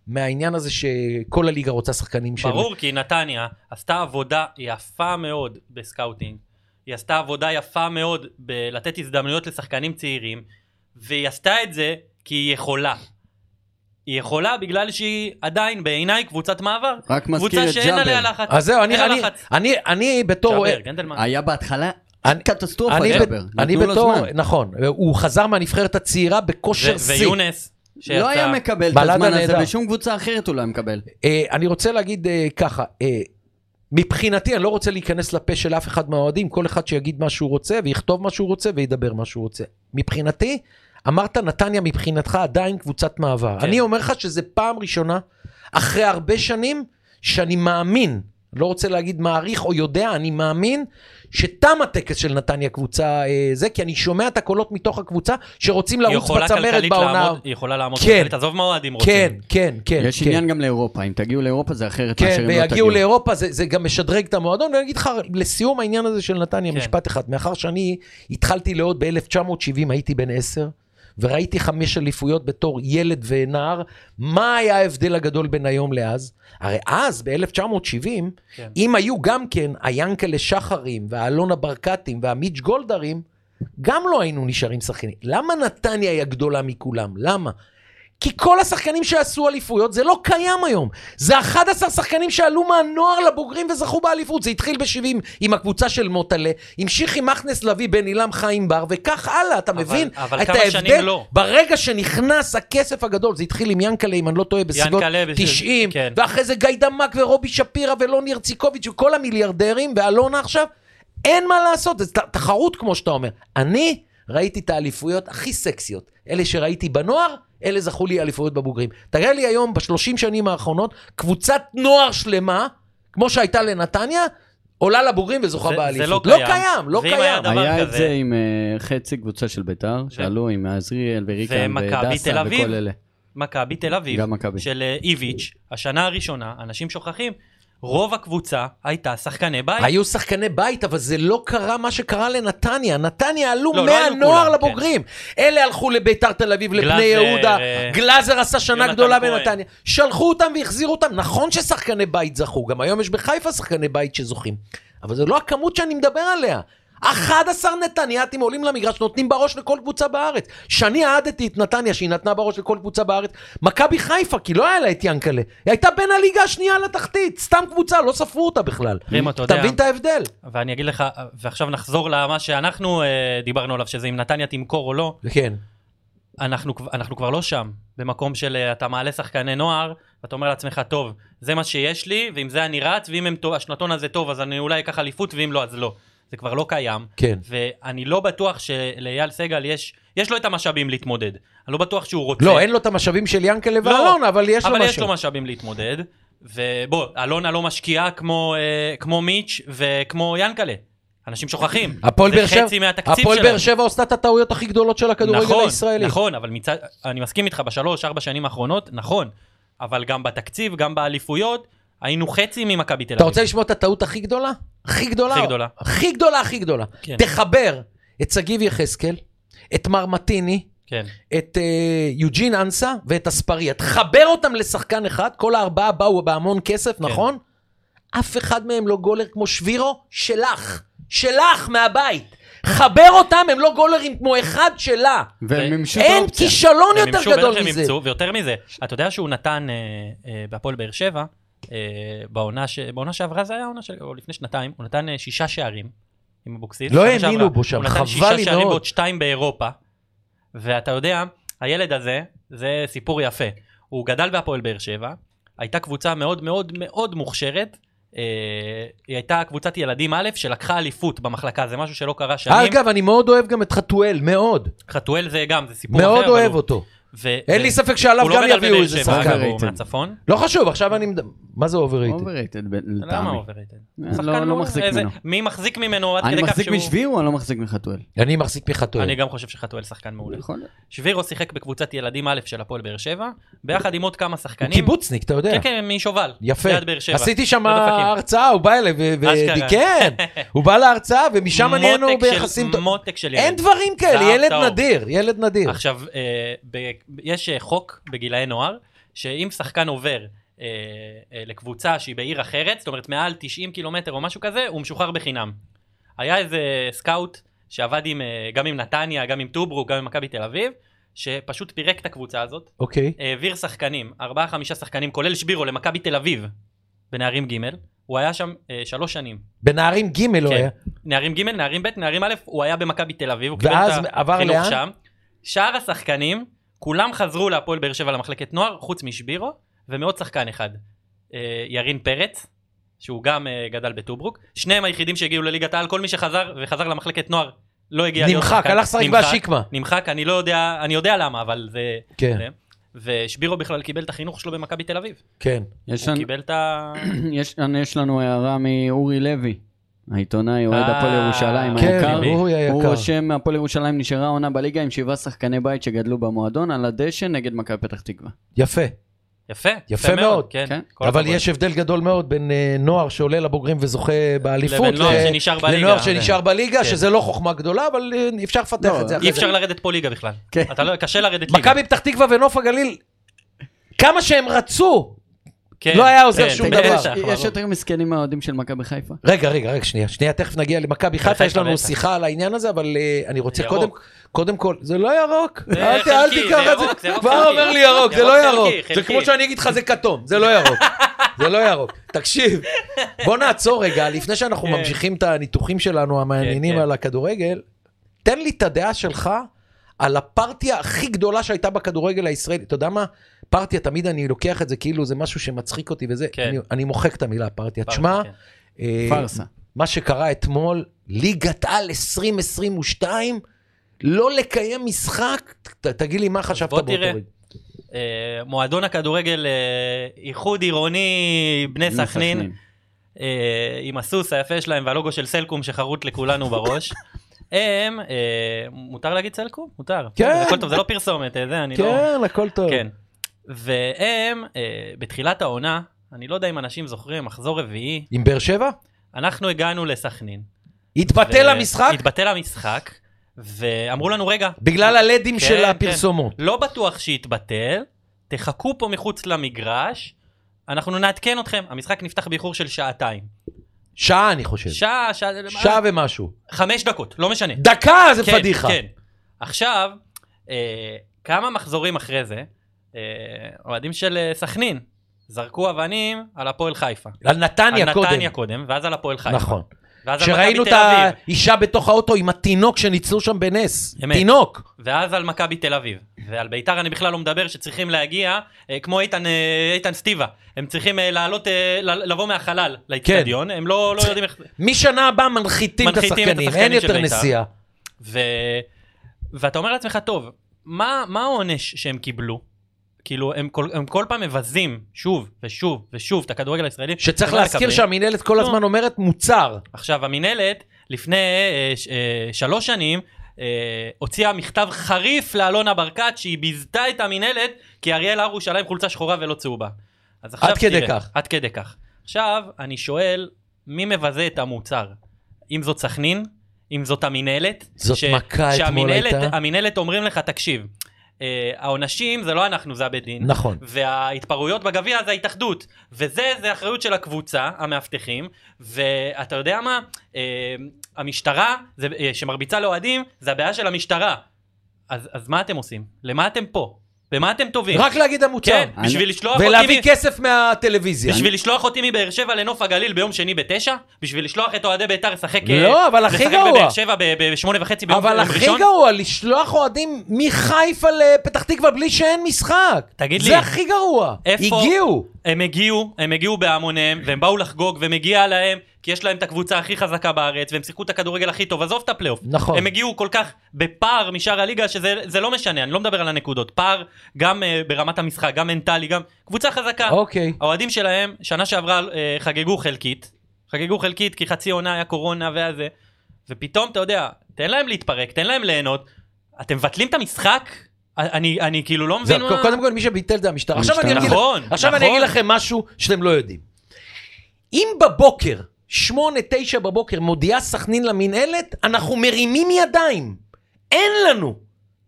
Speaker 1: מהעניין הזה שכל הליגה רוצה שחקנים של...
Speaker 2: ברור, כי נתניה עשתה עבודה יפה מאוד בסקאוטינג. היא עשתה עבודה יפה מאוד בלתת הזדמנויות לשחקנים צעירים, והיא עשתה את זה כי היא יכולה. היא יכולה בגלל שהיא עדיין בעיניי קבוצת מעבר.
Speaker 3: רק מזכיר
Speaker 2: קבוצה
Speaker 3: את
Speaker 2: שאין עליה
Speaker 3: ג'אבר.
Speaker 2: לחץ.
Speaker 1: אז זהו, אני,
Speaker 2: אין לה
Speaker 1: אני,
Speaker 2: לחץ.
Speaker 1: אני, אני בתור...
Speaker 2: ג'אבר, גנדלמן.
Speaker 3: היה בהתחלה
Speaker 1: אני-
Speaker 3: קטסטרופה,
Speaker 1: אני,
Speaker 3: ג'אבר.
Speaker 1: ב- אני
Speaker 3: נתנו לו
Speaker 1: בתור...
Speaker 3: זמן.
Speaker 1: נכון, הוא חזר מהנבחרת הצעירה בכושר
Speaker 2: ו-
Speaker 1: שיא.
Speaker 2: ויונס, שיצא...
Speaker 3: לא היה מקבל את
Speaker 1: בלדה
Speaker 3: הזמן הזה,
Speaker 1: נהדר.
Speaker 3: בשום קבוצה אחרת הוא לא היה מקבל.
Speaker 1: אה, אני רוצה להגיד אה, ככה, אה, מבחינתי אני לא רוצה להיכנס לפה של אף אחד מהאוהדים, כל אחד שיגיד מה שהוא רוצה ויכתוב מה שהוא רוצה וידבר מה שהוא רוצה. מבחינתי, אמרת נתניה מבחינתך עדיין קבוצת מעבר.
Speaker 2: כן.
Speaker 1: אני אומר לך שזה פעם ראשונה, אחרי הרבה שנים, שאני מאמין, לא רוצה להגיד מעריך או יודע, אני מאמין שתם הטקס של נתניה קבוצה אה, זה, כי אני שומע את הקולות מתוך הקבוצה שרוצים
Speaker 2: היא
Speaker 1: לרוץ
Speaker 2: יכולה
Speaker 1: בצמרת
Speaker 2: כלכלית
Speaker 1: לא, בעונה.
Speaker 2: לעמוד, היא יכולה לעמוד
Speaker 1: כן.
Speaker 2: כלכלית, עזוב מה אוהדים רוצים.
Speaker 1: כן, כן, כן.
Speaker 3: יש
Speaker 1: כן.
Speaker 3: עניין גם לאירופה, אם תגיעו לאירופה זה אחרת מאשר
Speaker 1: כן,
Speaker 3: אם לא
Speaker 1: ויגיעו
Speaker 3: תגיעו.
Speaker 1: לאירופה, זה, זה גם משדרג את המועדון, ואני אגיד לך, לסיום העניין הזה של נתניה,
Speaker 2: כן.
Speaker 1: כן. משפט אחד, מאחר שאני התחלתי לעוד ב-1970, הייתי בן 10, וראיתי חמש אליפויות בתור ילד ונער, מה היה ההבדל הגדול בין היום לאז? הרי אז, ב-1970,
Speaker 2: כן.
Speaker 1: אם היו גם כן היאנקלה שחרים, והאלונה ברקתים, והמיץ' גולדרים, גם לא היינו נשארים שחקנים. למה נתניה היא הגדולה מכולם? למה? כי כל השחקנים שעשו אליפויות, זה לא קיים היום. זה 11 שחקנים שעלו מהנוער לבוגרים וזכו באליפות. זה התחיל ב-70 עם הקבוצה של מוטלה, המשיך עם מכנס לביא, בן עילם, חיים בר, וכך הלאה, אתה
Speaker 2: אבל-
Speaker 1: מבין?
Speaker 2: אבל
Speaker 1: את
Speaker 2: כמה שנים לא.
Speaker 1: ברגע שנכנס הכסף הגדול, זה התחיל עם ינקלה, אם אני לא טועה, בסביבות
Speaker 2: ינקלה, בש-
Speaker 1: 90,
Speaker 2: כן.
Speaker 1: ואחרי זה גיא דמק ורובי שפירא ולוני הרציקוביץ' וכל המיליארדרים, ואלונה עכשיו, אין מה לעשות, זו ת- תחרות כמו שאתה אומר. אני ראיתי את האליפויות הכי סקסיות. אלה שראיתי בנוער, אלה זכו לי אליפויות בבוגרים. תראה לי היום, בשלושים שנים האחרונות, קבוצת נוער שלמה, כמו שהייתה לנתניה, עולה לבוגרים וזוכה
Speaker 2: זה- זה
Speaker 1: באליפות.
Speaker 2: לא
Speaker 1: לא
Speaker 2: קיים.
Speaker 1: קיים, לא
Speaker 2: ואם
Speaker 1: קיים.
Speaker 2: היה דבר
Speaker 3: היה את
Speaker 2: כזה.
Speaker 3: זה עם אה, חצי קבוצה של ביתר, שעלו עם עזריאל וריקן
Speaker 2: ומכבי תל
Speaker 3: ודסה
Speaker 2: אביב.
Speaker 3: וכל אלה.
Speaker 2: מכבי תל אביב,
Speaker 3: גם מכבי.
Speaker 2: של אה, איביץ', השנה הראשונה, אנשים שוכחים, רוב הקבוצה הייתה שחקני בית.
Speaker 1: היו שחקני בית, אבל זה לא קרה מה שקרה לנתניה. נתניה עלו
Speaker 2: לא, לא היו
Speaker 1: מהנוער
Speaker 2: כולם, כן.
Speaker 1: לבוגרים. אלה הלכו לביתר תל אביב, לבני
Speaker 2: גלאזר,
Speaker 1: יהודה.
Speaker 2: אה,
Speaker 1: גלאזר עשה שנה
Speaker 2: יונתן
Speaker 1: גדולה
Speaker 2: כהן.
Speaker 1: בנתניה. שלחו אותם והחזירו אותם. נכון ששחקני בית זכו, גם היום יש בחיפה שחקני בית שזוכים. אבל זו לא הכמות שאני מדבר עליה. 11 נתנייתים עולים למגרש, נותנים בראש לכל קבוצה בארץ. שאני אהדתי את נתניה שהיא נתנה בראש לכל קבוצה בארץ. מכבי חיפה, כי לא היה לה את ינקלה. היא הייתה בין הליגה השנייה לתחתית. סתם קבוצה, לא ספרו אותה בכלל.
Speaker 2: רימו, אתה
Speaker 1: אתה
Speaker 2: יודע,
Speaker 1: מבין את ההבדל?
Speaker 2: ואני אגיד לך, אה, ועכשיו נחזור למה שאנחנו אה, דיברנו עליו, שזה אם נתניה תמכור או לא,
Speaker 1: כן.
Speaker 2: אנחנו, כב- אנחנו כבר לא שם, במקום של אה, אתה מעלה שחקני נוער, ואתה אומר לעצמך, טוב, זה מה שיש לי, ועם זה אני רץ, ואם הם טוב, השנתון הזה טוב, אז אני אולי אקח אליפות, ואם לא, אז לא. זה כבר לא קיים.
Speaker 1: כן.
Speaker 2: ואני לא בטוח שלאייל סגל יש, יש לו את המשאבים להתמודד. אני לא בטוח שהוא רוצה.
Speaker 1: לא, אין לו את המשאבים של ינקלה
Speaker 2: לא,
Speaker 1: ואלונה, אבל יש לו
Speaker 2: אבל יש
Speaker 1: משהו.
Speaker 2: לו משאבים להתמודד. ובוא, אלונה לא משקיעה כמו, אה, כמו מיץ' וכמו ינקלה. אנשים שוכחים.
Speaker 1: הפועל באר
Speaker 2: זה
Speaker 1: שבע,
Speaker 2: חצי מהתקציב
Speaker 1: הפועל
Speaker 2: שלהם.
Speaker 1: באר שבע עושה את הטעויות הכי גדולות של הכדורגל
Speaker 2: נכון,
Speaker 1: הישראלי.
Speaker 2: נכון, אבל מצד... אני מסכים איתך, בשלוש, ארבע שנים האחרונות, נכון. אבל גם בתקציב, גם באליפויות, היינו חצי ממכבי תל אביב.
Speaker 1: אתה רוצה לשמוע את הטעות הכי גדולה? הכי גדולה.
Speaker 2: הכי גדולה.
Speaker 1: הכי גדולה, הכי גדולה.
Speaker 2: כן.
Speaker 1: תחבר את שגיב יחזקאל, את מר מטיני,
Speaker 2: כן.
Speaker 1: את אה, יוג'ין אנסה ואת אספריה. תחבר אותם לשחקן אחד, כל הארבעה באו בהמון
Speaker 2: כן.
Speaker 1: כסף, נכון? אף אחד מהם לא גולר כמו שבירו, שלך. שלך, מהבית. חבר אותם, הם לא גולרים כמו אחד שלה.
Speaker 3: והם מימשו את
Speaker 1: אין
Speaker 3: האופציה.
Speaker 1: כישלון
Speaker 2: הם
Speaker 1: יותר
Speaker 2: ימצאו, בטח
Speaker 1: גדול
Speaker 2: שהם
Speaker 1: מזה.
Speaker 2: ימצאו, ויותר מזה, אתה יודע שהוא נתן אה, אה, בהפועל באר שבע, אה, בעונה ש- בעונה שעברה זה היה העונה של... או לפני שנתיים, הוא נתן אה, שישה שערים עם אבוקסיס.
Speaker 1: לא
Speaker 2: שנה
Speaker 1: האמינו
Speaker 2: שעברה.
Speaker 1: בו שם,
Speaker 2: הוא
Speaker 1: חבל
Speaker 2: נתן שישה
Speaker 1: לי
Speaker 2: שערים
Speaker 1: מאוד.
Speaker 2: ועוד שתיים באירופה, ואתה יודע, הילד הזה, זה סיפור יפה. הוא גדל בהפועל באר שבע, הייתה קבוצה מאוד מאוד מאוד מוכשרת. אה, היא הייתה קבוצת ילדים א' שלקחה אליפות במחלקה, זה משהו שלא קרה שנים.
Speaker 1: אגב, אני מאוד אוהב גם את חתואל, מאוד.
Speaker 2: חתואל זה גם, זה סיפור אחר.
Speaker 1: מאוד
Speaker 2: אבל
Speaker 1: אוהב
Speaker 2: הוא-
Speaker 1: אותו.
Speaker 2: ו-
Speaker 1: אין
Speaker 2: ו-
Speaker 1: לי ספק שעליו
Speaker 2: הוא לא
Speaker 1: גם
Speaker 2: גדל
Speaker 1: יביאו
Speaker 2: בבאר
Speaker 1: איזה
Speaker 2: שבע,
Speaker 1: שחקן.
Speaker 2: אגב, הוא
Speaker 3: overrated.
Speaker 2: אוקיי. מהצפון.
Speaker 1: לא חשוב, עכשיו אני... מד- מה זה overrated?
Speaker 3: אובררייטד ב-
Speaker 2: למה
Speaker 3: לטעמי.
Speaker 2: אובררייטד?
Speaker 3: אני לא- לא מחזיק ממנו.
Speaker 2: מי מחזיק ממנו עד
Speaker 3: אני
Speaker 2: כדי כך
Speaker 3: מחזיק
Speaker 2: שהוא...
Speaker 3: משבירו, אני לא מחזיק מחתואל. נכון?
Speaker 1: אני מחזיק מחתואל.
Speaker 2: אני גם חושב שחתואל שחקן מעולה.
Speaker 3: יכול להיות.
Speaker 2: שבירו שיחק בקבוצת ילדים א' של הפועל באר שבע, ביחד עם עוד
Speaker 1: הוא
Speaker 2: כמה שחקנים.
Speaker 1: קיבוצניק, אתה יודע.
Speaker 3: אה.
Speaker 2: כן, כן, משובל.
Speaker 1: יפה.
Speaker 2: ליד באר שבע.
Speaker 1: עשיתי שם
Speaker 2: לא דופקים.
Speaker 1: הרצאה, הוא בא אליי, ו-
Speaker 2: אשכרה.
Speaker 1: ו- כן, הוא בא להרצאה, ומשם נהיינו
Speaker 2: מותק של-
Speaker 1: ביחסים... טוב.
Speaker 2: מותק של ילד.
Speaker 1: אין דברים כאלה,
Speaker 2: זהב
Speaker 1: ילד
Speaker 2: טהור.
Speaker 1: נדיר, ילד נדיר.
Speaker 2: עכשיו, אה, ב- יש אה, חוק בגילאי נוער, שאם שחקן עובר אה, אה, לקבוצה שהיא בעיר אחרת, זאת אומרת מעל 90 קילומטר או משהו כזה, הוא משוחרר בחינם. היה איזה סקאוט שעבד עם, אה, גם עם נתניה, גם עם טוברוק, גם עם מכבי תל אביב, שפשוט פירק את הקבוצה הזאת,
Speaker 1: אוקיי.
Speaker 2: העביר שחקנים, ארבעה חמישה שחקנים, כולל שבירו, למכבי תל אביב, בנערים ג', הוא היה שם אה, שלוש שנים.
Speaker 1: בנערים ג' לא
Speaker 2: כן.
Speaker 1: היה.
Speaker 2: נערים ג', נערים ב', נערים א', הוא היה במכבי תל אביב, הוא
Speaker 1: ואז
Speaker 2: קיבל את
Speaker 1: עבר
Speaker 2: החינוך
Speaker 1: לאן?
Speaker 2: שם. שאר השחקנים, כולם חזרו להפועל באר שבע למחלקת נוער, חוץ משבירו, ומעוד שחקן אחד. אה, ירין פרץ, שהוא גם אה, גדל בטוברוק. שניהם היחידים שהגיעו לליגת העל, כל מי שחזר וחזר למחלקת נוער לא הגיע להיות
Speaker 1: נמחק,
Speaker 2: שחקן.
Speaker 1: הלך לשחק
Speaker 2: נמחק,
Speaker 1: בשקמה.
Speaker 2: נמחק, אני לא יודע, אני יודע למה, אבל זה...
Speaker 1: כן,
Speaker 2: זה. ושבירו בכלל קיבל את החינוך שלו במכבי תל אביב.
Speaker 1: כן.
Speaker 3: יש
Speaker 2: הוא
Speaker 3: לנו-
Speaker 2: קיבל את ה...
Speaker 3: יש יש לנו הערה מאורי לוי, העיתונאי, אוהד
Speaker 2: אה,
Speaker 3: הפועל ירושלים
Speaker 1: כן,
Speaker 3: היקר.
Speaker 2: ליבי.
Speaker 1: אורי
Speaker 3: הוא
Speaker 1: היקר.
Speaker 3: רושם, הפועל ירושלים נשארה עונה בליגה עם שבעה שחקני בית שגדלו במועדון על הדשא נגד מכבי פתח תקווה.
Speaker 1: יפה.
Speaker 2: יפה,
Speaker 1: יפה מאוד.
Speaker 2: כן,
Speaker 3: כן.
Speaker 2: כל
Speaker 1: אבל
Speaker 2: הכבוד.
Speaker 1: יש הבדל גדול מאוד בין אה, נוער שעולה לבוגרים וזוכה באליפות,
Speaker 2: לבין נוער
Speaker 1: ל-
Speaker 2: שנשאר בליגה.
Speaker 1: אה, לנוער שנשאר בליגה,
Speaker 2: כן.
Speaker 1: שזה לא חוכמה גדולה, אבל אה, אפשר לפתח
Speaker 3: לא,
Speaker 1: את זה
Speaker 3: אי
Speaker 1: אחרי
Speaker 2: אי
Speaker 1: זה.
Speaker 2: אפשר לרדת פה ליגה בכלל.
Speaker 3: כן.
Speaker 2: אתה לא, קשה לרדת ליגה.
Speaker 1: מכבי פתח תקווה ונוף הגליל, כמה שהם רצו.
Speaker 2: כן,
Speaker 1: לא היה עוזר
Speaker 2: כן,
Speaker 1: שום
Speaker 2: בטח,
Speaker 1: דבר.
Speaker 2: בטח,
Speaker 3: יש
Speaker 2: ברור.
Speaker 3: יותר מסכנים מהאוהדים של מכבי חיפה?
Speaker 1: רגע, רגע, רגע, שנייה, שנייה, תכף נגיע למכבי חיפה, יש לנו
Speaker 2: בטח.
Speaker 1: שיחה על העניין הזה, אבל אה, אני רוצה
Speaker 2: ירוק.
Speaker 1: קודם, קודם כל, זה לא ירוק,
Speaker 2: זה
Speaker 1: אל ת- אל
Speaker 2: חלקי,
Speaker 1: תיקח
Speaker 2: זה
Speaker 1: את
Speaker 2: ירוק, זה
Speaker 1: זה,
Speaker 2: ירוק
Speaker 1: כבר
Speaker 2: חלקי.
Speaker 1: אומר לי ירוק, זה
Speaker 2: ירוק
Speaker 1: לא
Speaker 2: חלקי,
Speaker 1: ירוק, זה
Speaker 2: חלקי.
Speaker 1: כמו שאני אגיד לך זה כתום, זה לא ירוק, זה לא ירוק, תקשיב, בוא נעצור רגע, לפני שאנחנו
Speaker 2: כן.
Speaker 1: ממשיכים את הניתוחים שלנו המעניינים
Speaker 2: כן, כן.
Speaker 1: על הכדורגל, תן לי את הדעה שלך על הפרטיה הכי גדולה שהייתה בכדורגל הישראלי, אתה יודע מה? פרטיה, תמיד אני לוקח את זה כאילו זה משהו שמצחיק אותי וזה,
Speaker 2: כן.
Speaker 1: אני- אני מוחק את המילה פרטיה.
Speaker 2: פרטיה,
Speaker 1: תשמע,
Speaker 2: כן.
Speaker 1: אה,
Speaker 3: פארסה.
Speaker 1: מה שקרה אתמול, ליגת על 2022, לא לקיים משחק, ת, תגיד לי מה חשבת
Speaker 2: בוא
Speaker 1: באותו
Speaker 2: תראה.
Speaker 1: רגע.
Speaker 2: אה, מועדון הכדורגל אה, איחוד עירוני בני סכנין, אה, עם הסוס היפה שלהם והלוגו של סלקום שחרוט לכולנו בראש. הם, אה, מותר להגיד סלקום? מותר.
Speaker 1: כן.
Speaker 2: הכל טוב, זה לא פרסומת, אה, זה אני לא...
Speaker 1: כן, הכל טוב.
Speaker 2: כן. והם, אה, בתחילת העונה, אני לא יודע אם אנשים זוכרים, מחזור רביעי,
Speaker 1: עם באר שבע? אנחנו...
Speaker 2: אנחנו הגענו לסכנין.
Speaker 1: התבטל
Speaker 2: ו-
Speaker 1: המשחק
Speaker 2: התבטל המשחק, ואמרו לנו, רגע,
Speaker 1: בגלל הלדים
Speaker 2: כן,
Speaker 1: של
Speaker 2: כן.
Speaker 1: הפרסומות.
Speaker 2: לא בטוח שיתבטל, תחכו פה מחוץ למגרש, אנחנו נעדכן אתכם. המשחק נפתח באיחור של שעתיים.
Speaker 1: שעה אני חושב.
Speaker 2: שעה, שעה,
Speaker 1: כן. שעה ומשהו.
Speaker 2: חמש דקות, לא משנה.
Speaker 1: דקה זה פדיחה.
Speaker 2: כן. עכשיו, אה, כמה מחזורים אחרי זה, אה, אוהדים של אה, סכנין זרקו אבנים על הפועל חיפה.
Speaker 1: על נתניה
Speaker 2: על
Speaker 1: קודם.
Speaker 2: נתניה קודם, ואז על הפועל חיפה.
Speaker 1: נכון.
Speaker 2: ואז על מכבי
Speaker 1: שראינו את
Speaker 2: תל אביב.
Speaker 1: האישה בתוך האוטו עם התינוק שניצלו שם בנס.
Speaker 2: אמת.
Speaker 1: תינוק.
Speaker 2: ואז על מכבי תל אביב. ועל ביתר אני בכלל לא מדבר שצריכים להגיע, אה, כמו איתן, אה, איתן סטיבה, הם צריכים אה, לעלות, אה, ל- לבוא מהחלל לאיצטדיון,
Speaker 1: כן.
Speaker 2: הם לא, לא יודעים איך...
Speaker 1: משנה הבאה מנחיתים את
Speaker 2: מנחיתים את
Speaker 1: השחקנים,
Speaker 2: השחקנים
Speaker 1: אין
Speaker 2: של
Speaker 1: יותר
Speaker 2: בית"ר.
Speaker 1: נסיעה.
Speaker 2: ו... ואתה אומר לעצמך, טוב, מה, מה העונש שהם קיבלו? כאילו, הם כל, הם כל פעם מבזים שוב ושוב ושוב את הכדורגל הישראלי.
Speaker 1: שצריך
Speaker 2: ומה
Speaker 1: להזכיר
Speaker 2: מקבלים?
Speaker 1: שהמינהלת כל
Speaker 2: לא.
Speaker 1: הזמן אומרת מוצר.
Speaker 2: עכשיו, המינהלת, לפני אה, ש- אה, שלוש שנים, אה, הוציאה מכתב חריף לאלונה ברקת, שהיא ביזתה את המינהלת, כי אריאל הרוש עלה עם חולצה שחורה ולא צהובה. אז עכשיו
Speaker 1: עד כדי
Speaker 2: תראה,
Speaker 1: כך.
Speaker 2: עד כדי כך. עכשיו, אני שואל, מי מבזה את המוצר? אם זאת סכנין, אם זאת המינהלת.
Speaker 1: זאת מכה אתמול
Speaker 2: שהמינהלת-
Speaker 1: הייתה.
Speaker 2: המינהלת אומרים לך, תקשיב, אה, העונשים זה לא אנחנו, זה הבית דין.
Speaker 1: נכון.
Speaker 2: וההתפרעויות בגביע זה ההתאחדות, וזה זה אחריות של הקבוצה, המאבטחים, ואתה יודע מה, אה, המשטרה זה, אה, שמרביצה לאוהדים, זה הבעיה של המשטרה. אז, אז מה אתם עושים? למה אתם פה? במה אתם טובים?
Speaker 1: רק להגיד המוצר.
Speaker 2: כן,
Speaker 3: אני-
Speaker 2: בשביל לשלוח אותי...
Speaker 1: ולהביא
Speaker 2: מ-
Speaker 1: כסף מהטלוויזיה.
Speaker 2: בשביל לשלוח אותי מבאר שבע לנוף הגליל ביום שני בתשע? בשביל לשלוח את אוהדי בית"ר לשחק... אה,
Speaker 1: לא, אבל הכי
Speaker 2: לשחק
Speaker 1: גרוע.
Speaker 2: בבאר שבע ב- בשמונה וחצי ביום
Speaker 1: אבל
Speaker 2: יום
Speaker 1: הכי
Speaker 2: ראשון?
Speaker 1: גרוע, לשלוח אוהדים מחיפה לפתח תקווה בלי שאין משחק.
Speaker 2: תגיד לי,
Speaker 1: זה הכי גרוע.
Speaker 2: איפה-
Speaker 1: הגיעו.
Speaker 2: הם הגיעו, הם הגיעו בהמוניהם, והם באו לחגוג, ומגיע להם, כי יש להם את הקבוצה הכי חזקה בארץ, והם שיחקו את הכדורגל הכי טוב, עזוב את הפלייאוף.
Speaker 1: נכון.
Speaker 2: הם הגיעו כל כך בפער משאר הליגה, שזה זה לא משנה, אני לא מדבר על הנקודות. פער גם אה, ברמת המשחק, גם מנטלי, גם... קבוצה חזקה.
Speaker 1: אוקיי.
Speaker 2: האוהדים שלהם, שנה שעברה אה, חגגו חלקית. חגגו חלקית כי חצי עונה היה קורונה והיה זה. ופתאום, אתה יודע, תן להם להתפרק, תן להם ליהנות. אתם מבטלים את המשחק? אני, אני כאילו לא
Speaker 1: זה-
Speaker 2: מבין מה...
Speaker 1: קודם כל, מי שביטל זה המשטרה. עכשיו אני
Speaker 3: המשטרה.
Speaker 1: אגיד
Speaker 2: נכון,
Speaker 1: עכשיו
Speaker 2: נכון.
Speaker 1: אני אגיד לכם משהו שאתם לא יודעים. אם בבוקר, שמונה, תשע בבוקר, מודיעה סכנין למינהלת, אנחנו מרימים ידיים. אין לנו.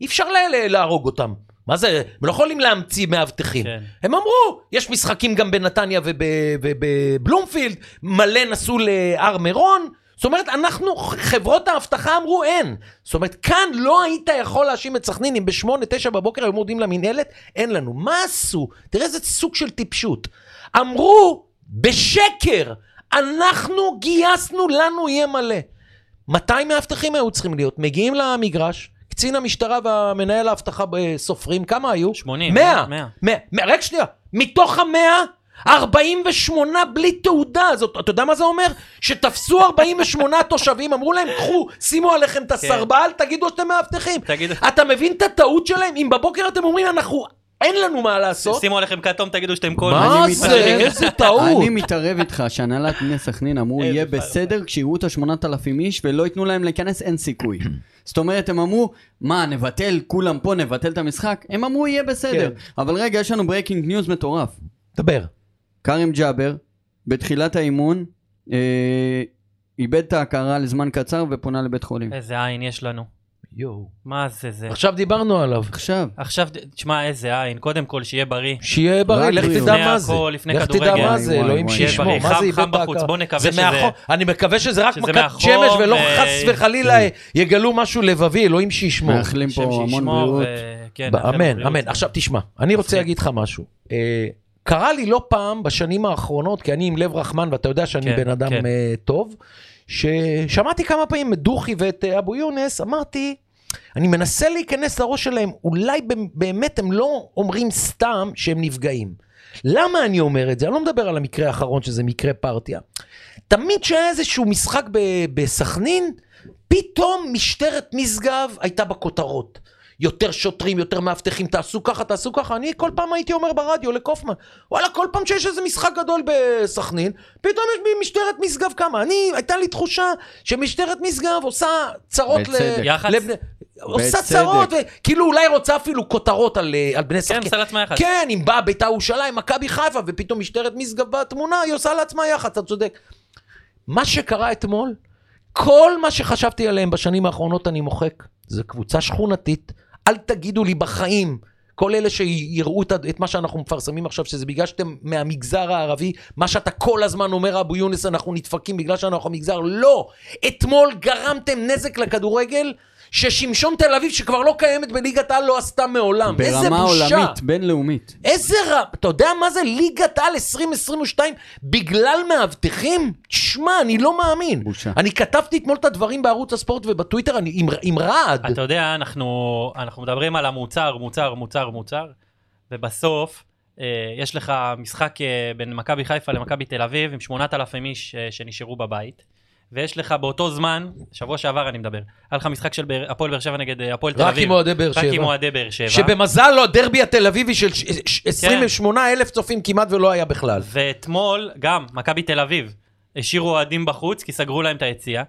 Speaker 1: אי אפשר ל- ל- להרוג אותם. מה זה, הם לא יכולים להמציא מאבטחים.
Speaker 2: כן.
Speaker 1: הם אמרו, יש משחקים גם בנתניה ובבלומפילד, מלא נסעו להר מירון. זאת אומרת, אנחנו, חברות האבטחה אמרו אין. זאת אומרת, כאן לא היית יכול להאשים את סכנין אם בשמונה, תשע בבוקר היו מודיעים למינהלת, אין לנו. מה עשו? תראה איזה סוג של טיפשות. אמרו, בשקר, אנחנו גייסנו, לנו יהיה מלא. 200 מאבטחים היו צריכים להיות, מגיעים למגרש, קצין המשטרה והמנהל האבטחה ב- סופרים, כמה היו?
Speaker 2: 80,
Speaker 1: 100,
Speaker 2: 100.
Speaker 1: 100, 100, רק שנייה, מתוך המאה, 48 בלי תעודה, זאת, אתה יודע מה זה אומר? שתפסו 48 תושבים, אמרו להם, קחו, שימו עליכם
Speaker 3: כן.
Speaker 1: את הסרבל, תגידו שאתם מאבטחים.
Speaker 2: תגיד-
Speaker 1: אתה מבין את הטעות שלהם? אם בבוקר אתם אומרים, אנחנו, אין לנו מה לעשות.
Speaker 2: שימו עליכם כתום, תגידו שאתם כל...
Speaker 1: מה
Speaker 3: אני
Speaker 1: זה,
Speaker 3: מתערב.
Speaker 1: איזה טעות.
Speaker 3: אני מתערב איתך שהנהלת בני סכנין אמרו
Speaker 2: איזה
Speaker 3: יהיה
Speaker 2: פרווה."
Speaker 3: בסדר כשיראו את השמונת אלפים איש ולא ייתנו להם להיכנס אין סיכוי. זאת אומרת הם אמרו מה נבטל כולם פה נבטל את המשחק הם אמרו יהיה בסדר
Speaker 2: כן.
Speaker 3: אבל רגע יש לנו ברייקינג ניוז מטורף.
Speaker 1: דבר.
Speaker 3: כרם ג'אבר בתחילת האימון אה, איבד את ההכרה לזמן קצר ופונה לבית חולים.
Speaker 2: איזה עין יש לנו.
Speaker 1: יואו.
Speaker 2: מה זה זה?
Speaker 1: עכשיו דיברנו עליו.
Speaker 3: עכשיו
Speaker 2: עכשיו, תשמע איזה עין, קודם כל שיהיה בריא.
Speaker 1: שיהיה בריא,
Speaker 3: רק
Speaker 1: לך
Speaker 3: בריאות.
Speaker 1: תדע
Speaker 2: לפני
Speaker 1: מה זה.
Speaker 2: הכל, לפני
Speaker 1: לך תדע
Speaker 2: כדורגל.
Speaker 1: מה זה,
Speaker 3: וואי,
Speaker 1: אלוהים
Speaker 3: וואי,
Speaker 1: שישמור.
Speaker 2: וואי.
Speaker 1: מה זה איבד
Speaker 2: חם, חם בחוץ,
Speaker 1: בהכרה?
Speaker 2: בוא נקווה
Speaker 1: זה
Speaker 2: שזה-
Speaker 1: מהחום. אני מקווה שזה רק
Speaker 2: שזה
Speaker 1: מכת
Speaker 2: מהחום,
Speaker 1: שמש ולא
Speaker 2: אה,
Speaker 1: חס וחלילה אה, יגלו משהו לבבי, אלוהים שישמור.
Speaker 3: מאחלים
Speaker 2: השם
Speaker 3: פה המון
Speaker 2: שישמור,
Speaker 3: בריאות.
Speaker 2: אה, כן, אוקיי.
Speaker 1: ב-
Speaker 2: נאחל לו
Speaker 1: אמן,
Speaker 2: בריאות.
Speaker 1: אמן. עכשיו תשמע, אני רוצה
Speaker 2: מצחיק.
Speaker 1: להגיד לך משהו. אה, קרה לי לא פעם בשנים האחרונות, כי אני עם לב רחמן ואתה יודע שאני
Speaker 2: כן,
Speaker 1: בן אדם
Speaker 2: כן.
Speaker 1: אה, טוב, ששמעתי כמה פעמים את דוכי ואת אה, אבו יונס, אמרתי, אני מנסה להיכנס לראש שלהם, אולי במ- באמת הם לא אומרים סתם שהם נפגעים. למה אני אומר את זה? אני לא מדבר על המקרה האחרון שזה מקרה פרטיה. תמיד שהיה איזשהו משחק ב- בסכנין, פתאום משטרת משגב הייתה בכותרות. יותר שוטרים, יותר מאבטחים, תעשו ככה, תעשו ככה. אני כל פעם הייתי אומר ברדיו לקופמן, וואלה, כל פעם שיש איזה משחק גדול בסכנין, פתאום יש משטרת משגב קמה. אני, הייתה לי תחושה שמשטרת משגב עושה צרות
Speaker 3: בצדק.
Speaker 2: יח"צ?
Speaker 1: עושה
Speaker 3: בצדק.
Speaker 1: צרות, וכאילו אולי רוצה אפילו כותרות על, אה, על בני
Speaker 2: כן,
Speaker 1: סכנין.
Speaker 2: עשה לעצמה יחד.
Speaker 1: כן, אם באה בית"ר ירושלים, מכבי חיפה, ופתאום משטרת משגב בתמונה, היא עושה לעצמה יח"צ, אתה צודק. מה שקרה אתמול, כל מה שחשבתי עליהם בשנים האחרונות אני מוחק. זו קבוצה שכונתית, אל תגידו לי בחיים. כל אלה שיראו את, ה- את מה שאנחנו מפרסמים עכשיו, שזה בגלל שאתם מהמגזר הערבי, מה שאתה כל הזמן אומר, אבו יונס, אנחנו נדפקים בגלל שאנחנו המגזר, לא! אתמול גרמתם נזק לכדורגל, ששמשון תל אביב, שכבר לא קיימת בליגת העל, לא עשתה מעולם. איזה
Speaker 3: ברמה
Speaker 1: בושה!
Speaker 3: עולמית בינלאומית.
Speaker 1: איזה רע, אתה יודע מה זה ליגת על 2022 בגלל מאבטחים? תשמע, אני לא מאמין.
Speaker 3: בושה.
Speaker 1: אני כתבתי אתמול את הדברים בערוץ הספורט ובטוויטר, אני עם, עם רעד.
Speaker 2: אתה יודע, אנחנו, אנחנו מדברים על המוצר, מוצר, מוצר, מוצר, ובסוף אה, יש לך משחק אה, בין מכבי חיפה למכבי תל אביב עם 8,000 איש אה, שנשארו בבית, ויש לך באותו זמן, שבוע שעבר אני מדבר, היה לך משחק של באר- הפועל באר שבע נגד אה, הפועל תל
Speaker 1: רק
Speaker 2: אביב.
Speaker 1: עם אוהדי באר
Speaker 2: רק עם
Speaker 1: שבע.
Speaker 2: אוהדי באר שבע. כן.
Speaker 1: שבמזל לא, הדרבי התל אביבי של ש- ש- 28 אלף צופים כמעט ולא היה בכלל.
Speaker 2: ואתמול גם, מכבי תל אביב, השאירו אוהדים בחוץ כי סגרו להם את היציאה.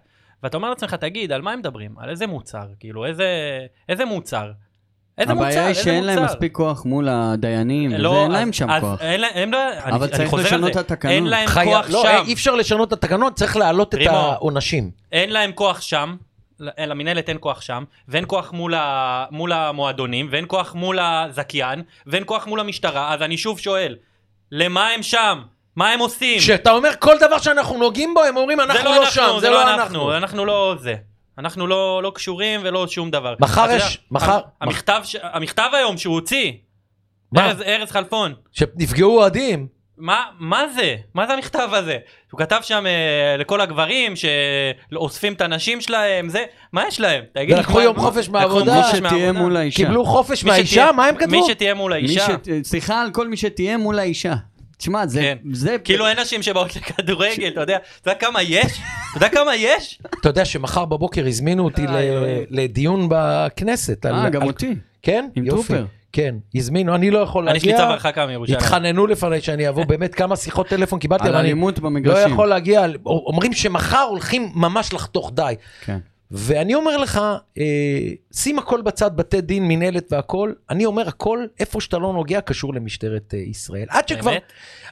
Speaker 2: ואתה אומר לעצמך, תגיד, על מה הם מדברים? על איזה מוצר? כאילו, איזה, איזה מוצר? איזה מוצר?
Speaker 3: הבעיה היא
Speaker 2: איזה
Speaker 3: שאין להם
Speaker 2: מוצר?
Speaker 3: מספיק כוח מול הדיינים, וזה
Speaker 2: לא,
Speaker 3: אין להם
Speaker 2: אז-
Speaker 3: שם
Speaker 2: אז
Speaker 3: כוח.
Speaker 2: אין להם- הם לא- אני-
Speaker 3: אבל
Speaker 2: אני
Speaker 3: צריך
Speaker 2: חוזר על
Speaker 3: לשנות
Speaker 2: זה.
Speaker 3: את התקנון.
Speaker 2: אין להם
Speaker 1: חייב-
Speaker 2: כוח
Speaker 1: לא,
Speaker 2: שם.
Speaker 1: אי אפשר לשנות את התקנון, צריך להעלות את
Speaker 2: רימו.
Speaker 1: העונשים.
Speaker 2: אין להם כוח שם, למינהלת אין כוח שם, ואין כוח מול, ה... מול המועדונים, ואין כוח מול הזכיין, ואין כוח מול המשטרה, אז אני שוב שואל, למה הם שם? מה הם עושים?
Speaker 1: כשאתה אומר כל דבר שאנחנו נוגעים בו, הם אומרים
Speaker 2: זה
Speaker 1: אנחנו לא שם, זה לא אנחנו.
Speaker 2: אנחנו לא זה. אנחנו לא, לא קשורים ולא שום דבר.
Speaker 1: מחר
Speaker 2: אתה יודע,
Speaker 1: יש- מחר-
Speaker 2: המכתב, ש... המכתב היום שהוא הוציא,
Speaker 1: מה?
Speaker 2: ארז, ארז חלפון,
Speaker 1: שנפגעו אוהדים.
Speaker 2: מה, מה זה? מה זה המכתב הזה? הוא כתב שם אה, לכל הגברים שאוספים את הנשים שלהם, זה, מה יש להם? תגיד לי,
Speaker 1: ולקחו
Speaker 2: מה-
Speaker 1: יום חופש
Speaker 2: לקחו
Speaker 1: מהעבודה.
Speaker 2: יום
Speaker 1: מי
Speaker 2: חופש
Speaker 3: שתהיה
Speaker 2: לא מהעבודה.
Speaker 3: מול האישה.
Speaker 1: קיבלו חופש
Speaker 2: מי
Speaker 1: מהאישה?
Speaker 2: שתהיה-
Speaker 1: מה הם כתבו?
Speaker 2: מי שתהיה מול
Speaker 3: מי
Speaker 2: האישה.
Speaker 3: ש- אה, סליחה על כל מי שתהיה מול האישה. תשמע, זה...
Speaker 2: כן.
Speaker 3: זה-
Speaker 2: כאילו אין נשים שבאות לכדורגל, אתה יודע, אתה יודע כמה יש? אתה יודע כמה יש?
Speaker 1: אתה יודע שמחר בבוקר הזמינו אותי ל-
Speaker 2: איי, אלוהים. לדיון
Speaker 1: בכנסת. על-
Speaker 3: אה, גם
Speaker 1: על-
Speaker 3: אותי.
Speaker 1: כן?
Speaker 3: עם
Speaker 1: יופי.
Speaker 3: טרופר.
Speaker 1: כן, הזמינו, אני לא יכול
Speaker 2: אני
Speaker 1: להגיע.
Speaker 2: שליצה והרחקה מירושלים.
Speaker 1: התחננו לפני שאני אבוא, באמת כמה שיחות טלפון קיבלתי,
Speaker 3: על
Speaker 1: אבל אני
Speaker 3: אלימות
Speaker 1: לא
Speaker 3: במגרשים.
Speaker 1: יכול להגיע. אומרים שמחר הולכים ממש לחתוך די.
Speaker 3: כן.
Speaker 1: ואני אומר לך, אה, שים הכל בצד, בתי דין, מינהלת והכל, אני אומר הכל, איפה שאתה לא נוגע, קשור למשטרת אה, ישראל. עד שכבר,
Speaker 2: באמת?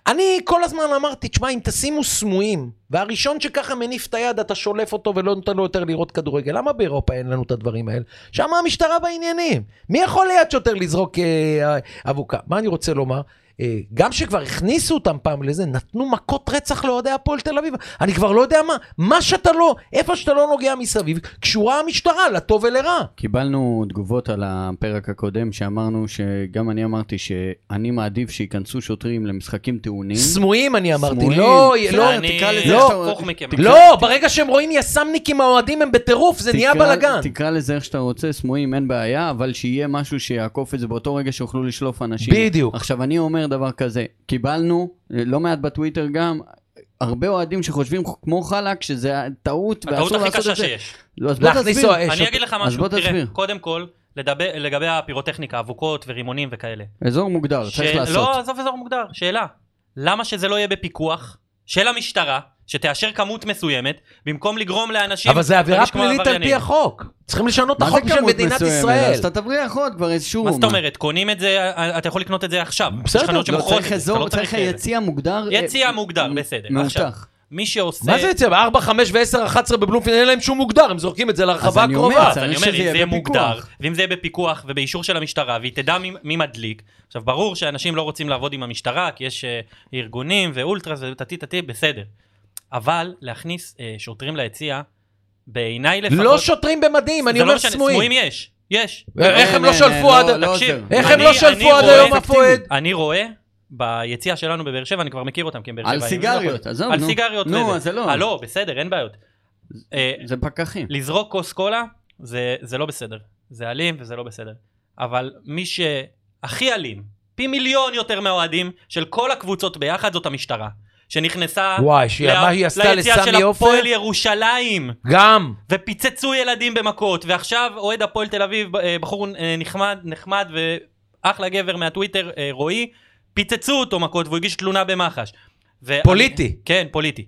Speaker 1: אני כל הזמן אמרתי, תשמע, אם תשימו סמויים, והראשון שככה מניף את היד, אתה שולף אותו ולא נותן לו יותר לראות כדורגל, למה באירופה אין לנו את הדברים האלה? שם המשטרה בעניינים. מי יכול ליד שוטר לזרוק אה, אבוקה? מה אני רוצה לומר? אה, גם שכבר הכניסו אותם פעם לזה, נתנו מכות רצח לאוהדי הפועל תל אביב. אני כבר לא יודע מה, מה שאתה לא, איפה שאתה לא נוגע מסביב, קשורה המשטרה לטוב ולרע.
Speaker 3: קיבלנו תגובות על הפרק הקודם שאמרנו שגם אני אמרתי שאני מעדיף שייכנסו שוטרים למשחקים טעונים.
Speaker 1: סמויים, אני אמרתי,
Speaker 3: סמויים.
Speaker 1: לא,
Speaker 3: בסדר,
Speaker 1: לא,
Speaker 2: אני
Speaker 3: תקרא לזה
Speaker 1: לא.
Speaker 2: הפוך מכם.
Speaker 1: לא, ברגע שהם רואים יס"מניקים האוהדים הם בטירוף, זה נהיה
Speaker 3: תקרא-
Speaker 1: בלאגן.
Speaker 3: תקרא לזה איך שאתה רוצה, סמויים, אין בעיה, אבל שיהיה משהו שיעקוף את זה באותו רגע שיוכלו לשלוף אנשים.
Speaker 1: בדיוק.
Speaker 3: עכשיו, אני אומר דבר כזה, קיבלנו, אה, לא מעט בטוויטר גם, הרבה אוהדים שחושבים כמו חלק שזה טעות,
Speaker 2: הטעות
Speaker 3: ואסור
Speaker 2: הכי
Speaker 3: לעשות
Speaker 2: קשה
Speaker 3: את זה.
Speaker 2: שיש.
Speaker 3: לא, אז בוא
Speaker 1: להכניס
Speaker 3: תסביר.
Speaker 1: אוהד.
Speaker 2: אני אגיד לך
Speaker 3: אז
Speaker 2: משהו,
Speaker 3: בוא
Speaker 2: תראה,
Speaker 3: תסביר.
Speaker 2: קודם כל, לדבר- לגבי הפירוטכניקה, אבוקות ורימונים וכאלה.
Speaker 3: אזור מוגדר, צריך
Speaker 2: ש-
Speaker 3: לעשות.
Speaker 2: לא, עזוב אזור מוגדר, שאלה. למה שזה לא יהיה בפיקוח של המשטרה, שתאשר כמות מסוימת, במקום לגרום לאנשים...
Speaker 1: אבל זה עבירה
Speaker 2: להרגיש כמו
Speaker 1: פלילית על פי
Speaker 2: כן, עבריינים?
Speaker 1: החוק. צריכים לשנות את
Speaker 3: מה זה
Speaker 1: החוק של
Speaker 3: כמות
Speaker 1: מדינת
Speaker 3: מסוימת?
Speaker 1: נכון. ישראל.
Speaker 3: אז אתה תבריח עוד כבר איזשהו...
Speaker 2: מה זאת אומרת? קונים את זה, אה, אתה יכול לקנות את זה עכשיו. יש
Speaker 1: בסדר,
Speaker 2: חנויות
Speaker 3: לא,
Speaker 2: שמוכרות את
Speaker 3: צריך
Speaker 2: זה, אתה
Speaker 3: אזור,
Speaker 2: לא
Speaker 3: צריך
Speaker 2: את זה.
Speaker 3: יציע מוגדר. אה,
Speaker 2: יציע מוגדר, בסדר. עכשיו,
Speaker 3: מאובטח.
Speaker 2: מי שעושה...
Speaker 1: מה זה יצא? 4, 5 ו-10, 11 בבלומפילד, אין להם שום מוגדר, הם זורקים את זה
Speaker 3: אז
Speaker 1: לרחבה
Speaker 3: אני אומר,
Speaker 1: הקרובה.
Speaker 2: אה, אז אני
Speaker 3: צריך
Speaker 2: אומר, אם
Speaker 3: שזה
Speaker 2: זה
Speaker 3: יהיה
Speaker 2: יהיה
Speaker 3: בפיקוח.
Speaker 2: מוגדר, ואם זה יהיה בפיקוח ובאישור של המשטרה, והיא תדע מי- מי מדליק. עכשיו, ברור שאנשים לא רוצים לעבוד עם המשטרה, כי יש אה, ארגונים ואולטרס וטטי טטי, בסדר. אבל להכניס אה, שוטרים ליציע, בעיניי לפחות...
Speaker 1: לא שוטרים במדים,
Speaker 2: אה,
Speaker 1: אני
Speaker 2: זה לא
Speaker 1: אומר
Speaker 2: משנה,
Speaker 1: סמויים.
Speaker 2: סמויים יש, יש.
Speaker 3: אה,
Speaker 1: איך הם לא
Speaker 3: אין,
Speaker 1: שלפו
Speaker 3: אין,
Speaker 1: עד...
Speaker 3: לא
Speaker 2: תקשיב,
Speaker 3: עוזר.
Speaker 1: איך הם
Speaker 2: אני-
Speaker 1: לא
Speaker 2: אני
Speaker 1: שלפו עד
Speaker 2: רואה-
Speaker 1: היום אף אוהד?
Speaker 2: אני רואה ביציע שלנו בבאר שבע, אני כבר מכיר אותם, כי הם באר שבע.
Speaker 3: על סיגריות, עזוב,
Speaker 2: על
Speaker 3: נו.
Speaker 2: סיגריות.
Speaker 3: נו,
Speaker 2: וזה.
Speaker 3: אז זה לא.
Speaker 2: אה, לא, בסדר, אין בעיות. אה,
Speaker 3: זה פקחים.
Speaker 2: לזרוק כוס קולה זה, זה לא בסדר. זה אלים וזה לא בסדר. אבל מי שהכי אלים, פי מיליון יותר מהאוהדים של כל הקבוצות ביחד, זאת המשטרה. שנכנסה
Speaker 1: וואי, שהיא-
Speaker 2: לה-
Speaker 1: מה היא עשתה
Speaker 2: ליציאה של
Speaker 1: לסמי עופר?
Speaker 2: הפועל ירושלים,
Speaker 1: גם.
Speaker 2: ופיצצו ילדים במכות, ועכשיו אוהד הפועל תל אביב, אה, בחור אה, נחמד, נחמד ואחלה גבר מהטוויטר, אה, רועי, פיצצו אותו מכות והוא הגיש תלונה במח"ש. ואני-
Speaker 1: פוליטי.
Speaker 2: כן, פוליטי.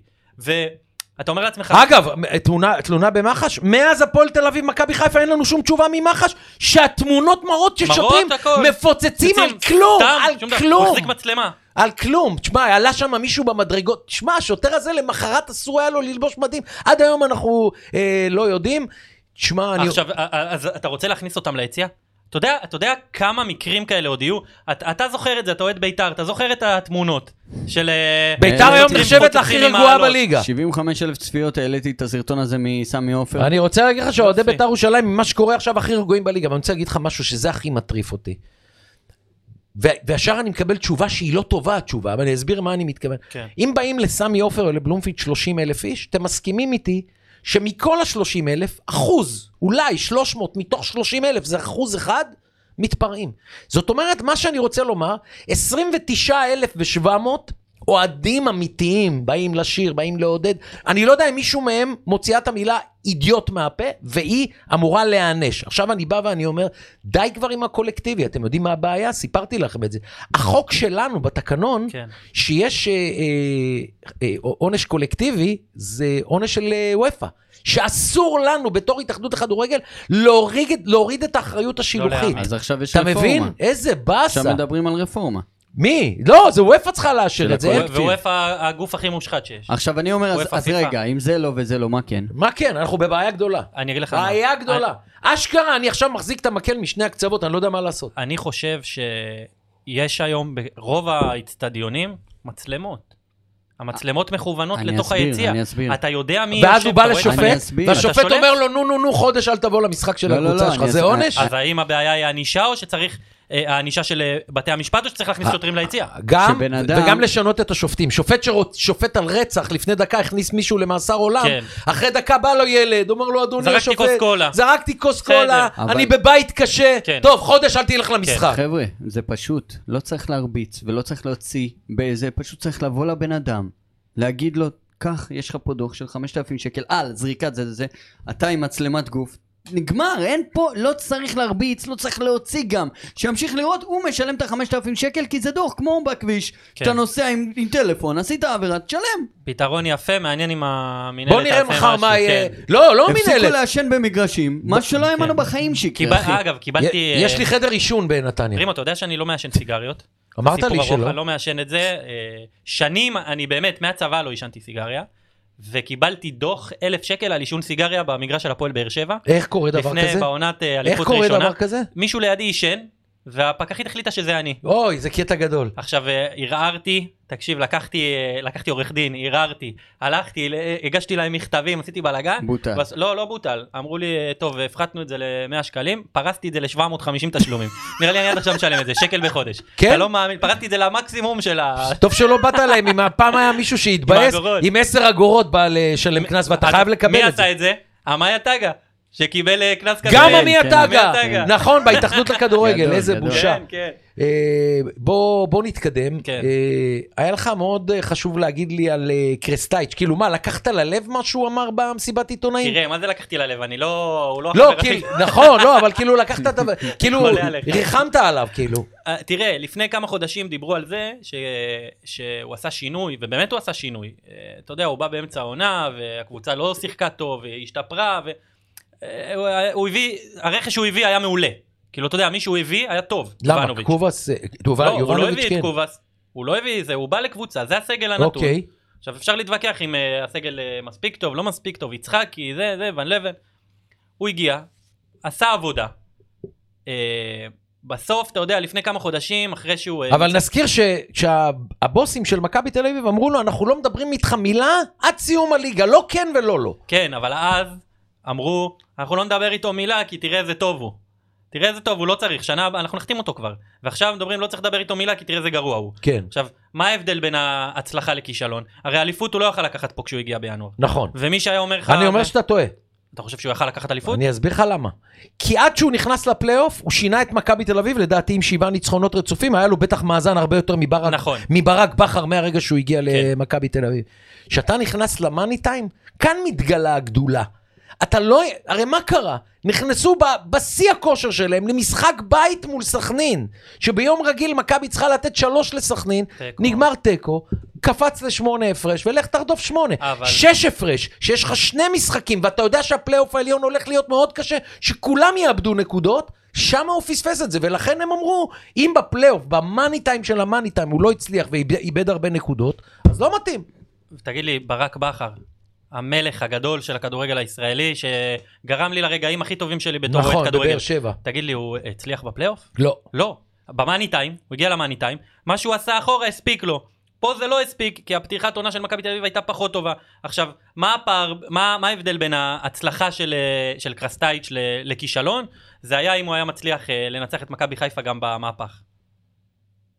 Speaker 2: ואתה אומר לעצמך,
Speaker 1: אגב, תלונה- תלונה במח"ש, מאז הפועל תל אביב, מכבי חיפה, אין לנו שום תשובה ממח"ש, שהתמונות מראות ששוטרים
Speaker 2: הכל.
Speaker 1: מפוצצים על
Speaker 2: פיצוצים,
Speaker 1: כלום,
Speaker 2: סתם,
Speaker 1: על
Speaker 2: שום דבר. הוא
Speaker 1: כלום.
Speaker 2: החזיק מצלמה.
Speaker 1: על כלום. תשמע, עלה שם מישהו במדרגות. תשמע, השוטר הזה למחרת אסור היה לו ללבוש מדים. עד היום אנחנו אה, לא יודעים. תשמע, אני...
Speaker 2: עכשיו, א- א- אז אתה רוצה להכניס אותם ליציאה? אתה יודע, אתה יודע כמה מקרים כאלה עוד יהיו? אתה, אתה זוכר את זה, אתה אוהד בית"ר, אתה זוכר את התמונות של... אה,
Speaker 1: ביתר
Speaker 2: אה,
Speaker 1: היום
Speaker 2: שוטרים
Speaker 1: נחשבת
Speaker 2: חוצצים
Speaker 1: להכי
Speaker 2: עם
Speaker 1: רגועה
Speaker 2: מעלות.
Speaker 1: בליגה.
Speaker 3: 75 אלף צפיות העליתי את הסרטון הזה מסמי עופר.
Speaker 1: אני רוצה להגיד לך שאוהדי
Speaker 2: יופי.
Speaker 1: בית"ר ירושלים, ממה שקורה עכשיו, הכי רגועים בליגה. אבל אני רוצה להגיד לך משהו שזה הכי מטריף אותי. ו- וישר אני מקבל תשובה שהיא לא טובה, התשובה, אבל אני אסביר מה אני מתכוון.
Speaker 2: כן.
Speaker 1: אם באים לסמי עופר או לבלומפילד 30 אלף איש, אתם מסכימים איתי שמכל ה-30 אלף, אחוז, אולי 300 מתוך 30 אלף, זה אחוז אחד, מתפרעים. זאת אומרת, מה שאני רוצה לומר, 29,700 אוהדים אמיתיים באים לשיר, באים לעודד. אני לא יודע אם מישהו מהם מוציאה את המילה אידיוט מהפה, והיא אמורה להיענש. עכשיו אני בא ואני אומר, די כבר עם הקולקטיבי, אתם יודעים מה הבעיה? סיפרתי לכם את זה. החוק שלנו בתקנון,
Speaker 2: כן.
Speaker 1: שיש אה, אה, אה, עונש קולקטיבי, זה עונש של אה, וופא. שאסור לנו בתור התאחדות לכדורגל להוריד, את- להוריד את האחריות השילוחית.
Speaker 2: להאמין.
Speaker 3: לא, אז עכשיו יש
Speaker 1: אתה
Speaker 3: רפורמה.
Speaker 1: מבין? איזה
Speaker 3: עכשיו
Speaker 1: באסה.
Speaker 3: מדברים על רפורמה.
Speaker 1: מי? לא, זה וופא צריכה לאשר
Speaker 3: של
Speaker 1: את זה.
Speaker 3: הכל.
Speaker 1: אין-
Speaker 2: ווופא הגוף הכי מושחת שיש.
Speaker 3: עכשיו אני אומר, אז-
Speaker 2: אופה,
Speaker 3: אז
Speaker 2: סליחה.
Speaker 3: רגע, אם זה לא וזה לא, מה כן?
Speaker 1: מה כן? אנחנו בבעיה גדולה.
Speaker 2: אני אגיד לך מה.
Speaker 1: בעיה גדולה. אשכרה, אני עכשיו מחזיק את המקל משני הקצוות, אני לא יודע מה לעשות.
Speaker 2: אני חושב שיש היום ברוב האיצטדיונים
Speaker 1: אה,
Speaker 2: מצלמות. המצלמות מכוונות
Speaker 3: אני
Speaker 2: לתוך
Speaker 3: אסביר,
Speaker 2: היציע.
Speaker 3: אני אסביר.
Speaker 2: אתה יודע מי...
Speaker 1: ואז
Speaker 2: יושב,
Speaker 1: הוא בא
Speaker 2: אתה רואה את
Speaker 3: אני
Speaker 1: לשופט,
Speaker 3: אסביר.
Speaker 2: אתה
Speaker 1: והשופט
Speaker 2: שולף?
Speaker 1: אומר לו, נו, נו, נו, חודש אל תבוא למשחק של
Speaker 3: לא, לא,
Speaker 1: הקבוצה
Speaker 3: לא,
Speaker 1: שלך.
Speaker 3: אני
Speaker 1: זה
Speaker 3: אסביר.
Speaker 1: עונש?
Speaker 2: אז האם הבעיה היא הענישה או שצריך אה, הענישה של אה, בתי המשפט או שצריך להכניס
Speaker 1: אה,
Speaker 2: שוטרים ליציע?
Speaker 1: גם,
Speaker 3: שבן אדם-
Speaker 1: וגם לשנות את השופטים. שופט ששופט על רצח לפני דקה הכניס מישהו למאסר עולם,
Speaker 2: כן.
Speaker 1: אחרי דקה בא לו ילד, אומר לו, אדוני
Speaker 2: זרקתי
Speaker 1: אה, השופט,
Speaker 2: כוס קולה."
Speaker 1: זרקתי כוס
Speaker 2: בסדר.
Speaker 1: קולה,
Speaker 3: אבל-
Speaker 1: אני בבית קשה,
Speaker 2: כן.
Speaker 1: טוב, חודש אל תלך למשחק.
Speaker 3: חבר'ה, זה פשוט, לא צריך להרביץ ולא צריך להוציא באיזה, פשוט צריך לבוא לבן אדם, להגיד לו, קח, יש לך פה דוח של 5,000 שקל על זריקת זה זה זה, אתה עם מצלמת גוף. נגמר, אין פה, לא צריך להרביץ, לא צריך להוציא גם. שימשיך לראות, הוא משלם את ה-5,000 שקל כי זה דוח, כמו בכביש,
Speaker 2: כן.
Speaker 3: אתה נוסע עם, עם טלפון, עשית עבירה, תשלם.
Speaker 2: פתרון יפה, מעניין אם המינהלת...
Speaker 1: בוא נראה
Speaker 2: תעשה
Speaker 1: מחר
Speaker 2: משהו,
Speaker 1: מה יהיה.
Speaker 2: כן.
Speaker 1: לא, לא כן.
Speaker 3: הפסיקו
Speaker 1: מנהלת.
Speaker 3: לעשן במגרשים, מה שלא היה לנו בחיים
Speaker 2: קיבל-
Speaker 3: שיקרה, אחי.
Speaker 2: אגב, קיבלתי...
Speaker 1: יש
Speaker 2: אה,
Speaker 1: לי חדר עישון בנתניה.
Speaker 2: רימו, אתה יודע שאני לא מעשן סיגריות?
Speaker 1: אמרת
Speaker 2: סיפור
Speaker 1: לי
Speaker 2: ארוך,
Speaker 1: שלא.
Speaker 2: אני לא מעשן את זה. אה, שנים, אני באמת, מהצבא לא עישנתי סיגריה, וקיבלתי דוח אלף שקל על עישון סיגריה במגרש של הפועל באר שבע.
Speaker 1: איך קורה דבר
Speaker 2: לפני,
Speaker 1: כזה?
Speaker 2: בעונת אה,
Speaker 1: איך
Speaker 2: אליפות
Speaker 1: קורה
Speaker 2: ראשונה.
Speaker 1: דבר כזה?
Speaker 2: מישהו לידי עישן, והפקחית החליטה שזה אני.
Speaker 1: אוי, זה קטע גדול.
Speaker 2: עכשיו אה, ערערתי, תקשיב, לקחתי אה, לקחתי עורך דין, ערערתי, הלכתי, ל- אה, הגשתי להם מכתבים, עשיתי בלאגן.
Speaker 3: בוטל.
Speaker 2: בס- לא, לא בוטל. אמרו לי, אה, טוב, הפחתנו את זה ל-100 שקלים, פרסתי את זה ל-750 תשלומים. נראה לי אני עד עכשיו משלם את זה, שקל בחודש.
Speaker 1: כן?
Speaker 2: אתה לא מאמין, פרסתי את זה למקסימום של ה...
Speaker 1: טוב שלא באת להם, אם הפעם היה מישהו שהתבאס,
Speaker 2: האגורות.
Speaker 1: עם 10 אגורות בא לשלם קנס ואתה חייב
Speaker 2: מי
Speaker 1: לקבל את זה.
Speaker 2: עשה את זה? עמיה טגה, שקיבל אה, קנס כזה.
Speaker 1: גם
Speaker 3: כן,
Speaker 1: עמי
Speaker 3: כן.
Speaker 1: הטאגה,
Speaker 2: עמי הטאגה.
Speaker 1: נכון, בהתאחדות לכדורגל,
Speaker 3: גדול,
Speaker 1: איזה
Speaker 3: גדול.
Speaker 1: בושה.
Speaker 2: כן, כן.
Speaker 1: אה, בוא בוא נתקדם.
Speaker 2: כן.
Speaker 1: אה, היה לך מאוד אה, חשוב להגיד לי על אה, קרסטייץ', כאילו מה, לקחת ללב מה שהוא אמר במסיבת עיתונאים?
Speaker 2: תראה, מה זה לקחתי ללב? אני לא... הוא לא
Speaker 1: לא,
Speaker 2: החבר הכי...
Speaker 1: כאילו, נכון, לא, אבל כאילו לקחת את ה... כאילו,
Speaker 2: מלא עליך.
Speaker 1: ריחמת עליו, כאילו.
Speaker 2: אה, תראה, לפני כמה חודשים דיברו על זה ש... שהוא עשה שינוי, ובאמת הוא עשה שינוי. אה, אתה יודע, הוא בא באמצע העונה, והקבוצה לא שיחקה טוב, והיא השתפרה, ו... אה, הוא- הוא הביא, הרכש שהוא הביא היה מעולה. כאילו, אתה יודע, מי שהוא הביא היה טוב.
Speaker 1: למה?
Speaker 2: יובנוביץ'.
Speaker 1: קובס, אה, יובל-
Speaker 2: לא, הוא לא
Speaker 1: יובנוביץ',
Speaker 2: הביא
Speaker 1: כן.
Speaker 2: את קובאס. הוא לא הביא את זה, הוא בא לקבוצה, זה הסגל הנתון.
Speaker 1: אוקיי.
Speaker 2: עכשיו אפשר להתווכח אם uh, הסגל uh, מספיק טוב, לא מספיק טוב, יצחקי, זה, זה, ון לבן. הוא הגיע, עשה עבודה. Uh, בסוף, אתה יודע, לפני כמה חודשים, אחרי שהוא... אה,
Speaker 1: אבל נזכיר שהבוסים של מכבי תל אביב אמרו לו, אנחנו לא מדברים איתך מילה עד סיום הליגה, לא כן ולא לא.
Speaker 2: כן, אבל אז אמרו, אנחנו לא נדבר איתו מילה, כי תראה איזה טוב הוא. תראה איזה טוב, הוא לא צריך, שנה הבאה, אנחנו נחתים אותו כבר. ועכשיו מדברים, לא צריך לדבר איתו מילה, כי תראה איזה גרוע הוא.
Speaker 1: כן,
Speaker 2: עכשיו, מה ההבדל בין ההצלחה לכישלון? הרי אליפות הוא לא יכל לקחת פה כשהוא הגיע בינואר.
Speaker 1: נכון.
Speaker 2: ומי שהיה אומר לך...
Speaker 1: אני אומר שאתה טועה.
Speaker 2: אתה חושב שהוא יכל לקחת אליפות?
Speaker 1: אני אסביר לך למה. כי עד שהוא נכנס לפלייאוף, הוא שינה את מכבי תל אביב, לדעתי עם שבעה ניצחונות רצופים, היה לו בטח מאזן הרבה יותר מברק,
Speaker 2: נכון. כן.
Speaker 1: מברק בכר מהרגע שהוא הגיע למכבי תל אביב. כשאתה נכנס למאני טיים, כאן מתגלה הגדולה. אתה לא... הרי מה קרה? נכנסו ב, בשיא הכושר שלהם למשחק בית מול סכנין, שביום רגיל מכבי צריכה לתת שלוש לסכנין,
Speaker 2: תיקו.
Speaker 1: נגמר תיקו, קפץ לשמונה הפרש, ולך תרדוף שמונה.
Speaker 2: אבל-
Speaker 1: שש הפרש, שיש לך שני משחקים, ואתה יודע שהפלייאוף העליון הולך להיות מאוד קשה, שכולם יאבדו נקודות, שם הוא פספס את זה, ולכן הם אמרו, אם בפלייאוף, במאני טיים של המאני טיים, הוא לא הצליח ואיבד איבד הרבה נקודות, אז לא מתאים.
Speaker 2: תגיד לי, ברק בכר, המלך הגדול של הכדורגל הישראלי, שגרם לי לרגעים הכי טובים שלי בתור אוהד
Speaker 1: נכון,
Speaker 2: כדורגל.
Speaker 1: בבאר שבע.
Speaker 2: תגיד לי, הוא הצליח בפלייאוף?
Speaker 1: לא.
Speaker 2: לא. במאני טיים, הוא הגיע למאני טיים, מה שהוא עשה אחורה הספיק לו. פה זה לא הספיק, כי הפתיחת עונה של מכבי תל אביב הייתה פחות טובה. עכשיו, מה הפער, מה, מה ההבדל בין ההצלחה של, אה, של קרסטייץ' ל- לכישלון? זה היה אם הוא היה מצליח אה, לנצח את מכבי חיפה גם במהפך.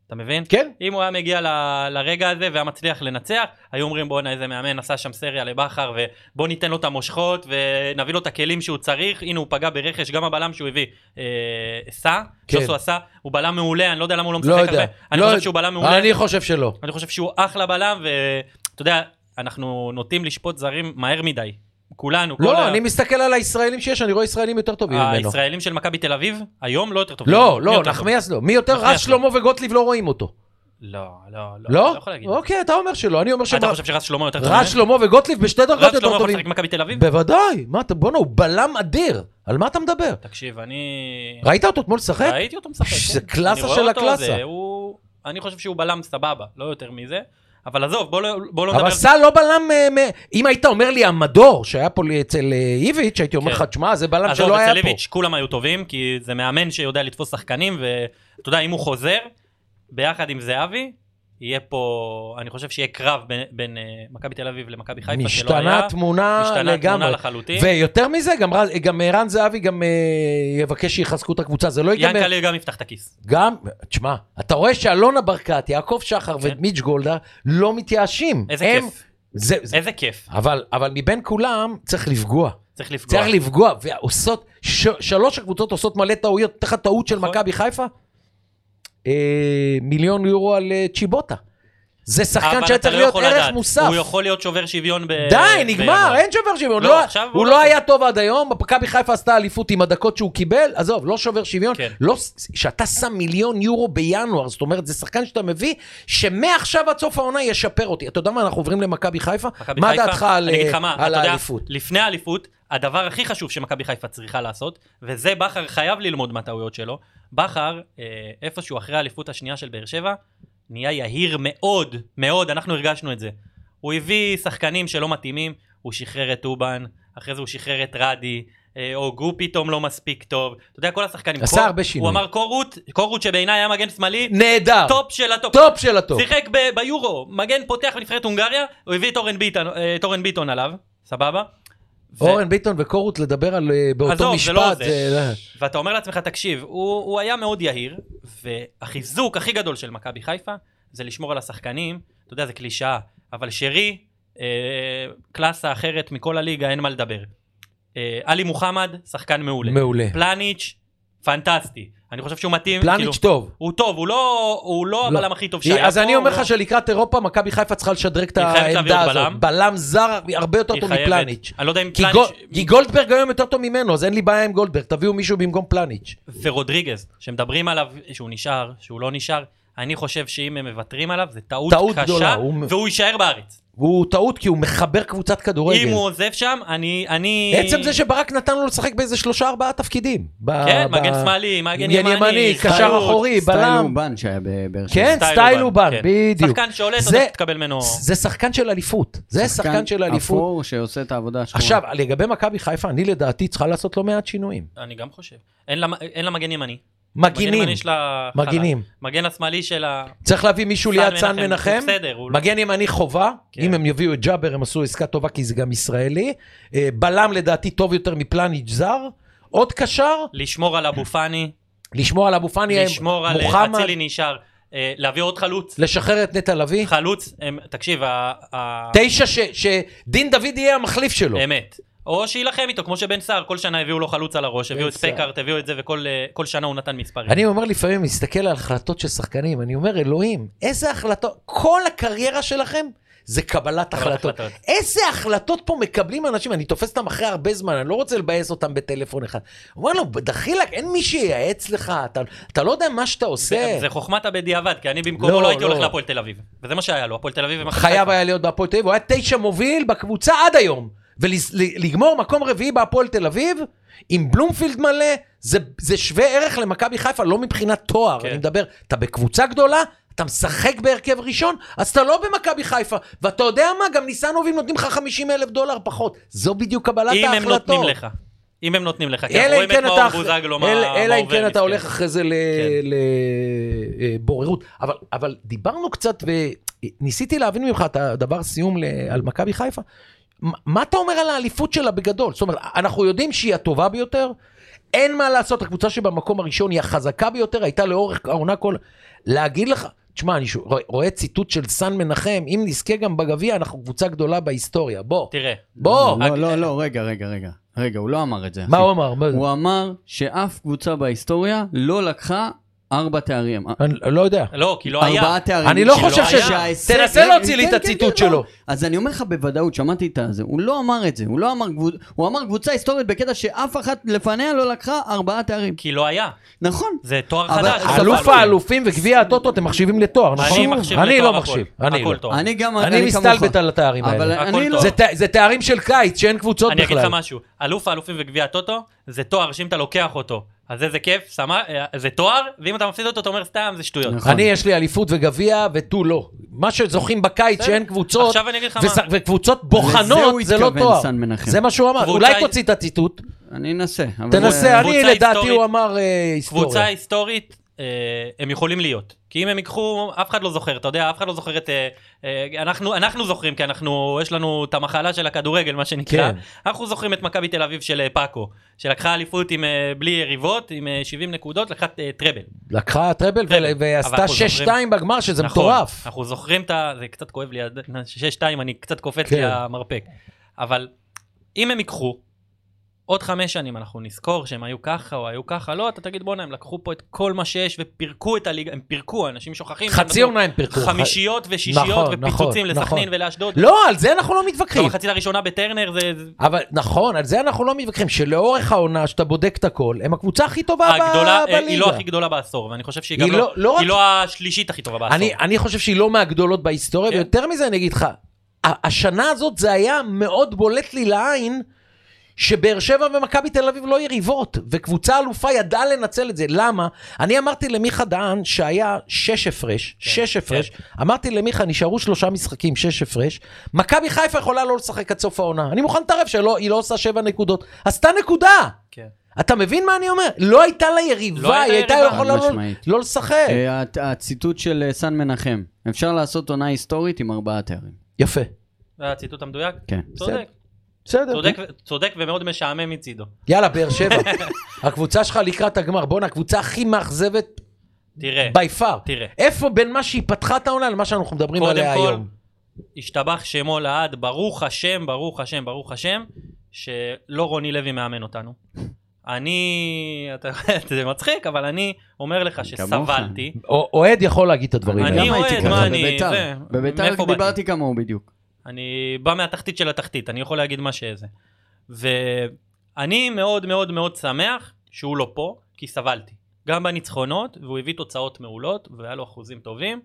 Speaker 2: אתה מבין?
Speaker 1: כן?
Speaker 2: אם הוא היה מגיע ל, לרגע הזה והיה מצליח לנצח, היו אומרים בואנה איזה מאמן עשה שם סריה לבכר ובוא ניתן לו את המושכות ונביא לו את הכלים שהוא צריך, הנה הוא פגע ברכש, גם הבלם שהוא הביא, אה, סע,
Speaker 1: כן.
Speaker 2: כן. ג'וסו עשה, הוא בלם מעולה, אני לא יודע למה הוא לא משחק
Speaker 1: לא
Speaker 2: הרבה,
Speaker 1: יודע.
Speaker 2: אני
Speaker 1: לא
Speaker 2: חושב
Speaker 1: יודע.
Speaker 2: שהוא בלם מעולה, אני...
Speaker 1: אני חושב שלא. לא,
Speaker 2: אני חושב שהוא אחלה בלם ואתה יודע, אנחנו נוטים לשפוט זרים מהר מדי, כולנו, כל
Speaker 1: לא,
Speaker 2: ה-
Speaker 1: אני מסתכל על הישראלים שיש, אני רואה ישראלים יותר טובים ממנו.
Speaker 2: הישראלים של מכבי תל אביב, היום לא יותר טובים,
Speaker 1: לא,
Speaker 2: מי
Speaker 1: לא,
Speaker 2: יותר טוב?
Speaker 1: נחמיאס לא. מי יותר? רק
Speaker 2: נחמיאס לא.
Speaker 1: שלמה וגוטליב לא רואים אותו.
Speaker 2: לא, לא, לא,
Speaker 1: לא?
Speaker 2: לא יכול להגיד,
Speaker 1: אוקיי, אתה אומר שלא. אני אומר ש...
Speaker 2: אתה חושב שרז שלמה יותר טוב?
Speaker 1: רז
Speaker 2: מהם?
Speaker 1: שלמה וגוטליב בשתי דרגות
Speaker 2: רז שלמה
Speaker 1: יותר
Speaker 2: יכול
Speaker 1: טובים.
Speaker 2: לשחק במכבי תל אביב?
Speaker 1: בוודאי, מה אתה, בואנה, הוא בלם אדיר, על מה אתה מדבר?
Speaker 2: תקשיב, אני...
Speaker 1: ראית אותו אתמול לשחק?
Speaker 2: ראיתי אותו משחק.
Speaker 1: ש-
Speaker 2: כן.
Speaker 1: זה קלאסה
Speaker 2: אני רואה
Speaker 1: של
Speaker 2: אותו,
Speaker 1: הקלאסה.
Speaker 2: זה- הוא- אני חושב שהוא בלם סבבה, לא יותר מזה. אבל עזוב, בוא לא, בוא לא נדבר...
Speaker 1: אבל סל לא בלם... אה, מ- אם היית אומר לי המדור שהיה פה לי אצל אה, איביץ', הייתי אומר
Speaker 2: כן.
Speaker 1: לך, תשמע, זה בלם
Speaker 2: עזוב,
Speaker 1: שלא היה
Speaker 2: אצל
Speaker 1: פה.
Speaker 2: איביץ' כולם היו טובים, כי זה מאמן שיודע לתפוס שחקנים, ואתה יודע, אם הוא חוזר, ביחד עם זהבי, יהיה פה, אני חושב שיהיה קרב בין, בין אה, מכבי תל אביב למכבי חיפה, שלא היה.
Speaker 1: משתנה תמונה
Speaker 2: משתנה תמונה
Speaker 1: לגמרי.
Speaker 2: לחלוטין.
Speaker 1: ויותר מזה, גם רז- גם ערן זהבי גם אה, יבקש שיחזקו את הקבוצה, זה לא ייגמר.
Speaker 2: ינקלה גם יפתח את הכיס.
Speaker 1: גם, תשמע, אתה רואה שאלונה ברקת, יעקב שחר
Speaker 2: כן.
Speaker 1: ומיץ' גולדהר לא מתייאשים.
Speaker 2: איזה
Speaker 1: הם-
Speaker 2: כיף.
Speaker 1: זה- זה-
Speaker 2: איזה כיף.
Speaker 1: אבל אבל מבין כולם צריך לפגוע.
Speaker 2: צריך לפגוע.
Speaker 1: צריך לפגוע, ועושות, ש, שלוש הקבוצות עושות מלא טעויות, תחת טעות של
Speaker 2: נכון.
Speaker 1: מכבי חיפה, אה, מיליון יורו על אה, צ'יבוטה. זה שחקן
Speaker 2: אבל
Speaker 1: שהיה
Speaker 2: אתה
Speaker 1: צריך
Speaker 2: לא
Speaker 1: להיות
Speaker 2: יכול
Speaker 1: ערך
Speaker 2: לדעת.
Speaker 1: מוסף.
Speaker 2: הוא יכול להיות שובר שוויון ב...
Speaker 1: די, נגמר,
Speaker 2: בינואר.
Speaker 1: אין שובר שוויון.
Speaker 2: לא,
Speaker 1: לא,
Speaker 2: עכשיו הוא
Speaker 1: הוא
Speaker 2: לא
Speaker 1: לא
Speaker 2: טוב.
Speaker 1: היה טוב עד היום, מכבי חיפה עשתה אליפות עם הדקות שהוא קיבל, עזוב, לא שובר שוויון.
Speaker 2: כן.
Speaker 1: לא, שאתה שם מיליון יורו בינואר, זאת אומרת, זה שחקן שאתה מביא, שמעכשיו עד סוף העונה ישפר אותי. אתה יודע מה, אנחנו עוברים למכבי חיפה?
Speaker 2: מכבי
Speaker 1: מה
Speaker 2: חיפה,
Speaker 1: דעתך על
Speaker 2: אני אגיד לך
Speaker 1: אה,
Speaker 2: מה,
Speaker 1: על
Speaker 2: אתה יודע,
Speaker 1: האליפות?
Speaker 2: לפני האליפות, הדבר הכי חשוב שמכבי חיפה צריכה לעשות, וזה בכר חייב ללמוד מהטעויות שלו, בכר, אה, איפשהו אחרי האליפות השנייה של באר שבע, נהיה יהיר מאוד, מאוד, אנחנו הרגשנו את זה. הוא הביא שחקנים שלא מתאימים, הוא שחרר את אובן, אחרי זה הוא שחרר את רדי. אה, הוגו פתאום לא מספיק טוב, אתה יודע כל השחקנים,
Speaker 1: עשה
Speaker 2: קור-
Speaker 1: הרבה שינוי.
Speaker 2: הוא אמר קורות, קורות שבעיניי היה מגן שמאלי,
Speaker 1: נהדר,
Speaker 2: טופ של הטופ,
Speaker 1: טופ של הטופ.
Speaker 2: שיחק ב- ביורו, מגן פותח בנבחרת הונגריה, הוא הביא את אורן ביטון, אה, את אורן ביטון עליו, סבבה? ו-
Speaker 1: אורן ביטון וקורות לדבר על אה, באותו
Speaker 2: עזוב, זה לא
Speaker 1: משפט,
Speaker 2: זה.
Speaker 1: זה לא-
Speaker 2: ואתה אומר לעצמך, תקשיב, הוא, הוא היה מאוד יהיר, והחיזוק הכי גדול של מכבי חיפה זה לשמור על השחקנים, אתה יודע, זה קלישאה, אבל שרי, אה, קלאסה אחרת מכל הליגה, אין מה לדבר. אה, עלי מוחמד, שחקן מעולה.
Speaker 1: מעולה.
Speaker 2: פלניץ', פנטסטי. אני חושב שהוא מתאים, כאילו,
Speaker 1: פלניץ' טוב.
Speaker 2: הוא טוב, הוא לא, הוא לא,
Speaker 1: לא.
Speaker 2: הבלם הכי טוב שהיה
Speaker 1: אז
Speaker 2: פה,
Speaker 1: אני אומר
Speaker 2: הוא לא-
Speaker 1: לך שלקראת אירופה, מכבי חיפה צריכה לשדרג את
Speaker 2: היא חייבת להביא
Speaker 1: העמדה
Speaker 2: עוד
Speaker 1: הזאת.
Speaker 2: בלם.
Speaker 1: בלם זר הרבה יותר
Speaker 2: היא
Speaker 1: טוב
Speaker 2: חייבת.
Speaker 1: מפלניץ'.
Speaker 2: אני לא יודע אם
Speaker 1: כי
Speaker 2: פלניץ'...
Speaker 1: גול- כי גולדברג היום יותר טוב ממנו, אז אין לי בעיה עם גולדברג, תביאו מישהו במקום פלניץ'.
Speaker 2: ורודריגז, שמדברים עליו שהוא נשאר, שהוא לא נשאר, אני חושב שאם הם מוותרים עליו, זה טעות,
Speaker 1: טעות
Speaker 2: קשה,
Speaker 1: גדולה, הוא-
Speaker 2: והוא יישאר בארץ.
Speaker 1: הוא טעות כי הוא מחבר קבוצת כדורגל.
Speaker 2: אם הוא עוזב שם, אני... אני...
Speaker 1: עצם זה שברק נתן לו לשחק באיזה שלושה ארבעה תפקידים. ב-
Speaker 2: כן,
Speaker 1: ב-
Speaker 2: מגן שמאלי, מגן
Speaker 1: מגן
Speaker 2: ימני,
Speaker 1: ימני,
Speaker 2: חלוץ,
Speaker 1: קשר אחורי,
Speaker 3: סטייל
Speaker 1: בלם.
Speaker 3: אובן שהיה בבאר שבע.
Speaker 1: כן,
Speaker 2: סטייל
Speaker 1: סטייל
Speaker 2: אובן,
Speaker 1: אובן,
Speaker 2: כן.
Speaker 1: בדיוק.
Speaker 2: שחקן שעולה, אתה
Speaker 1: זה-
Speaker 2: יודע שתקבל ממנו...
Speaker 1: זה שחקן של אליפות. זה שחקן של אליפות.
Speaker 3: אפור שעושה את העבודה השחורה.
Speaker 1: עכשיו, לגבי מכבי חיפה, אני לדעתי צריכה לעשות לא מעט שינויים.
Speaker 2: אני גם חושב. אין לה- אין לה מגן ימני. מגן
Speaker 1: מגינים,
Speaker 2: ימני שלה... חלש.
Speaker 1: מגינים.
Speaker 2: מגן השמאלי שלה...
Speaker 1: צריך להביא מישהו ליד צאן מנחם.
Speaker 2: הוא בסדר, הוא לא...
Speaker 1: מגן ימני חובה,
Speaker 2: כן.
Speaker 1: אם הם יביאו את ג'אבר הם עשו עסקה טובה כי זה גם ישראלי. אה, בלם לדעתי טוב יותר מפלניג' זר. עוד קשר,
Speaker 2: לשמור על אבו פאני,
Speaker 1: לשמור על אבו פאני, אה,
Speaker 2: לשמור על...
Speaker 1: מוחמד,
Speaker 2: אצילי נשאר, אה, להביא עוד חלוץ.
Speaker 1: לשחרר את נטע לביא.
Speaker 2: חלוץ, הם- תקשיב, ה- ה-
Speaker 1: תשע ש- שדין דוד יהיה המחליף שלו.
Speaker 2: אמת. או שיילחם איתו, כמו שבן סער, כל שנה הביאו לו חלוץ על הראש, הביאו את
Speaker 1: סער.
Speaker 2: פקארט, הביאו את זה, וכל אה, כל שנה הוא נתן מספרים.
Speaker 1: אני אומר לפעמים, מסתכל על החלטות של שחקנים, אני אומר, אלוהים, איזה החלטות, כל הקריירה שלכם זה קבלת החלטות.
Speaker 2: החלטות.
Speaker 1: איזה החלטות פה מקבלים אנשים, אני תופס אותם אחרי הרבה זמן, אני לא רוצה לבאס אותם בטלפון אחד. הוא אומר לו, דחילק, אין מי שייעץ לך, אתה, אתה לא יודע מה שאתה
Speaker 2: זה-
Speaker 1: עושה.
Speaker 2: זה חוכמת הבדיעבד, כי אני במקומו
Speaker 1: לא,
Speaker 2: לא הייתי
Speaker 1: לא.
Speaker 2: הולך להפועל תל אביב. וזה מה שהיה לו, הפועל תל אביב ומכבי
Speaker 1: חייב
Speaker 2: חיפה.
Speaker 1: היה להיות בהפועל תל אביב, הוא היה תשע מוביל בקבוצה עד היום. ולגמור מקום רביעי בהפועל תל אביב, עם בלומפילד מלא, זה, זה שווה ערך למכבי חיפה, לא מבחינת תואר.
Speaker 2: כן.
Speaker 1: אני מדבר, אתה בקבוצה גדולה, אתה משחק בהרכב ראשון, אז אתה לא במכבי חיפה. ואתה יודע מה, גם ניסנובים נותנים לך 50 אלף דולר פחות. זו בדיוק קבלת
Speaker 2: אם הם
Speaker 1: ההחלטות.
Speaker 2: נותנים לך. אם הם נותנים לך, כי
Speaker 1: אלא
Speaker 2: אנחנו
Speaker 1: אם
Speaker 2: רואים את
Speaker 1: כן
Speaker 2: מאור
Speaker 1: אתה,
Speaker 2: בוזגלו, מה מה
Speaker 1: אלא,
Speaker 2: עובר.
Speaker 1: אלא אם כן אתה
Speaker 2: מסכן.
Speaker 1: הולך אחרי זה
Speaker 2: כן.
Speaker 1: לבוררות. אבל, אבל דיברנו קצת וניסיתי להבין ממך את הדבר סיום ל- על מכבי חיפה. מה- מה אתה אומר על האליפות שלה בגדול? זאת אומרת, אנחנו יודעים שהיא הטובה ביותר, אין מה לעשות, הקבוצה שבמקום הראשון היא החזקה ביותר, הייתה לאורך העונה כל... להגיד לך, תשמע, אני שו- רואה- רואה ציטוט של סן מנחם, אם נזכה גם בגביע, אנחנו קבוצה גדולה בהיסטוריה, בוא,
Speaker 2: תראה,
Speaker 1: בוא.
Speaker 3: לא, לא, לא, רגע, רגע, רגע. רגע, הוא לא אמר את זה.
Speaker 1: מה
Speaker 3: אחי.
Speaker 1: הוא אמר? מה זה?
Speaker 3: הוא אמר שאף קבוצה בהיסטוריה לא לקחה ארבע תארים.
Speaker 1: אני לא יודע.
Speaker 2: לא, כי לא היה.
Speaker 3: ארבעה תארים.
Speaker 1: אני לא
Speaker 3: שלא
Speaker 1: חושב
Speaker 3: היה.
Speaker 1: ש-
Speaker 3: שההישג-
Speaker 1: תנסה להוציא לי
Speaker 3: כן,
Speaker 1: את
Speaker 3: כן,
Speaker 1: הציטוט
Speaker 3: כן, לא.
Speaker 1: שלו.
Speaker 3: אז אני אומר לך בוודאות, שמעתי את הזה, הוא לא אמר את זה, הוא לא אמר, קבוצ- הוא אמר קבוצה היסטורית בקטע שאף אחת לפניה לא לקחה ארבעה תארים.
Speaker 2: כי לא היה. נכון. זה תואר
Speaker 3: אבל-
Speaker 2: חדש.
Speaker 3: סבבה.
Speaker 1: אלוף האלופים וגביע הטוטו אתם מחשיבים לתואר, נכון?
Speaker 2: אני מחשיב
Speaker 1: אני
Speaker 2: לתואר
Speaker 1: לא
Speaker 2: הכל.
Speaker 1: מחשיב, אני לא.
Speaker 2: הכל תואר.
Speaker 3: אני גם,
Speaker 1: אני מסתלבט על התארים
Speaker 3: אבל
Speaker 1: האלה.
Speaker 3: אני
Speaker 2: הכל
Speaker 3: לא...
Speaker 2: טוב.
Speaker 1: זה ת- זה תארים של קיץ שאין קבוצות
Speaker 2: אני אגיד לך
Speaker 1: בכלל.
Speaker 2: משהו, אלוף האלופים וגביע הטוטו, זה תואר שאם אתה לוקח אותו, אז איזה כיף, שמה, אה, זה תואר, ואם אתה מפסיד אותו, אתה אומר סתם, זה שטויות.
Speaker 3: נכון.
Speaker 1: אני יש לי אליפות וגביע ותו לא. מה שזוכים בקיץ
Speaker 2: בסדר.
Speaker 1: שאין קבוצות,
Speaker 2: עכשיו אני אגיד לך
Speaker 1: וס-
Speaker 2: מה.
Speaker 1: וקבוצות בוחנות,
Speaker 3: הוא
Speaker 1: זה לא
Speaker 3: התכוון,
Speaker 1: תואר.
Speaker 3: סן מנחם.
Speaker 1: זה מה שהוא אמר,
Speaker 2: קבוצה
Speaker 1: אולי
Speaker 2: היא-
Speaker 1: תוציא את הציטוט,
Speaker 3: אני אנסה. אבל-
Speaker 1: תנסה, אני
Speaker 2: קבוצה
Speaker 1: לדעתי
Speaker 2: היסטורית-
Speaker 1: הוא אמר אה,
Speaker 2: קבוצה
Speaker 1: היסטוריה.
Speaker 2: היסטורית, אה, הם יכולים להיות. כי אם הם ייקחו, אף אחד לא זוכר, אתה יודע, אף אחד לא זוכר את... אה, אה, אנחנו, אנחנו זוכרים, כי אנחנו, יש לנו את המחלה של הכדורגל, מה שנקרא.
Speaker 1: כן.
Speaker 2: כן. אנחנו זוכרים את מכבי תל אביב של אה, פאקו, שלקחה אליפות עם, אה, בלי יריבות, עם אה, 70 נקודות, לקחה אה, טראבל.
Speaker 1: לקחה טראבל
Speaker 2: טראבל,
Speaker 1: ול- ועשתה
Speaker 2: אבל אנחנו
Speaker 1: 6-2 בגמר, שזה
Speaker 2: נכון,
Speaker 1: מטורף.
Speaker 2: אנחנו זוכרים את ה... זה קצת כואב לי, ה- 6-2, אני קצת קופץ
Speaker 1: כן.
Speaker 2: לי המרפק. אבל אם הם ייקחו, עוד חמש שנים אנחנו נזכור שהם היו ככה או היו ככה, לא, אתה תגיד בואנה, הם לקחו פה את כל מה שיש ופירקו את הליגה, הם פירקו, אנשים שוכחים.
Speaker 1: חצי
Speaker 2: הם נתנו
Speaker 1: עונה הם פירקו.
Speaker 2: חמישיות ושישיות
Speaker 1: נכון,
Speaker 2: ופיצוצים
Speaker 1: נכון,
Speaker 2: לסכנין
Speaker 1: נכון.
Speaker 2: ולאשדוד.
Speaker 1: לא, על זה אנחנו לא
Speaker 2: גם
Speaker 1: מתווכחים.
Speaker 2: המחצית הראשונה בטרנר זה זה
Speaker 1: אבל נכון, על זה אנחנו לא מתווכחים, שלאורך העונה, שאתה בודק את הכל, הם הקבוצה הכי טובה ב-
Speaker 2: הגדולה,
Speaker 1: בליגה.
Speaker 2: אה, היא לא הכי גדולה בעשור, ואני חושב שהיא
Speaker 1: היא
Speaker 2: גם
Speaker 1: לא-
Speaker 2: לא,
Speaker 1: לא רק-
Speaker 2: היא לא השלישית הכי טובה בעשור.
Speaker 1: אני, אני חושב שהיא לא מהגדולות בהיסטוריה,
Speaker 2: כן.
Speaker 1: ויותר מזה אני אגיד לך, ה- השנה הזאת זה היה מאוד בולט לי לעין, שבאר שבע ומכבי תל אביב לא יריבות, וקבוצה אלופה ידעה לנצל את זה. למה? אני אמרתי למיכה דהן שהיה שש הפרש,
Speaker 2: כן,
Speaker 1: שש
Speaker 2: כן.
Speaker 1: הפרש, אמרתי למיכה, נשארו שלושה משחקים, שש הפרש, מכבי חיפה יכולה לא לשחק עד סוף העונה. אני מוכן לטרף שהיא לא עושה שבע נקודות, עשתה נקודה!
Speaker 2: כן.
Speaker 1: אתה מבין מה אני אומר? לא הייתה לה יריבה,
Speaker 2: לא הייתה
Speaker 1: היא הייתה
Speaker 2: יריבה.
Speaker 1: יכולה לא,
Speaker 3: משמעית.
Speaker 1: לא לשחק.
Speaker 2: כן.
Speaker 3: אה, הת- הציטוט של אה, סן מנחם, אפשר לעשות עונה היסטורית עם ארבעה תארים.
Speaker 1: יפה.
Speaker 2: זה הציטוט המדויק?
Speaker 3: כן.
Speaker 2: צודק,
Speaker 1: בסדר.
Speaker 2: צודק, ו- צודק ומאוד משעמם מצידו.
Speaker 1: יאללה, באר שבע. הקבוצה שלך לקראת הגמר. בואנה, הקבוצה הכי מאכזבת
Speaker 2: תראה,
Speaker 1: by far.
Speaker 2: תראה.
Speaker 1: איפה בין מה שהיא פתחה את העונה למה שאנחנו מדברים
Speaker 2: קודם
Speaker 1: עליה
Speaker 2: כל,
Speaker 1: היום?
Speaker 2: השתבח שמו לעד, ברוך השם, ברוך השם, ברוך השם, שלא רוני לוי מאמן אותנו. אני, אתה, זה מצחיק, אבל אני אומר לך שסבלתי.
Speaker 1: א- אוהד יכול להגיד את הדברים
Speaker 2: אני
Speaker 1: האלה.
Speaker 3: גם
Speaker 2: אוהד,
Speaker 3: הייתי
Speaker 2: מה
Speaker 3: ככה,
Speaker 2: אני-
Speaker 3: בביתר.
Speaker 2: זה, מאיפה
Speaker 3: בביתר
Speaker 2: באתי?
Speaker 3: דיברתי כמוהו בדיוק.
Speaker 2: אני בא מהתחתית של התחתית, אני יכול להגיד מה שזה. ואני מאוד מאוד מאוד שמח שהוא לא פה, כי סבלתי. גם בניצחונות, והוא הביא תוצאות מעולות, והיה לו אחוזים טובים.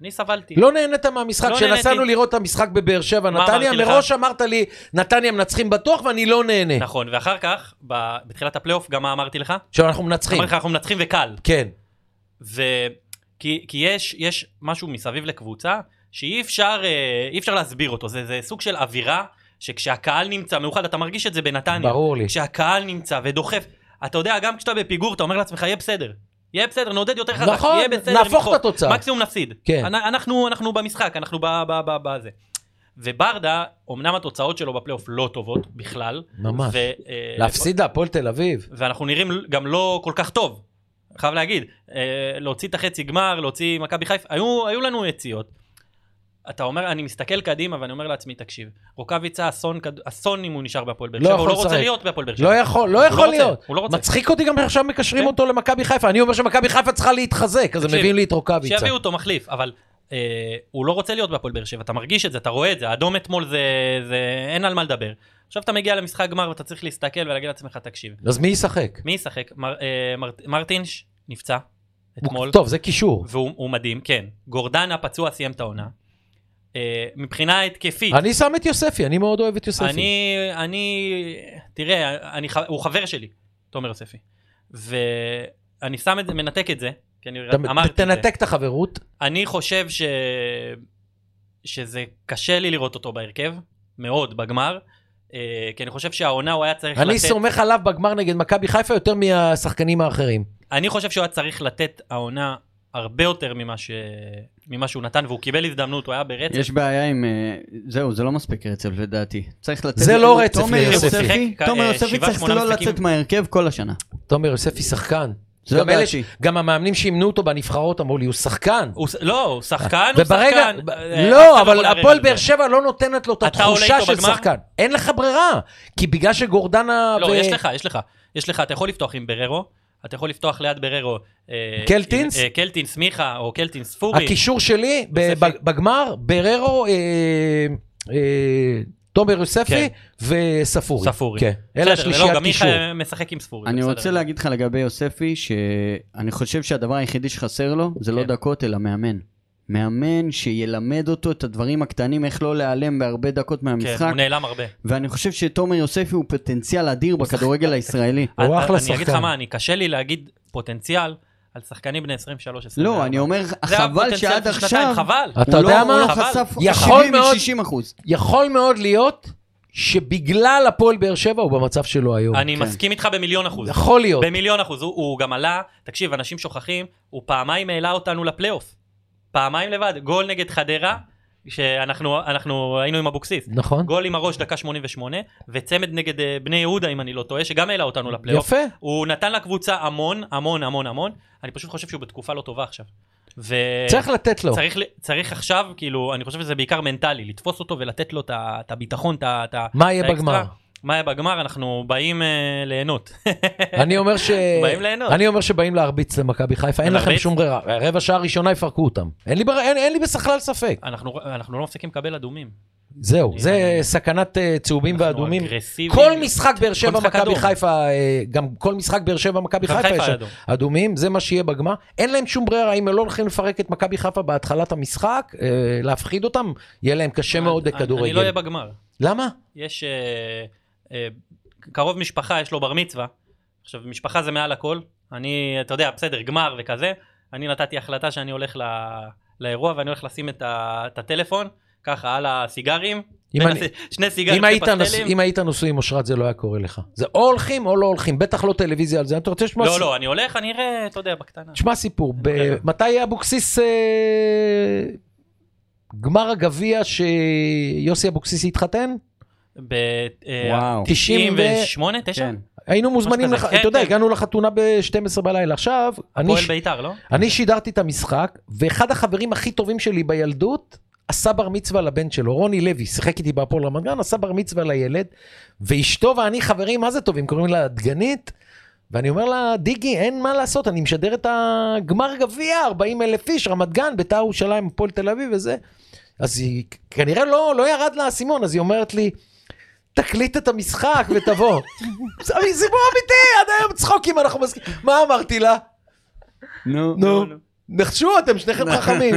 Speaker 2: אני סבלתי.
Speaker 1: לא נהנית מהמשחק,
Speaker 2: לא
Speaker 1: כשנסענו
Speaker 2: נהניתי.
Speaker 1: לראות את המשחק בבאר שבע,
Speaker 2: מה
Speaker 1: נתניה,
Speaker 2: אמרתי לך?
Speaker 1: מראש אמרת לי, נתניה מנצחים בטוח ואני לא נהנה.
Speaker 2: נכון, ואחר כך, ב- בתחילת הפלייאוף, גם מה אמרתי לך?
Speaker 1: שאנחנו מנצחים.
Speaker 2: אמרתי לך, אנחנו מנצחים וקל.
Speaker 1: כן.
Speaker 2: ו... כי, כי יש, יש משהו מסביב לקבוצה שאי אפשר, אה, אי אפשר להסביר אותו, זה, זה סוג של אווירה שכשהקהל נמצא, מאוחד, אתה מרגיש את זה בנתניה,
Speaker 1: ברור לי.
Speaker 2: כשהקהל נמצא ודוחף, אתה יודע, גם כשאתה בפיגור, אתה אומר לעצמך, יהיה בסדר, יהיה בסדר, נעודד יותר חזק,
Speaker 1: נכון,
Speaker 2: יהיה בסדר,
Speaker 1: נהפוך
Speaker 2: נדחוף.
Speaker 1: את התוצאה."
Speaker 2: מקסימום נפסיד,
Speaker 1: כן.
Speaker 2: אנ- אנחנו, אנחנו במשחק, אנחנו ב- ב- ב- בזה. וברדה, אמנם התוצאות שלו בפלייאוף לא טובות בכלל,
Speaker 1: ממש.
Speaker 2: אה,
Speaker 1: להפסיד להפועל תל אביב.
Speaker 2: ואנחנו נראים גם לא כל כך טוב, חייב להגיד. אה, להוציא את החצי גמר, להוציא מכבי חיפה, היו, היו לנו יציאות. אתה אומר, אני מסתכל קדימה ואני אומר לעצמי, תקשיב, רוקאביצה אסון, כד- אסון אם הוא נשאר בהפועל באר
Speaker 1: לא
Speaker 2: שבע, הוא
Speaker 1: יכול
Speaker 2: לא רוצה
Speaker 1: לשחק.
Speaker 2: להיות בהפועל באר שבע.
Speaker 1: לא יכול,
Speaker 2: הוא
Speaker 1: לא יכול
Speaker 2: רוצה,
Speaker 1: להיות.
Speaker 2: הוא לא רוצה.
Speaker 1: מצחיק אותי גם עכשיו מקשרים
Speaker 2: כן.
Speaker 1: אותו למכבי חיפה. אני אומר שמכבי חיפה צריכה להתחזק, אז הם
Speaker 2: תקשיב,
Speaker 1: מביאים לי את רוקאביצה.
Speaker 2: שיביאו אותו מחליף, אבל אה, הוא לא רוצה להיות בהפועל באר שבע, אתה מרגיש את זה, אתה רואה את זה, האדום אתמול זה, זה, אין על מה לדבר. עכשיו אתה מגיע למשחק גמר ואתה צריך להסתכל ולהגיד לעצמך, תקשיב,
Speaker 1: אז מי ישחק?
Speaker 2: מי ישחק? מר, אה, מר, מרטינש נפצע אתמול.
Speaker 1: טוב, זה קישור.
Speaker 2: והוא הוא מדהים, כן. גורדנה פצוע סיים את העונה. אה, מבחינה התקפית,
Speaker 1: אני שם את יוספי, אני מאוד אוהב את יוספי.
Speaker 2: אני, אני, תראה, אני, ח- הוא חבר שלי, תומר יוספי. ואני שם את זה, מנתק את זה, כי אני
Speaker 1: אתה-
Speaker 2: אמרתי את זה.
Speaker 1: תנתק את החברות.
Speaker 2: אני חושב ש... שזה קשה לי לראות אותו בהרכב, מאוד, בגמר. אה, כי אני חושב שהעונה הוא היה צריך
Speaker 1: אני
Speaker 2: לתת...
Speaker 1: סומך עליו בגמר נגד מכבי חיפה יותר מהשחקנים האחרים.
Speaker 2: אני חושב שהוא היה צריך לתת העונה הרבה יותר ממה, ש... ממה שהוא נתן, והוא קיבל הזדמנות, הוא היה ברצף.
Speaker 3: יש בעיה עם... אה, זהו, זה לא מספיק רצף לדעתי. צריך לתת...
Speaker 1: זה לא רצף
Speaker 3: תומר
Speaker 1: ליוספי.
Speaker 3: יוספי-
Speaker 2: שיחק,
Speaker 3: תומר
Speaker 2: אה,
Speaker 3: יוספי
Speaker 2: שבעה,
Speaker 3: צריך
Speaker 2: שמונה
Speaker 3: לא
Speaker 2: משחקים.
Speaker 3: לצאת מההרכב כל השנה.
Speaker 1: תומר יוספי שחקן.
Speaker 3: זו
Speaker 1: גם אלה ש-
Speaker 3: דעתי.
Speaker 1: גם המאמנים שימנו אותו בנבחרות אמרו לי, הוא שחקן.
Speaker 2: הוא, ש- לא, הוא שחקן, הוא
Speaker 1: וברגע...
Speaker 2: שחקן.
Speaker 1: ב-
Speaker 2: אה, אף
Speaker 1: לא,
Speaker 2: אחד
Speaker 1: אבל
Speaker 2: יכול לערער
Speaker 1: הפועל
Speaker 2: על זה.
Speaker 1: באר שבע לא נותנת לו את
Speaker 2: אתה עולה
Speaker 1: התחושה
Speaker 2: איתו
Speaker 1: של
Speaker 2: בגמר?
Speaker 1: שחקן. אין לך ברירה. כי בגלל שגורדנה...
Speaker 2: לא,
Speaker 1: ו-
Speaker 2: יש לך, יש לך. יש לך, אתה יכול לפתוח עם בררו, אתה יכול לפתוח ליד בררו. אה,
Speaker 1: קלטינס?
Speaker 2: עם, אה, קלטינס מיכה, או קלטינס פורי.
Speaker 1: הקישור שלי ב-
Speaker 2: יוספי.
Speaker 1: ב- בגמר, בררו, אה, אה, תומר יוספי
Speaker 2: כן.
Speaker 1: וספורי.
Speaker 2: ספורי.
Speaker 1: כן. אלה
Speaker 2: בסדר,
Speaker 1: השלישיית
Speaker 2: לא, גם
Speaker 1: קישור.
Speaker 2: מיכה משחק עם ספורי.
Speaker 3: אני
Speaker 2: אוקיי, בסדר.
Speaker 3: רוצה להגיד לך לגבי יוספי, שאני חושב שהדבר היחידי שחסר לו זה לא
Speaker 2: כן.
Speaker 3: דקות אלא מאמן. מאמן שילמד אותו את הדברים הקטנים, איך לא להיעלם בהרבה דקות
Speaker 2: כן,
Speaker 3: מהמשחק.
Speaker 2: הוא נעלם הרבה.
Speaker 3: ואני חושב שתומר יוספי הוא פוטנציאל אדיר בכדורגל הישראלי.
Speaker 1: הוא
Speaker 2: אני-
Speaker 1: אחלה
Speaker 2: אני אגיד לך
Speaker 1: שחקן.
Speaker 2: מה, אני קשה לי להגיד פוטנציאל על שחקנים בני 23
Speaker 3: לא, אני אומר,
Speaker 2: זה
Speaker 3: חבל
Speaker 2: הפוטנציאל
Speaker 3: שעד
Speaker 2: של שנתיים,
Speaker 3: עכשיו...
Speaker 2: חבל.
Speaker 1: אתה
Speaker 3: הוא לא-
Speaker 1: יודע מה?
Speaker 3: הוא לא
Speaker 2: חבל.
Speaker 3: חשף
Speaker 1: יכול מאוד-
Speaker 3: 70-60 אחוז.
Speaker 1: יכול מאוד להיות שבגלל הפועל באר שבע הוא במצב שלו היום.
Speaker 2: אני
Speaker 3: כן.
Speaker 2: מסכים איתך במיליון אחוז.
Speaker 1: יכול להיות.
Speaker 2: במיליון אחוז. הוא- הוא גם עלה, תקשיב, אנשים שוכחים, הוא פעמיים העלה אותנו לפלייאוף. פעמיים לבד, גול נגד חדרה, שאנחנו אנחנו היינו עם אבוקסיס.
Speaker 1: נכון?
Speaker 2: גול עם הראש דקה 88, וצמד נגד אה, בני יהודה, אם אני לא טועה, שגם העלה אותנו לפלייאוף. אה,
Speaker 1: יפה.
Speaker 2: הוא נתן לקבוצה המון, המון, המון, המון. אני פשוט חושב שהוא בתקופה לא טובה עכשיו. ו...
Speaker 1: צריך לתת לו.
Speaker 2: צריך, ל- צריך עכשיו, כאילו, אני חושב שזה בעיקר מנטלי, לתפוס אותו ולתת לו את ה- את הביטחון, את ה- את ה...
Speaker 1: מה יהיה
Speaker 2: את האקסטרה.
Speaker 1: בגמר?
Speaker 2: מה יהיה בגמר? אנחנו באים אה, ליהנות.
Speaker 1: אני אומר ש...
Speaker 2: באים ליהנות.
Speaker 1: אה, אני אומר שבאים להרביץ למכבי חיפה, אין לכם
Speaker 2: להרביץ?
Speaker 1: שום ברירה. רבע שעה ראשונה יפרקו אותם. אין לי, בר... אין, אין לי בשכלל ספק.
Speaker 2: אנחנו, אנחנו לא מפסיקים לקבל אדומים.
Speaker 1: זהו, זה
Speaker 2: אני-
Speaker 1: סכנת אה, צהובים
Speaker 2: אנחנו
Speaker 1: ואדומים.
Speaker 2: אגרסיביים.
Speaker 1: כל משחק באר שבע
Speaker 2: משחק
Speaker 1: מכבי
Speaker 2: אדום.
Speaker 1: חיפה, אה, גם כל משחק באר שבע מכבי
Speaker 2: גם
Speaker 1: חיפה
Speaker 2: חיפה
Speaker 1: יש
Speaker 2: אדום.
Speaker 1: אדומים, זה מה שיהיה בגמר. אין להם שום ברירה, אם הם לא הולכים לפרק את מכבי חיפה בהתחלת המשחק, אה, להפחיד אותם, יהיה להם קשה מאוד
Speaker 2: אני- אני לא
Speaker 1: בכדורגל.
Speaker 2: אהיה בגמר.
Speaker 1: למה?
Speaker 2: יש אה, אה, קרוב משפחה, יש לו בר מצווה. עכשיו, משפחה זה מעל הכל. אני, אתה יודע, בסדר, גמר וכזה. אני נתתי החלטה שאני הולך ל... לאירוע ואני הולך לשים את, ה... את הטלפון, ככה, על הסיגרים.
Speaker 1: אם
Speaker 2: בין
Speaker 1: אני-
Speaker 2: הס- שני סיגרים,
Speaker 1: אם
Speaker 2: שני
Speaker 1: היית, נוס...
Speaker 2: פסטלים.
Speaker 1: אם היית נשוי עם אושרת זה לא היה קורה לך. זה או הולכים או לא הולכים, בטח לא טלוויזיה על זה. אתה רוצה לשמוע
Speaker 2: לא,
Speaker 1: סיפור?
Speaker 2: לא, אני הולך, אני אראה, אתה יודע, בקטנה.
Speaker 1: תשמע סיפור, ב...
Speaker 2: אוקיי.
Speaker 1: מתי אבוקסיס... אה... גמר הגביע שיוסי אבוקסיס התחתן?
Speaker 2: אה,
Speaker 1: אה,
Speaker 3: וואו.
Speaker 2: 98, 9?
Speaker 3: כן.
Speaker 1: היינו מוזמנים,
Speaker 2: כזה.
Speaker 1: לח...
Speaker 2: כן,
Speaker 1: אתה יודע,
Speaker 2: כן.
Speaker 1: הגענו לחתונה ב-12 בלילה. עכשיו, אני,
Speaker 2: פועל
Speaker 1: ש...
Speaker 2: בית"ר, לא?
Speaker 1: אני שידרתי את המשחק, ואחד החברים הכי טובים שלי בילדות עשה בר מצווה לבן שלו, רוני לוי, שיחק איתי בהפועל רמת גן, עשה בר מצווה לילד, ואשתו ואני חברים, מה זה טובים, קוראים לה דגנית, ואני אומר לה, דיגי, אין מה לעשות, אני משדר את הגמר גביע, 40 אלף איש, רמת גן, בית"ר ירושלים, הפועל תל אביב וזה. אז היא כנראה לא, לא ירד לה האסימון, אז היא אומרת לי, תקליט את המשחק ותבוא. זה סיפור אמיתי, עד היום צחוקים, אנחנו מסכימים. מה אמרתי לה?
Speaker 3: נו.
Speaker 1: נו, נחשו אתם, שניכם חכמים.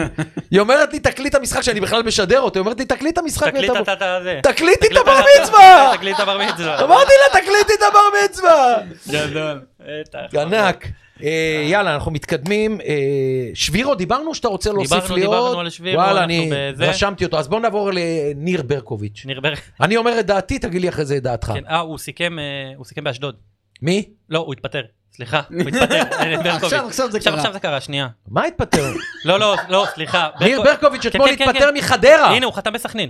Speaker 1: היא אומרת לי, תקליט המשחק שאני בכלל משדר אותו, היא אומרת לי, תקליט המשחק
Speaker 2: תקליט
Speaker 1: ותבוא."
Speaker 2: את ה... זה.
Speaker 1: תקליטי את
Speaker 2: תקליט
Speaker 1: הבר
Speaker 2: ה-
Speaker 1: מצווה!
Speaker 2: כן, תקליט את הבר מצווה.
Speaker 1: אמרתי לה, תקליטי את הבר מצווה!
Speaker 3: גדול.
Speaker 2: בטח.
Speaker 1: ענק. אה, יאללה, אנחנו מתקדמים. אה, שבירו, דיברנו שאתה רוצה להוסיף
Speaker 2: דיברנו,
Speaker 1: לי עוד?
Speaker 2: דיברנו על שבירו,
Speaker 1: לא וואלה,
Speaker 2: אנחנו
Speaker 1: אני
Speaker 2: בזה.
Speaker 1: רשמתי אותו. אז בואו נעבור לניר ברקוביץ'.
Speaker 2: ניר ברק,
Speaker 1: אני אומר את דעתי, תגיד לי אחרי זה את דעתך.
Speaker 2: כן, אה, הוא סיכם, אה, הוא סיכם באשדוד.
Speaker 1: מי?
Speaker 2: לא, הוא התפטר. סליחה, הוא התפטר. ניר ברקוביץ'.
Speaker 3: עכשיו, עכשיו זה
Speaker 2: עכשיו,
Speaker 3: קרה.
Speaker 2: עכשיו זה קרה, שנייה.
Speaker 1: מה התפטר?
Speaker 2: לא, לא, לא, סליחה.
Speaker 1: ניר
Speaker 2: ברקו-
Speaker 1: ברקוביץ' אתמול
Speaker 2: כן, כן,
Speaker 1: התפטר
Speaker 2: כן.
Speaker 1: מחדרה.
Speaker 2: הנה, הוא חתם בסכנין.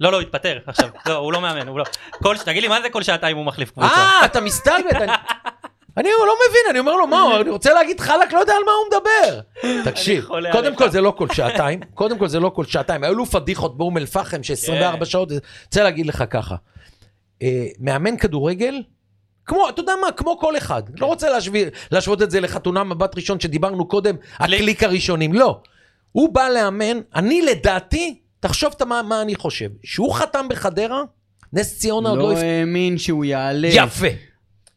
Speaker 2: לא, לא, הוא התפטר עכשיו. לא, הוא לא מאמן, הוא לא. כל- תגיד לי, מה זה כל שעתיים הוא מחליף קבוצה?
Speaker 1: אה, אתה מסתלבט. אני- אני לא מבין, אני אומר לו, מה, הוא- אני רוצה להגיד חלק, לא יודע על מה הוא מדבר. תקשיב,
Speaker 2: חולה
Speaker 1: קודם
Speaker 2: עליך.
Speaker 1: כל זה לא כל שעתיים, קודם כל זה לא כל שעתיים, היו לו פדיחות באום אל פחם ש-24
Speaker 2: כן.
Speaker 1: שעות, אני רוצה להגיד לך ככה, אה, מאמן כדורגל, כמו, אתה יודע מה, כמו כל אחד, לא רוצה להשוויא- להשוות את זה לחתונה מבט ראשון שדיברנו קודם, הקליק הראשונים, לא. הוא בא לאמן, אני לדעתי, תחשוב אתה מה מה אני חושב, שהוא חתם בחדרה, נס ציונה עוד לא אה-
Speaker 3: לא
Speaker 1: הפ...
Speaker 3: האמין שהוא יעלה.
Speaker 1: יפה.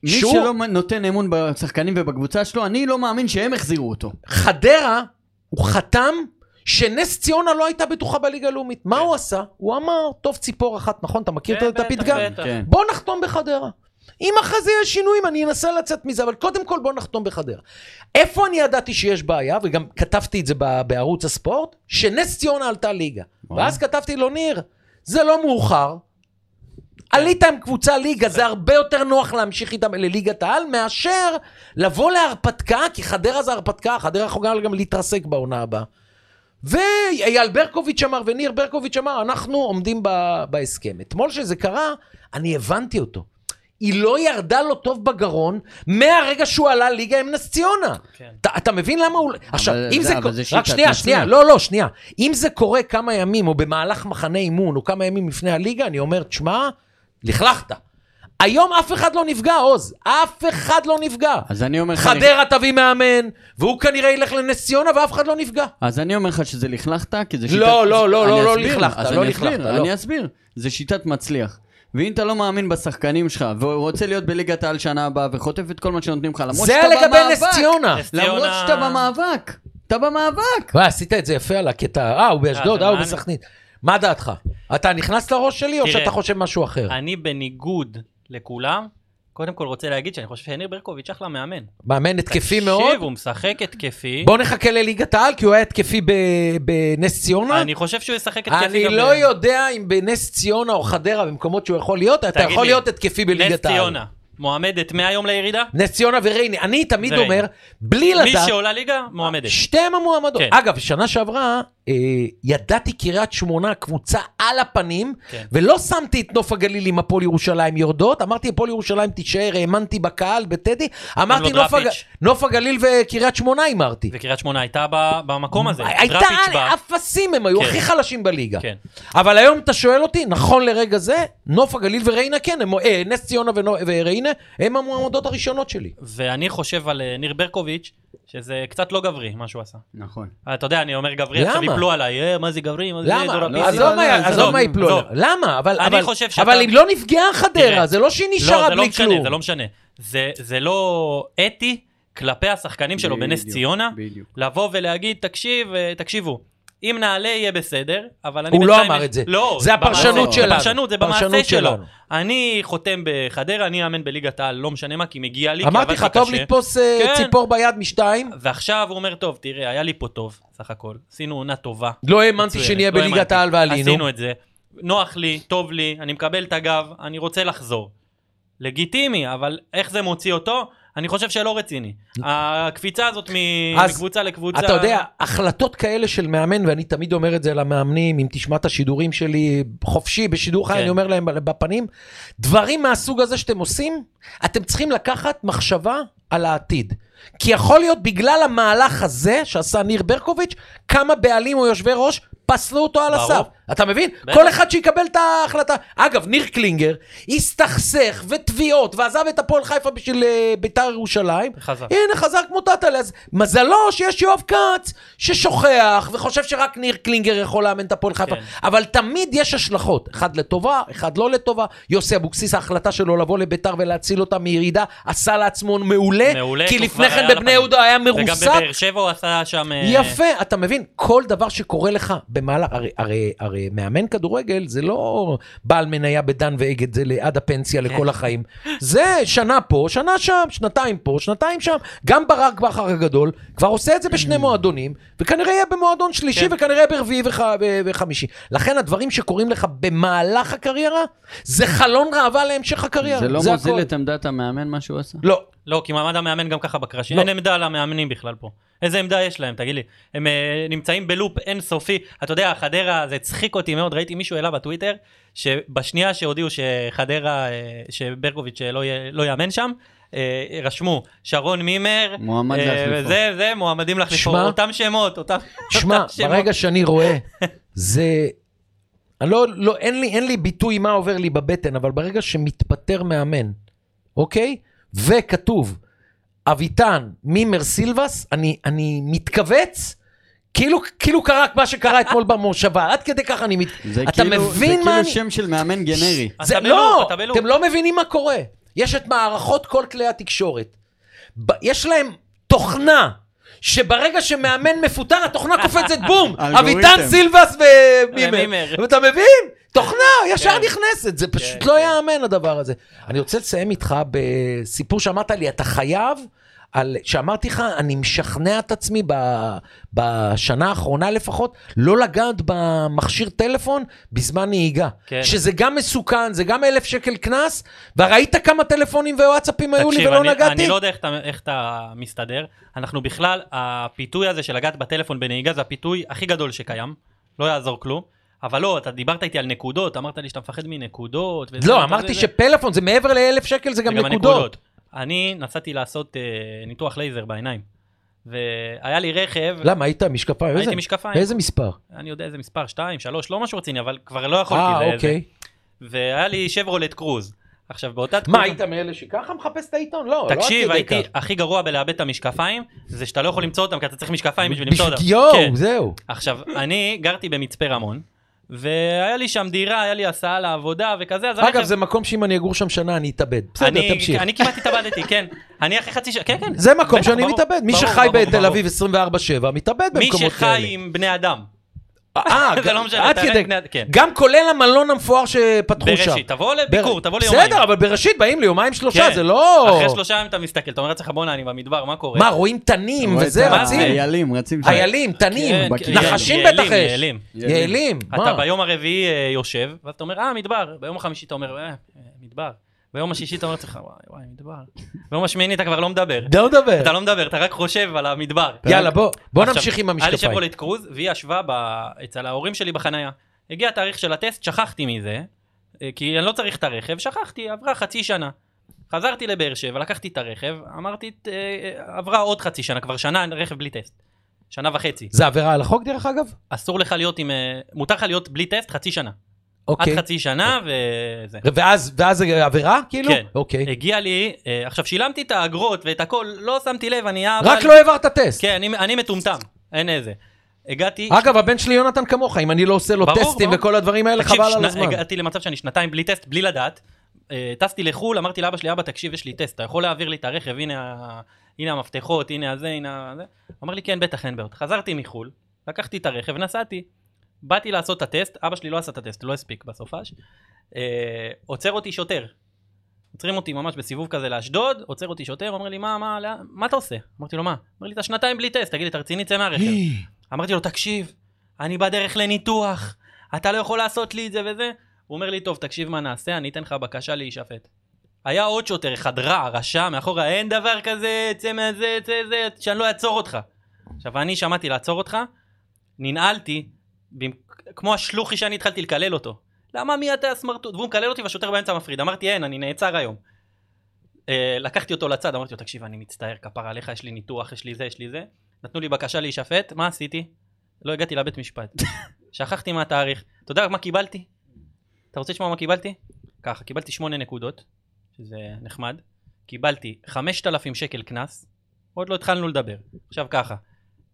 Speaker 3: מי
Speaker 1: שהוא-
Speaker 3: שלא מ- נותן אמון בשחקנים ובקבוצה שלו, אני לא מאמין שהם החזירו אותו.
Speaker 1: חדרה, הוא חתם שנס ציונה לא הייתה בטוחה בליגה הלאומית. מה הוא עשה? הוא אמר, טוב ציפור אחת, נכון? אתה מכיר
Speaker 2: כן,
Speaker 1: את
Speaker 2: בטח,
Speaker 1: הפתגם?
Speaker 2: בטח.
Speaker 3: כן.
Speaker 1: בוא נחתום בחדרה. אם אחרי זה יש שינויים, אני אנסה לצאת מזה, אבל קודם כל בוא נחתום בחדרה. איפה אני ידעתי שיש בעיה, וגם כתבתי את זה ב- בערוץ הספורט, שנס ציונה עלתה ליגה.
Speaker 3: וואו.
Speaker 1: ואז כתבתי לו, ניר, זה לא מאוחר. עלית עם קבוצה ליגה, זה הרבה יותר נוח להמשיך איתם לליגת העל, מאשר לבוא להרפתקה, כי חדרה זה הרפתקה, חדרה יכולה גם להתרסק בעונה הבאה. ואייל ברקוביץ' אמר, וניר ברקוביץ' אמר, אנחנו עומדים ב- בהסכם. אתמול שזה קרה, אני הבנתי אותו. היא לא ירדה לו טוב בגרון מהרגע שהוא עלה ליגה עם נס ציונה.
Speaker 2: כן.
Speaker 1: אתה, אתה מבין למה הוא... עכשיו, אם
Speaker 3: זה-
Speaker 1: זה...
Speaker 3: אבל
Speaker 1: קורה-
Speaker 3: זה
Speaker 1: רק
Speaker 3: שיטת
Speaker 1: שנייה,
Speaker 3: נס
Speaker 1: שנייה,
Speaker 3: ציונה.
Speaker 1: לא, לא, שנייה. אם זה קורה כמה ימים, או במהלך מחנה אימון, או כמה ימים לפני הליגה, אני אומר, תשמע, לכלכת. היום אף אחד לא נפגע, עוז. אף אחד לא נפגע.
Speaker 3: אז אני אומר לך...
Speaker 1: חדרה תביא מאמן, והוא כנראה ילך לנס ציונה ואף אחד לא נפגע.
Speaker 3: אז אני אומר לך שזה לכלכת, כי זה
Speaker 1: לא,
Speaker 3: שיטת...
Speaker 1: לא, לא,
Speaker 3: אני
Speaker 1: לא, לא
Speaker 3: אסביר,
Speaker 1: לכלכת,
Speaker 3: אז
Speaker 1: לא
Speaker 3: אני אסביר,
Speaker 1: לכלכת, לא.
Speaker 3: אני אסביר. זה שיטת מצליח. ואם אתה לא מאמין בשחקנים שלך, ורוצה להיות בליגת העל שנה הבאה, וחוטף את כל מה שנותנים לך, למרות
Speaker 1: זה
Speaker 3: שאתה במאבק...
Speaker 1: לגבי נס ציונה.
Speaker 2: נס
Speaker 3: למרות
Speaker 2: ציונה-
Speaker 3: שאתה במאבק. אתה במאבק.
Speaker 1: וואי, עשית את זה יפה על הקטע, אה, הוא באשדוד,
Speaker 2: אתה
Speaker 1: אה, הוא
Speaker 2: מה?
Speaker 1: בסכנין. מה דעתך? אתה נכנס לראש שלי, או
Speaker 2: תראה,
Speaker 1: שאתה חושב משהו אחר?
Speaker 2: אני בניגוד לכולם, קודם כל רוצה להגיד שאני חושב שניר ברקוביץ' אחלה מאמן.
Speaker 1: מאמן התקפי
Speaker 2: תקשיב,
Speaker 1: מאוד.
Speaker 2: הוא משחק התקפי.
Speaker 1: בוא נחכה לליגת העל, כי הוא היה התקפי ב- בנס ציונה.
Speaker 2: אני חושב שהוא ישחק התקפי
Speaker 1: אני
Speaker 2: גם אה,
Speaker 1: לא
Speaker 2: ב-
Speaker 1: יודע אם בנס ציונה או חדרה, במקומות שהוא יכול להיות, אתה
Speaker 2: תגיד
Speaker 1: יכול
Speaker 2: לי,
Speaker 1: להיות התקפי
Speaker 2: נס
Speaker 1: בליגת העל.
Speaker 2: ציונה. מועמדת מהיום לירידה?
Speaker 1: נס ציונה וריינה. אני תמיד
Speaker 2: וריינה.
Speaker 1: אומר, בלי
Speaker 2: מי
Speaker 1: לדעת, אה,
Speaker 2: שעולה ליגה, מועמדת.
Speaker 1: שתיהם המועמדות.
Speaker 2: כן.
Speaker 1: אגב, שנה שעברה, אה, ידעתי קריית שמונה, קבוצה על הפנים,
Speaker 2: כן.
Speaker 1: ולא שמתי את נוף הגליל עם הפועל ירושלים יורדות, אמרתי הפועל ירושלים תישאר, האמנתי בקהל, בטדי, אמרתי
Speaker 2: לו
Speaker 1: נוף, הג...
Speaker 2: דראפיץ'.
Speaker 1: נוף הגליל וקריית שמונה הימרתי.
Speaker 2: וקריית שמונה הייתה ב- במקום הזה.
Speaker 1: הייתה
Speaker 2: דראפיץ' בא.
Speaker 1: אפסים, הם היו
Speaker 2: כן.
Speaker 1: הכי חלשים בליגה.
Speaker 2: כן.
Speaker 1: אבל היום אתה שואל אותי, נכון לרגע זה, נוף הגליל וריינה כן, הם, אה, נס ציונה ונו- וריינה, הם המועמדות הראשונות שלי.
Speaker 2: ואני חושב על אה, ניר ברקוביץ', שזה קצת לא גברי, מה שהוא עשה. אה,
Speaker 3: נכון.
Speaker 2: אתה יודע, אני אומר גברי, עכשיו
Speaker 1: למה?
Speaker 2: יפלו עליי, "אה, מה זה גברי? מה זה דור
Speaker 1: למה? לא,
Speaker 2: הפיס?"
Speaker 1: עזוב מה-
Speaker 3: עזוב,
Speaker 1: עזוב מה
Speaker 2: עזוב.
Speaker 1: יפלו עליו. למה? אבל-
Speaker 2: אני
Speaker 1: אבל-
Speaker 2: חושב שאתה-
Speaker 1: אבל אם לא נפגעה חדרה,
Speaker 2: תראה.
Speaker 1: זה לא שהיא
Speaker 2: לא,
Speaker 1: נשארה
Speaker 2: זה לא
Speaker 1: בלי
Speaker 2: משנה,
Speaker 1: כלום.
Speaker 2: זה לא משנה. זה- זה לא אתי כלפי השחקנים שלו בנס
Speaker 3: בדיוק,
Speaker 2: ציונה,
Speaker 3: בדיוק.
Speaker 2: לבוא ולהגיד, תקשיב, אה, תקשיבו. אם נעלה יהיה בסדר, אבל אני...
Speaker 1: הוא לא
Speaker 2: בינתיים-
Speaker 1: אמר את זה.
Speaker 2: לא,
Speaker 1: זה
Speaker 2: במעשה-
Speaker 1: הפרשנות
Speaker 2: זה
Speaker 1: שלנו.
Speaker 2: פרשנות, זה במעשה
Speaker 1: פרשנות
Speaker 2: שלו.
Speaker 1: שלנו.
Speaker 2: אני חותם בחדרה, אני אאמן בליגת העל, לא משנה מה, כי מגיע לי, כי
Speaker 1: אמרתי לך,
Speaker 2: עבדתי
Speaker 1: טוב
Speaker 2: קשה.
Speaker 1: לתפוס אה,
Speaker 2: כן.
Speaker 1: ציפור ביד משתיים.
Speaker 2: ועכשיו הוא אומר, טוב, תראה, היה לי פה טוב, סך הכל. עשינו עונה טובה.
Speaker 1: לא האמנתי
Speaker 2: מצוינת,
Speaker 1: שנהיה
Speaker 2: לא
Speaker 1: בליגת
Speaker 2: האמנתי.
Speaker 1: העל ועלינו.
Speaker 2: עשינו את זה. נוח לי, טוב לי, אני מקבל את הגב, אני רוצה לחזור. לגיטימי, אבל איך זה מוציא אותו? אני חושב שלא רציני. הקפיצה הזאת מ-
Speaker 1: אז
Speaker 2: מקבוצה לקבוצה...
Speaker 1: אתה יודע, החלטות כאלה של מאמן, ואני תמיד אומר את זה למאמנים, אם תשמע את השידורים שלי חופשי, בשידור חי,
Speaker 2: כן.
Speaker 1: אני אומר להם בפנים, דברים מהסוג הזה שאתם עושים, אתם צריכים לקחת מחשבה על העתיד. כי יכול להיות בגלל המהלך הזה שעשה ניר ברקוביץ', כמה בעלים או יושבי ראש פסלו אותו על
Speaker 2: ברור.
Speaker 1: הסף. אתה מבין?
Speaker 2: בטח.
Speaker 1: כל אחד שיקבל את ההחלטה. אגב, ניר קלינגר הסתכסך ותביעות ועזב את הפועל חיפה בשביל אה, ביתר ירושלים.
Speaker 2: חזר.
Speaker 1: הנה, חזר כמו טאטלה. אז מזלו שיש יואב כץ ששוכח וחושב שרק ניר קלינגר יכול לאמן את הפועל חיפה.
Speaker 2: כן.
Speaker 1: אבל תמיד יש השלכות. אחד לטובה, אחד לא לטובה. יוסי אבוקסיס, ההחלטה שלו לבוא לביתר ולהציל אותה מירידה, עשה לעצמו מעולה.
Speaker 2: מעולה,
Speaker 1: כי
Speaker 2: הוא
Speaker 1: לפני
Speaker 2: כבר
Speaker 1: כן
Speaker 2: היה
Speaker 1: בבני
Speaker 2: לפנים.
Speaker 1: יהודה היה
Speaker 2: וגם
Speaker 1: מרוסק.
Speaker 2: בבאר שבע הוא עשה שם... אה,
Speaker 1: יפה, אתה מבין? כל דבר שקורה לך במהלך, הרי, הרי, הרי מאמן כדורגל זה לא בעל מניה בדן ואגד זה עד הפנסיה
Speaker 3: כן.
Speaker 1: לכל החיים. זה שנה פה, שנה שם, שנתיים פה, שנתיים שם. גם ברק בכר הגדול כבר עושה את זה
Speaker 3: Mm.
Speaker 1: בשני מועדונים, וכנראה יהיה במועדון שלישי
Speaker 2: כן.
Speaker 1: וכנראה ברביעי וח, ו- וחמישי. לכן הדברים שקורים לך במהלך הקריירה, זה חלון ראווה להמשך הקריירה.
Speaker 3: זה לא מוזיל
Speaker 1: הכל.
Speaker 3: את עמדת המאמן מה שהוא עשה?
Speaker 1: לא,
Speaker 2: לא, כי מעמד המאמן גם ככה בקרשים.
Speaker 1: לא.
Speaker 2: אין עמדה למאמנים בכלל פה. איזה עמדה יש להם, תגיד לי? הם אה, נמצאים בלופ אינסופי. אתה יודע, חדרה, זה הצחיק אותי מאוד, ראיתי מישהו העלה בטוויטר, שבשנייה שהודיעו שחדרה, אה, שברקוביץ' אה, לא יהיה- לא יאמן שם, אה, רשמו, שרון מימר,
Speaker 3: מועמד
Speaker 2: אה,
Speaker 3: להחליפו.
Speaker 2: וזה, זה, מועמדים להחליפו,
Speaker 1: שמע.
Speaker 2: אותם שמות, אותם
Speaker 1: שמע,
Speaker 2: אותם שמות.
Speaker 1: ברגע שאני רואה, זה... אני לא, לא, אין לי, אין לי ביטוי מה עובר לי בבטן, אבל ברגע שמתפטר מאמן, אוקיי? וכתוב, אביטן, מימר, סילבס, אני, אני מתכווץ, כאילו, כאילו קרה מה שקרה אתמול במושבה, עד כדי כך אני מת...
Speaker 3: זה
Speaker 1: אתה
Speaker 3: כאילו-
Speaker 1: מבין מה
Speaker 3: זה
Speaker 1: אני...
Speaker 3: כאילו שם של מאמן גנרי.
Speaker 2: אתה
Speaker 1: זה,
Speaker 2: בלופ,
Speaker 1: לא,
Speaker 2: אתה בלופ.
Speaker 1: אתם לא מבינים מה קורה. יש את מערכות כל כלי התקשורת. ב- יש להם תוכנה. שברגע שמאמן מפוטר, התוכנה קופצת בום!
Speaker 3: אלגוריתם.
Speaker 1: אביטן סילבס ומימר.
Speaker 2: ומימר.
Speaker 1: אתה מבין? תוכנה ישר
Speaker 2: כן.
Speaker 1: נכנסת, זה פשוט
Speaker 2: כן,
Speaker 1: לא
Speaker 2: כן.
Speaker 1: ייאמן הדבר הזה. אני רוצה לסיים איתך בסיפור שאמרת לי, אתה חייב, על, שאמרתי לך, אני משכנע את עצמי ב, בשנה האחרונה לפחות, לא לגעת במכשיר טלפון בזמן נהיגה.
Speaker 2: כן.
Speaker 1: שזה גם מסוכן, זה גם אלף שקל קנס, וראית כמה טלפונים ווואטסאפים היו לי
Speaker 2: תקשיב,
Speaker 1: ולא
Speaker 2: אני,
Speaker 1: נגעתי?
Speaker 2: אני לא יודע איך אתה, איך אתה מסתדר. אנחנו בכלל, הפיתוי הזה של לגעת בטלפון בנהיגה זה הפיתוי הכי גדול שקיים. לא יעזור כלום. אבל לא, אתה דיברת איתי על נקודות, אמרת לי שאתה מפחד מנקודות. וזה,
Speaker 1: לא,
Speaker 2: וזה,
Speaker 1: אמרתי
Speaker 2: וזה.
Speaker 1: שפלאפון זה מעבר לאלף שקל, זה
Speaker 2: זה
Speaker 1: גם נקודות.
Speaker 2: אני נסעתי לעשות אה, ניתוח לייזר בעיניים. והיה לי רכב,
Speaker 1: למה, היית משקפיים?
Speaker 2: הייתי
Speaker 1: לא, איזה-
Speaker 2: משקפיים,
Speaker 1: איזה מספר?
Speaker 2: אני יודע איזה מספר, 2, 3, לא משהו רציני, אבל כבר לא יכולתי.
Speaker 1: אה,
Speaker 2: זה-
Speaker 1: אוקיי.
Speaker 2: זה- והיה לי שברולט קרוז. עכשיו, באותה תקופה...
Speaker 1: מה, היית מאלה שככה מחפש את העיתון? לא, לא עד
Speaker 2: תקשיב,
Speaker 1: כדי
Speaker 2: הייתי
Speaker 1: כך.
Speaker 2: הכי גרוע בלאבד את המשקפיים, זה שאתה לא יכול למצוא אותם, כי אתה צריך משקפיים בשביל למצוא אותם.
Speaker 1: יואו,
Speaker 2: כן.
Speaker 1: זהו.
Speaker 2: עכשיו, אני גרתי במצפה רמון, והיה לי שם דירה, היה לי הסעה לעבודה וכזה, אז אני
Speaker 1: אגב,
Speaker 2: עכשיו-
Speaker 1: זה מקום שאם אני אגור שם שנה, אני אתאבד. בסדר,
Speaker 2: אני-
Speaker 1: תמשיך.
Speaker 2: אני כמעט התאבדתי, כן. אני אחרי חצי שעה, כן, כן.
Speaker 1: זה מקום
Speaker 2: בטח,
Speaker 1: שאני
Speaker 2: ברור,
Speaker 1: מתאבד. מי
Speaker 2: ברור,
Speaker 1: שחי
Speaker 2: ברור,
Speaker 1: בתל
Speaker 2: ברור.
Speaker 1: אביב 24-7, מתאבד
Speaker 2: מי
Speaker 1: במקומות כאלה.
Speaker 2: שחי עם בני אדם.
Speaker 1: אה,
Speaker 2: זה
Speaker 1: גם-
Speaker 2: לא משנה,
Speaker 1: עד
Speaker 2: אתה
Speaker 1: כדי,
Speaker 2: רק- כן.
Speaker 1: גם כולל המלון המפואר שפתחו שם.
Speaker 2: בראשית, תבוא לביקור,
Speaker 1: בר-
Speaker 2: תבוא ליומיים.
Speaker 1: בסדר, אבל בראשית באים ליומיים שלושה,
Speaker 2: כן.
Speaker 1: זה לא...
Speaker 2: אחרי שלושה ימים אתה מסתכל, אתה אומר לעצמך, בואנה, אני במדבר, מה קורה?
Speaker 1: מה, רואים תנים
Speaker 3: רואה את
Speaker 1: וזה,
Speaker 2: מה
Speaker 1: רצים?
Speaker 2: זה?
Speaker 3: איילים, רצים שם.
Speaker 1: איילים, תנים,
Speaker 2: כן,
Speaker 3: כן,
Speaker 1: נחשים
Speaker 2: יעלים,
Speaker 1: בטח יש.
Speaker 2: יעלים.
Speaker 1: יעלים,
Speaker 2: אתה
Speaker 1: מה?
Speaker 2: ביום הרביעי אה, יושב, ואז אתה אומר, אה, מדבר. ביום החמישי אתה אומר, אה, אה, מדבר. ביום השישי אתה אומר לעצמך, וואי, וואי, מדבר. ביום השמיני אתה כבר לא מדבר.
Speaker 1: לא מדבר.
Speaker 2: אתה לא מדבר, אתה רק חושב על המדבר.
Speaker 1: יאללה, בוא בוא
Speaker 2: עכשיו,
Speaker 1: נמשיך עם
Speaker 2: היה לי
Speaker 1: המשקפיים.
Speaker 2: שברולט קרוז, והיא ישבה ב- אצל ההורים שלי בחנייה. הגיע התאריך של הטסט, שכחתי מזה, אה, כי אני לא צריך את הרכב, שכחתי, עברה חצי שנה. חזרתי לבאר שבע, לקחתי את הרכב, אמרתי, "ת- אה, עברה עוד חצי שנה, כבר שנה אין רכב בלי טסט. שנה וחצי.
Speaker 1: זה עבירה על החוק דרך אגב?
Speaker 2: אסור לך להיות עם... אה, מותר לך להיות בלי טסט חצי שנה. עד
Speaker 1: אוקיי.
Speaker 2: חצי שנה וזה.
Speaker 1: ואז ואז זה עבירה כאילו?
Speaker 2: כן.
Speaker 1: אוקיי.
Speaker 2: הגיע לי, אה, עכשיו שילמתי את האגרות ואת הכל, לא שמתי לב, אני...
Speaker 1: רק
Speaker 2: אבל-
Speaker 1: לא העברת טסט.
Speaker 2: כן, אני- אני מטומטם, אין איזה. הגעתי...
Speaker 1: אגב, הבן שלי יונתן כמוך, אם אני לא עושה לו
Speaker 2: ברור,
Speaker 1: טסטים
Speaker 2: ברור.
Speaker 1: וכל הדברים האלה,
Speaker 2: תקשיב,
Speaker 1: חבל על
Speaker 2: שנה-
Speaker 1: הזמן.
Speaker 2: הגעתי למצב שאני שנתיים בלי טסט, בלי לדעת. אה, טסתי לחו"ל, אמרתי לאבא שלי, אבא, תקשיב, יש לי טסט, אתה יכול להעביר לי את הרכב, הנה, ה- הנה המפתחות, הנה הזה, הנה הזה. הוא אמר לי, כן, בטח, אין בעיות. חזרתי מחו"ל, לקחתי את הרכב, נסעתי. באתי לעשות את הטסט, אבא שלי לא עשה את הטסט, לא הספיק בסופש. אה, עוצר אותי שוטר. עוצרים אותי ממש בסיבוב כזה לאשדוד, עוצר אותי שוטר, אומר לי, מה, מה, לאן- מה אתה עושה? אמרתי לו, מה? אומר לי, אתה שנתיים בלי טסט, תגיד לי, אתה רציני, צא מהרכב. אמרתי לו, תקשיב, אני בדרך לניתוח, אתה לא יכול לעשות לי את זה וזה. הוא אומר לי, טוב, תקשיב מה נעשה, אני אתן לך בקשה להישפט. היה עוד שוטר אחד רע, רשע, מאחורה, אין דבר כזה, צא מזה, צא זה, שאני לא אעצור אותך. עכשיו, אני שמעתי לעצור אותך, ננעלתי, במק- כמו השלוחי שאני התחלתי לקלל אותו. למה מי אתה הסמרטוט? והוא מקלל אותי והשוטר באמצע מפריד. אמרתי, אין, אני נעצר היום. אה, לקחתי אותו לצד, אמרתי לו, תקשיב, אני מצטער, כפרה עליך, יש לי ניתוח, יש לי זה, יש לי זה. נתנו לי בקשה להישפט, מה עשיתי? לא הגעתי לבית משפט. שכחתי מה התאריך. אתה יודע מה קיבלתי? אתה רוצה לשמוע מה קיבלתי? ככה, קיבלתי 8 נקודות, שזה נחמד. קיבלתי 5,000 שקל קנס, עוד לא התחלנו לדבר. עכשיו ככה,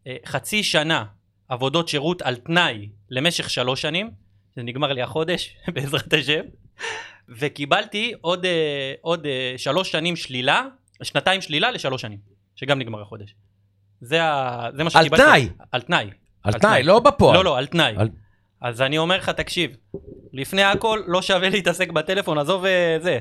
Speaker 2: אה, חצי שנה עבודות שירות על תנאי למשך שלוש שנים, זה נגמר לי החודש, בעזרת השם, וקיבלתי עוד, אה, עוד אה, שלוש שנים שלילה, שנתיים שלילה לשלוש שנים, שגם נגמר החודש. זה, ה... זה מה
Speaker 1: על
Speaker 2: שקיבלתי.
Speaker 1: תנאי.
Speaker 2: על תנאי.
Speaker 1: על תנאי, לא בפועל.
Speaker 2: לא, לא, על תנאי.
Speaker 1: על-
Speaker 2: אז אני אומר לך, תקשיב, לפני הכל לא שווה להתעסק בטלפון, עזוב אה, זה.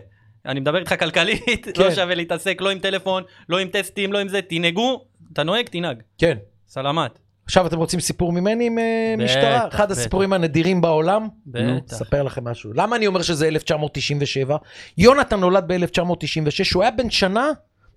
Speaker 2: אני מדבר איתך כלכלית, לא
Speaker 1: כן.
Speaker 2: שווה להתעסק לא עם טלפון, לא עם טסטים, לא עם זה, תנהגו, אתה נוהג, תנהג,
Speaker 1: כן.
Speaker 2: סלמת.
Speaker 1: עכשיו אתם רוצים סיפור ממני עם אה,
Speaker 2: בטח,
Speaker 1: משטרה? אחד
Speaker 2: בטח.
Speaker 1: הסיפורים הנדירים בעולם? נו,
Speaker 2: בטח.
Speaker 1: אספר לכם משהו. למה אני אומר שזה 1997? יונתן נולד ב-1996, הוא היה בן שנה,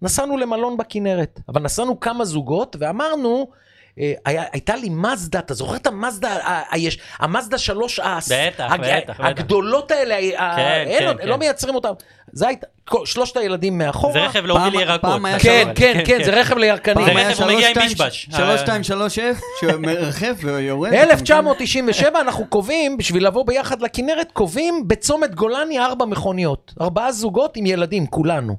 Speaker 1: נסענו למלון בכנרת. אבל נסענו כמה זוגות ואמרנו... אה, היה, הייתה לי מזדה, אתה זוכר את המזדה, ה- ה- יש- המזדה שלוש, הס-
Speaker 2: בטח,
Speaker 1: הג-
Speaker 2: בטח, בטח.
Speaker 1: הגדולות האלה, ה-
Speaker 2: כן,
Speaker 1: אין,
Speaker 2: כן,
Speaker 1: עוד-
Speaker 2: כן.
Speaker 1: לא מייצרים אותם. זה הייתה, כל- שלושת הילדים מאחורה.
Speaker 2: זה רכב להוביל
Speaker 3: פעם-
Speaker 2: ירקות.
Speaker 3: פעם היה
Speaker 2: תחשוב
Speaker 1: כן,
Speaker 2: על זה.
Speaker 1: כן, כן, זה רכב לירקנים.
Speaker 2: זה רכב, הוא מגיע עם בישבש.
Speaker 3: 3230F, שמרחף ויורד.
Speaker 1: 1997 אנחנו קובעים, בשביל לבוא ביחד לכנרת, קובעים בצומת גולני ארבע מכוניות. ארבעה זוגות עם ילדים, כולנו.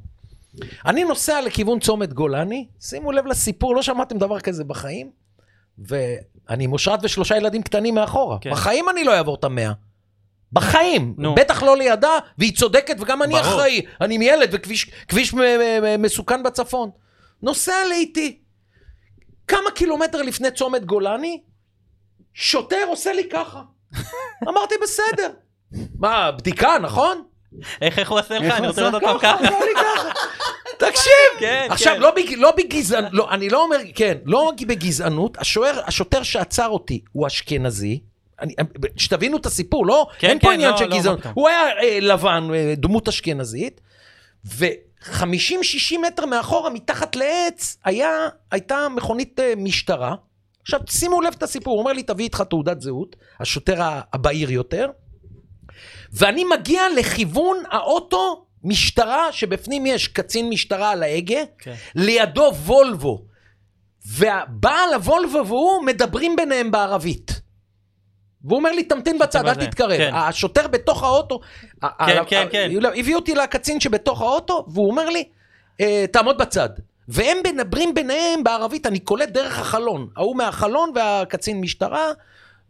Speaker 1: אני נוסע לכיוון צומת גולני, שימו לב לסיפור, לא שמעתם דבר כזה בחיים, ואני עם אושרת ושלושה ילדים קטנים מאחורה.
Speaker 2: כן.
Speaker 1: בחיים אני לא אעבור את המאה. בחיים.
Speaker 2: נו.
Speaker 1: בטח לא לידה, והיא צודקת וגם אני
Speaker 2: ברור.
Speaker 1: אחראי. אני עם ילד וכביש כביש מ- מ- מ- מסוכן בצפון. נוסע לאיטי. כמה קילומטר לפני צומת גולני, שוטר עושה לי ככה. אמרתי, בסדר. מה, בדיקה, נכון?
Speaker 2: איך איך הוא עושה לך?
Speaker 3: איך
Speaker 2: אני
Speaker 3: הוא
Speaker 2: רוצה לראות
Speaker 3: עשה?
Speaker 2: אותם
Speaker 1: ככה,
Speaker 2: ככה.
Speaker 1: עשה לי ככה. תקשיב,
Speaker 2: כן,
Speaker 1: עכשיו
Speaker 2: כן.
Speaker 1: לא בג- לא בגזענות, לא, אני לא אומר, כן, לא בגזענות, השוער- השוטר שעצר אותי הוא אשכנזי. אני- אה, שתבינו את הסיפור, לא?
Speaker 2: כן,
Speaker 1: אין פה
Speaker 2: כן,
Speaker 1: עניין
Speaker 2: לא,
Speaker 1: של
Speaker 2: לא, מה
Speaker 1: גזענות.
Speaker 2: פתאום.
Speaker 1: הוא היה אה, לבן, אה, דמות אשכנזית, ו-50-60 מטר מאחורה, מתחת לעץ, היה- הייתה מכונית אה, משטרה. עכשיו, שימו לב את הסיפור, הוא אומר לי, תביא איתך תעודת זהות, השוטר ה- הבהיר יותר, ואני מגיע לכיוון האוטו משטרה, שבפנים יש קצין משטרה על ההגה,
Speaker 2: כן.
Speaker 1: לידו וולבו. והבעל הוולבו והוא מדברים ביניהם בערבית. והוא אומר לי, תמתין בצד, אל
Speaker 2: בזה."
Speaker 1: תתקרב.
Speaker 2: כן.
Speaker 1: השוטר בתוך האוטו,
Speaker 2: כן, כן, כן.
Speaker 1: הביאו אותי לקצין שבתוך האוטו, והוא אומר לי, "אה, תעמוד בצד. והם מדברים ביניהם בערבית, אני קולט דרך החלון. ההוא מהחלון והקצין משטרה,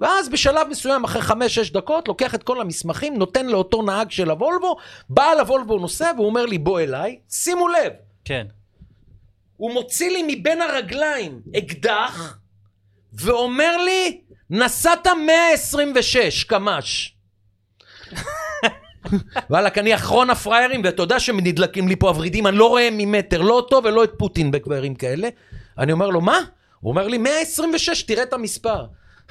Speaker 1: ואז בשלב מסוים, אחרי חמש-שש דקות, לוקח את כל המסמכים, נותן לאותו נהג של הוולבו, בעל הוולבו נוסע והוא אומר לי, בוא אליי, שימו לב,
Speaker 2: כן.
Speaker 1: הוא מוציא לי מבין הרגליים אקדח, ואומר לי, נסעת 126 קמ"ש. וואלכ, אני אחרון הפראיירים, ואתה יודע שנדלקים לי פה הוורידים, אני לא רואה ממטר, לא אותו ולא את פוטין בקברים כאלה. אני אומר לו, מה? הוא אומר לי, 126, תראה את המספר.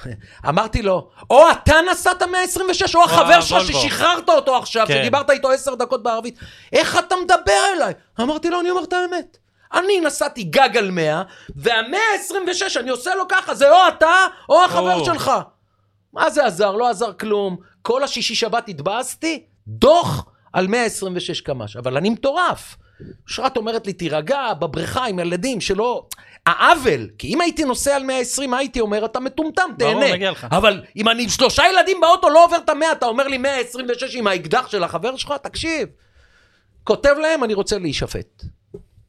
Speaker 1: אמרתי לו, או אתה נסעת 126, או החבר שלך
Speaker 2: הוולבו.
Speaker 1: ששחררת אותו עכשיו,
Speaker 2: כן.
Speaker 1: שדיברת איתו עשר דקות בערבית, איך אתה מדבר אליי? אמרתי לו, אני אומר את האמת. אני נסעתי גג על 100, והמאה ה-26, אני עושה לו ככה, זה או אתה, או החבר
Speaker 2: או.
Speaker 1: שלך. מה זה עזר? לא עזר כלום. כל השישי שבת התבאסתי, דוח על 126 קמ"ש. אבל אני מטורף. אושרת אומרת לי, תירגע, בבריכה עם ילדים, שלא... העוול, כי אם הייתי נוסע על 120, מה הייתי אומר? אתה מטומטם,
Speaker 2: ברור,
Speaker 1: תהנה.
Speaker 2: מגיע לך.
Speaker 1: אבל אם אני עם שלושה ילדים באוטו, לא עובר את המאה, אתה אומר לי 126 עם האקדח של החבר שלך? תקשיב. כותב להם, אני רוצה להישפט.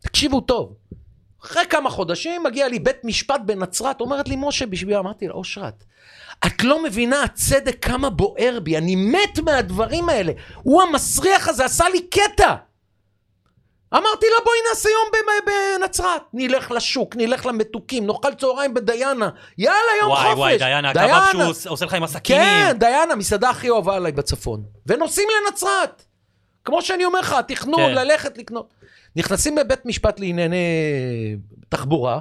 Speaker 1: תקשיבו טוב. אחרי כמה חודשים מגיע לי בית משפט בנצרת, אומרת לי, משה, בשביל... אמרתי לה, אושרת, את לא מבינה הצדק כמה בוער בי, אני מת מהדברים האלה. הוא המסריח הזה עשה לי קטע. אמרתי לה, בואי נעשה יום במ- בנצרת. נלך לשוק, נלך למתוקים, נאכל צהריים בדיינה. יאללה, יום
Speaker 2: וואי
Speaker 1: חופש.
Speaker 2: וואי, דיינה, הקבב
Speaker 1: דיינה.
Speaker 2: שהוא עוש- עושה לך עם הסכינים.
Speaker 1: כן, דיינה, מסעדה הכי אוהבה עליי בצפון. ונוסעים לנצרת. כמו שאני אומר לך, התכנון,
Speaker 2: כן.
Speaker 1: כן. ללכת לקנות. נכנסים לבית משפט לענייני תחבורה,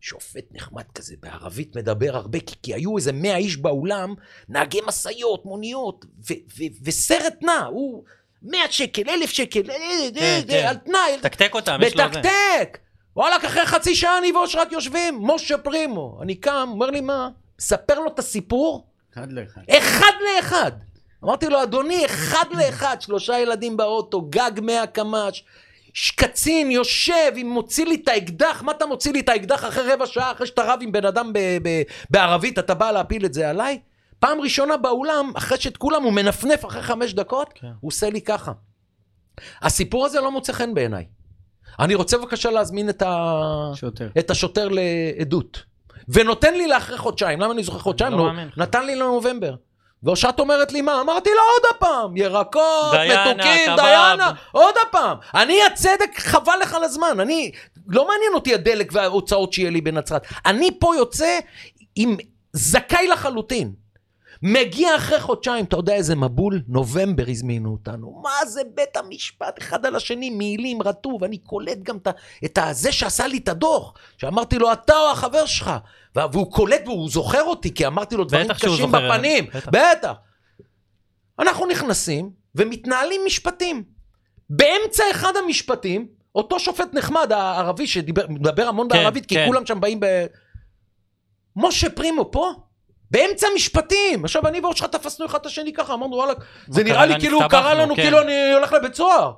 Speaker 1: שופט נחמד כזה, בערבית מדבר הרבה, כי, כי היו איזה 100 איש באולם, נהגי משאיות, מוניות, ו, ו, וסרט נע, הוא 100 שקל, 1,000 שקל, אה, אה, אה,
Speaker 2: כן.
Speaker 1: על תנאי,
Speaker 2: תקתק אותם, יש לו זה.
Speaker 1: מתקתק! וואלכ, אחרי חצי שעה אני ואושרת יושבים, משה פרימו. אני קם, אומר לי מה? מספר לו את הסיפור,
Speaker 3: אחד לאחד.
Speaker 1: אחד לאחד. אמרתי לו, אדוני, אחד לאחד, שלושה ילדים באוטו, גג 100 קמ"ש, ש- קצין יושב, אם מוציא לי את האקדח, מה אתה מוציא לי את האקדח אחרי רבע שעה, אחרי שאתה רב עם בן אדם ב- ב- בערבית, אתה בא להפיל את זה עליי? פעם ראשונה באולם, אחרי שאת כולם הוא מנפנף אחרי חמש דקות,
Speaker 2: כן.
Speaker 1: הוא עושה לי ככה. הסיפור הזה לא מוצא חן בעיניי. אני רוצה בבקשה להזמין את ה...
Speaker 3: שוטר.
Speaker 1: את השוטר לעדות. ונותן לי לאחרי חודשיים, למה אני זוכר חודשיים?
Speaker 2: לא
Speaker 1: לא,
Speaker 2: מאמין לך.
Speaker 1: נתן לי לנובמבר. ואושרת אומרת לי מה? אמרתי לה עוד הפעם, ירקות,
Speaker 2: דיינה,
Speaker 1: מתוקים,
Speaker 2: קבב."
Speaker 1: דיינה, עוד הפעם. אני הצדק, חבל לך על הזמן, אני, לא מעניין אותי הדלק וההוצאות שיהיה לי בנצרת. אני פה יוצא עם זכאי לחלוטין. מגיע אחרי חודשיים, אתה יודע איזה מבול? נובמבר הזמינו אותנו. מה זה בית המשפט? אחד על השני, מעילים, רטוב. אני קולט גם את ה- את הזה שעשה לי את הדוח, שאמרתי לו, אתה או החבר שלך. וה- והוא קולט והוא זוכר אותי, כי אמרתי לו דברים
Speaker 2: בטח שהוא
Speaker 1: קשים
Speaker 2: זוכר,
Speaker 1: בפנים.
Speaker 2: בטח.
Speaker 1: בטח. אנחנו נכנסים ומתנהלים משפטים. באמצע אחד המשפטים, אותו שופט נחמד, הערבי, שמדבר המון
Speaker 2: כן,
Speaker 1: בערבית, כי
Speaker 2: כן.
Speaker 1: כולם שם באים ב... משה פרימו פה? באמצע משפטים! עכשיו אני ואושך תפסנו אחד את השני ככה, אמרנו וואלכ, זה
Speaker 2: קרה
Speaker 1: נראה לי
Speaker 2: לנו?
Speaker 1: כאילו הוא קרא
Speaker 2: הסתבכנו,
Speaker 1: לנו,
Speaker 2: כן.
Speaker 1: כאילו אני הולך לבית סוהר.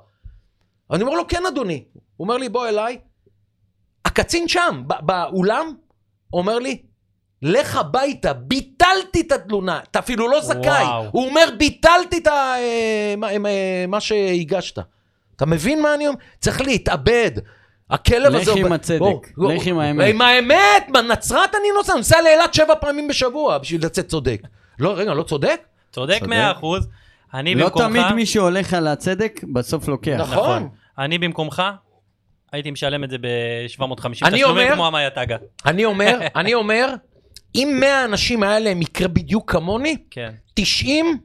Speaker 1: אני אומר לו, כן אדוני. הוא אומר לי, בוא אליי. הקצין שם, ב- באולם, אומר לי, לך הביתה, ביטלתי את התלונה, אתה אפילו לא זכאי.
Speaker 2: וואו.
Speaker 1: הוא אומר, ביטלתי את ה... אה, מה- אה, מה שהגשת. אתה מבין מה אני אומר? צריך להתאבד. הכלב
Speaker 3: לך
Speaker 1: הזה... הוא
Speaker 3: עם
Speaker 1: ב-
Speaker 3: הצדק,
Speaker 1: בוא, בוא.
Speaker 3: לך עם האמת.
Speaker 1: עם האמת, בנצרת אני נוסע, אני נוסע לאילת שבע פעמים בשבוע בשביל לצאת צודק. לא, רגע, לא צודק?
Speaker 2: צודק
Speaker 3: צודק.
Speaker 2: 100%. אני
Speaker 3: לא
Speaker 2: במקומך...
Speaker 3: תמיד מי שהולך על הצדק, בסוף
Speaker 2: כן,
Speaker 3: לוקח.
Speaker 1: נכון.
Speaker 2: אני במקומך, הייתי משלם את זה ב-750
Speaker 1: אני
Speaker 2: תשלומים
Speaker 1: אומר-
Speaker 2: כמו המאייתגה.
Speaker 1: אני אומר, אני אומר, אם 100 אנשים היה להם מקרה בדיוק כמוני,
Speaker 2: כן.
Speaker 1: 90